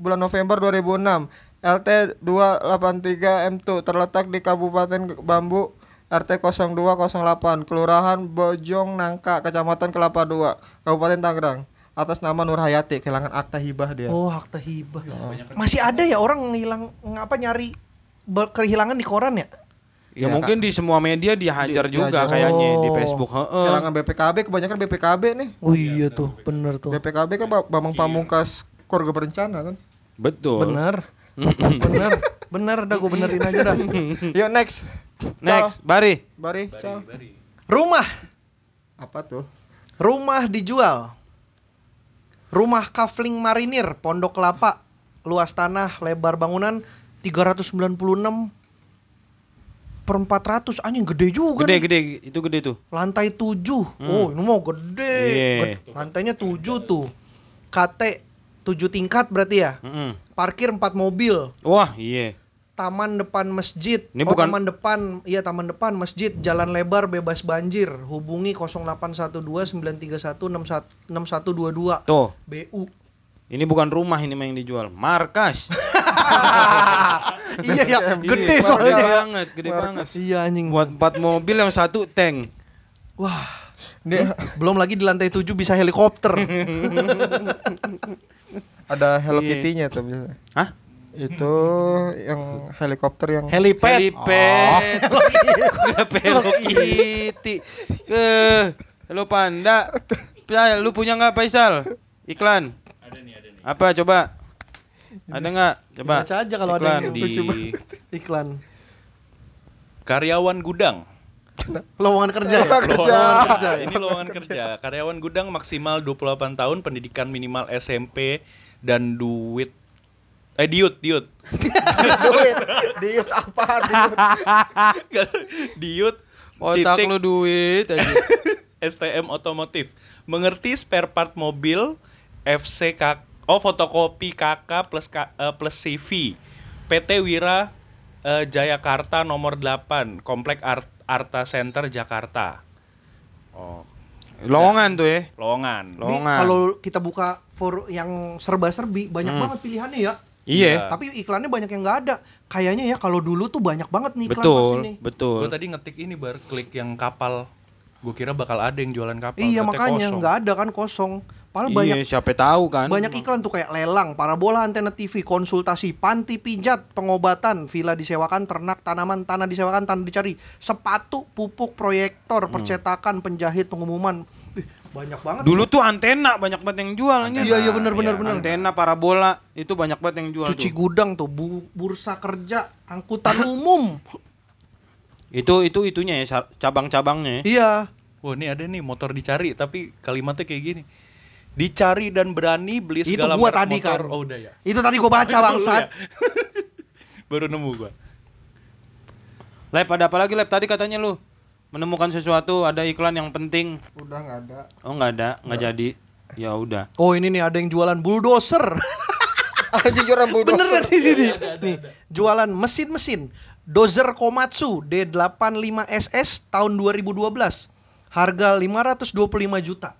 S3: bulan November 2006 LT 283 M2 terletak di Kabupaten Bambu RT 0208 Kelurahan Bojong Nangka Kecamatan Kelapa II Kabupaten Tangerang atas nama Nur Hayati kehilangan akta hibah dia.
S1: Oh, akta hibah. Masih ada ya orang ngilang ngapa nyari ber- kehilangan di koran ya?
S2: Ya,
S3: Iya,
S2: mungkin di semua media dihajar
S3: Di-
S2: juga
S3: dihajar.
S2: kayaknya di
S1: Oh.
S2: Facebook. Heeh.
S3: Kehilangan BPKB kebanyakan BPKB nih.
S1: Oh iya tuh, bener tuh.
S3: BPKB kan Ba- Bambang Pamungkas keluarga berencana kan.
S2: Betul.
S1: Bener. bener. Bener dah gue benerin aja *laughs* dah.
S3: Yuk next.
S2: Next, Bari.
S3: Cal. Bari, Cal.
S1: Rumah.
S3: Apa tuh?
S1: Rumah dijual. Rumah Kafling Marinir, Pondok Kelapa. Luas tanah, lebar bangunan 396 per 400 anjing gede juga
S2: Gede
S1: nih.
S2: gede itu gede tuh.
S1: Lantai 7. Oh, ini mau gede.
S2: Hmm. Iya.
S1: Ged- Lantainya 7 tuh. KT 7 tingkat berarti ya.
S2: Mm-mm.
S1: Parkir 4 mobil.
S2: Wah, iya.
S1: Taman depan masjid.
S2: Ini bukan-
S1: taman depan. Iya, taman depan masjid. Jalan lebar bebas banjir. Hubungi 0812-931-6122
S2: Tuh, *laughs*
S1: BU.
S2: ini bukan rumah ini mah yang dijual. Markas. *laughs*
S1: iya ya, gede
S2: Iya, Gede
S1: soalnya.
S2: banget, gede banget.
S1: Iya anjing.
S2: Buat empat mobil yang satu tank.
S1: Wah,
S3: Dia
S1: belum lagi di lantai 7 bisa
S2: *laughs*
S1: helikopter.
S3: ada Hello
S2: Iya.
S3: Kitty-nya tuh biasanya.
S2: Hah?
S3: Itu yang helikopter yang
S1: Helipad.
S2: Helipad. Kenapa Hello Kitty? Eh, Hello Panda. Paisal, lu punya nggak Paisal? Iklan. Apa coba? Ada nggak? Coba.
S1: Baca aja kalau ada
S2: Iklan
S1: yang
S5: di
S1: lucu banget. iklan.
S5: karyawan gudang.
S1: Lowongan kerja
S2: *laughs*
S3: Iya,
S1: ya?
S5: *laughs* Lowongan kerja. Ini lowongan kerja. Karyawan gudang maksimal 28 tahun, pendidikan minimal SMP dan duit eh diut, diut. *laughs*
S3: duit. Diut apa diut?
S5: diut
S2: Otak
S5: titik
S2: lu duit aja.
S5: STM otomotif. Mengerti spare part mobil FCK oh fotokopi KK plus K- eh, plus CV. PT Wira eh, Jayakarta nomor 8, Komplek Art- Arta Center Jakarta. Oh,
S2: *laughs* Lowongan tuh ya.
S5: lowongan.
S1: Ini
S2: Lowongan.
S1: kalau kita buka for yang serba-serbi banyak banget pilihannya ya.
S2: Hmm. Iya.
S1: Tapi iklannya banyak yang nggak ada. Kayaknya ya kalau dulu tuh banyak banget nih iklan pas ini. Iya,
S2: Betul, betul.
S5: Gue tadi ngetik ini bar klik yang kapal. Gue kira bakal ada yang jualan kapal.
S1: Iya
S5: ternyata
S1: makanya
S5: kosong.
S1: nggak ada kan kosong. Padahal
S2: Iya,
S1: banyak
S2: siapa tahu kan.
S1: banyak iklan tuh kayak lelang, parabola antena TV, konsultasi, panti pijat, pengobatan, villa disewakan, ternak, tanaman, tanah disewakan, tanah dicari, sepatu, pupuk, proyektor,
S2: Hmm.
S1: percetakan, penjahit, pengumuman. Ih, banyak banget.
S2: Dulu tuh antena banyak banget yang jual anjing.
S1: Iya, iya, bener, bener, bener.
S2: Antena parabola itu banyak banget yang jual.
S1: cuci
S2: tuh.
S1: gudang tuh, bu- bursa kerja,
S5: *laughs*
S1: angkutan umum.
S2: Itu itu itunya ya
S5: Eh,
S2: sa- cabang-cabangnya ya.
S1: iya.
S5: Wah ini ada nih motor dicari tapi kalimatnya kayak gini. dicari dan berani beli
S1: Itu
S5: segala
S1: gua
S5: merek
S1: tadi
S5: motor.
S1: kan.
S5: Oh, udah ya.
S1: Itu tadi gua baca bangsat.
S5: Baru nemu gua.
S2: Lab ada apa lagi Lab tadi katanya lu menemukan sesuatu ada iklan yang penting.
S3: Udah nggak ada.
S2: Oh nggak ada, nggak jadi. Ya udah. *laughs*
S1: Oh ini nih ada yang jualan bulldozer. *laughs*
S3: Anjing orang bodoh.
S1: Beneran ini nih. Nih, jualan mesin-mesin Dozer Komatsu D85SS tahun 2012. Harga 525 juta.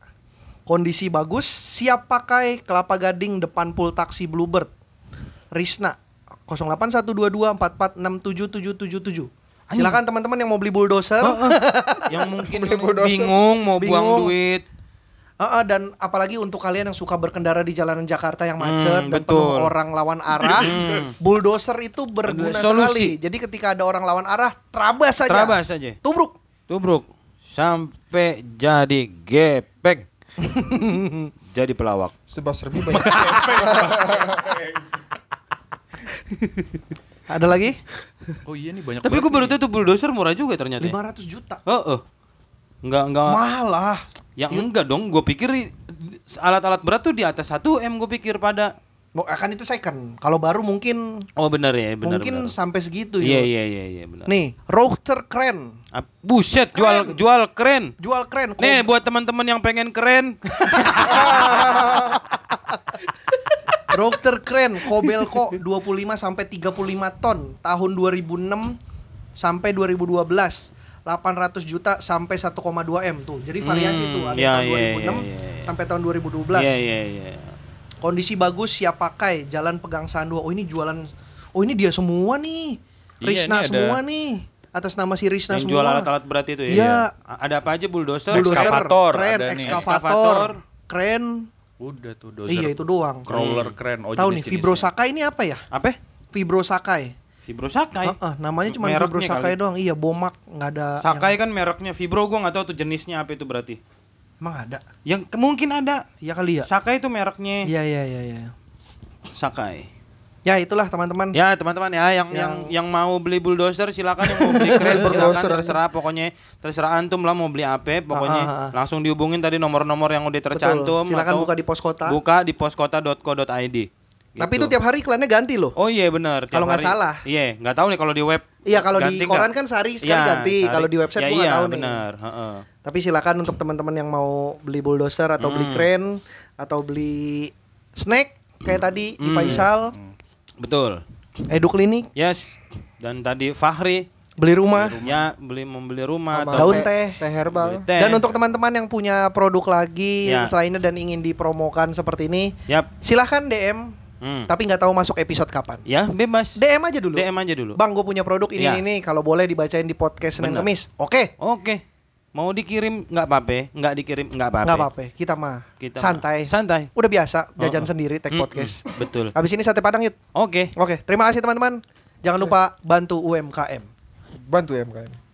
S1: Kondisi bagus, siap pakai Kelapa Gading depan pul taksi Bluebird. Risna 0812244677777. Silakan teman-teman yang mau beli bulldozer.
S2: yang mungkin
S3: Beli bulldozer.
S2: bingung mau
S1: Bingung.
S2: buang duit.
S1: Heeh, dan apalagi untuk kalian yang suka berkendara di jalanan Jakarta yang macet
S2: Hmm,
S1: dan penuh
S2: betul. Hmm.
S1: orang lawan arah, bulldozer itu berguna sekali.
S2: Solusi.
S1: Jadi ketika ada orang lawan arah, terabas saja.
S2: Terabas saja.
S1: Tubruk.
S2: Tubruk sampai jadi *laughs* gepeng. jadi pelawak.
S3: Sebab serbi banyak.
S1: Ada lagi?
S5: Oh iya nih banyak
S2: Tapi
S5: banget
S2: gue baru
S5: nih.
S2: tahu tuh bulldozer murah juga ternyata. ya.
S1: 500 juta.
S2: Oh, oh. Enggak, enggak.
S1: Mahal lah.
S2: yang Ya, enggak dong, gue pikir i- alat-alat berat tuh di atas 1 M gue pikir pada.
S1: Mau akan itu second. Kalau baru mungkin
S2: Oh benar ya, benar.
S1: mungkin
S2: benar.
S1: sampai segitu ya.
S2: Iya, iya, iya, iya, benar.
S1: Nih, router keren.
S2: Ap- Buset, jual jual keren.
S1: Jual keren. Kom-
S2: Nih buat teman-teman yang pengen keren.
S1: Router keren Kobelko 25 sampai 35 ton tahun 2006 sampai 2012 800 juta sampai 1,2 M tuh. Jadi variasi
S2: Hmm,
S1: tuh ada tahun
S2: ya,
S1: 2006
S2: ya, ya, ya, ya.
S1: sampai tahun 2012.
S2: Iya, iya, iya.
S1: Kondisi bagus siap pakai, jalan pegang sandu. Oh ini jualan Oh ini dia semua nih.
S5: Iya,
S1: Risna
S5: ini ada-
S1: semua nih. Atas nama si Risna
S2: Yang
S1: semua.
S2: jual alat-alat berat itu ya.
S1: Iya.
S2: A- Ada apa aja bulldozer?
S1: Bulldozer,
S5: Ekskavator
S1: keren,
S5: ada nih,
S1: ekskavator,
S2: ekskavator.
S1: keren.
S5: Udah tuh dozer.
S1: Iya itu doang.
S5: Crawler keren. Oh,
S1: Tahu nih
S5: jenis-jenisnya.
S1: Fibro Sakai ini apa ya?
S2: Apa?
S1: Fibro Sakai.
S2: Fibro Sakai.
S1: Heeh, namanya cuma
S2: Mereknya
S1: Fibro Sakai
S2: kali.
S1: doang. Iya, Bomak nggak ada. yang-
S2: Sakai kan mereknya Fibro gue nggak tahu tuh jenisnya apa itu berarti.
S1: Emang ada.
S2: Yang ke- mungkin ada.
S1: Iya kali ya.
S2: Sakai itu mereknya.
S1: Iya, iya, iya, iya.
S2: Sakai.
S1: Ya itulah teman-teman.
S2: Ya teman-teman ya yang, yang yang mau beli bulldozer silakan yang mau
S1: *laughs*
S2: beli keren silakan
S3: Bulldozer.
S2: terserah pokoknya terserah antum lah mau beli apa pokoknya
S1: Ah, ah, ah.
S2: langsung dihubungin tadi nomor-nomor yang udah tercantum
S1: Silakan
S2: atau
S1: buka di pos kota.
S2: buka di poskota.co.id.
S1: Tapi itu
S2: Gitu.
S1: tiap hari iklannya ganti loh.
S2: Oh iya benar. tiap
S1: Kalau nggak
S2: hari.
S1: salah.
S2: Iya, nggak tahu nih kalau di web.
S1: Iya, kalau di
S2: ganti
S1: koran
S2: nggak?
S1: kan sehari sekali
S2: Iya,
S1: ganti.
S2: sehari.
S1: Kalau di website
S2: ya,
S1: gua nggak
S2: iya,
S1: tahu nih.
S2: benar. heeh.
S1: Tapi silakan untuk teman-teman yang mau beli bulldozer atau
S2: Hmm.
S1: beli keren atau beli snack kayak
S2: Hmm.
S1: tadi di Faisal,
S2: Betul.
S1: Edu Klinik,
S2: Yes. Dan tadi Fahri
S1: beli rumah.
S2: ya beli membeli rumah
S3: Sama
S1: Daun
S3: teh-
S1: teh.
S3: Teh
S2: beli
S3: herbal.
S2: teh.
S1: Dan untuk teman-teman yang punya produk lagi
S2: Ya.
S1: selainnya dan ingin dipromokan seperti ini,
S2: Yap.
S1: silahkan DM
S2: Hmm.
S1: tapi nggak tahu masuk episode kapan.
S2: Ya, bebas.
S1: DM aja dulu.
S2: DM aja dulu.
S1: Bang, gue punya produk ini
S2: Iya.
S1: ini kalau boleh dibacain di podcast Senin
S2: Bener.
S1: Kemis. Oke,
S2: Oke. Mau dikirim nggak apa-apa, ya. nggak dikirim nggak apa-apa. ya.
S1: nggak apa-apa. Kita mah
S2: Kita
S1: santai.
S2: santai.
S1: Udah biasa jajan
S2: Oh, oh.
S1: sendiri tag
S2: Mm-mm.
S1: podcast.
S2: Betul.
S1: Habis ini sate padang yuk.
S2: Oke.
S1: Oke, terima kasih teman-teman. Jangan lupa bantu UMKM.
S3: Bantu ya mukanya.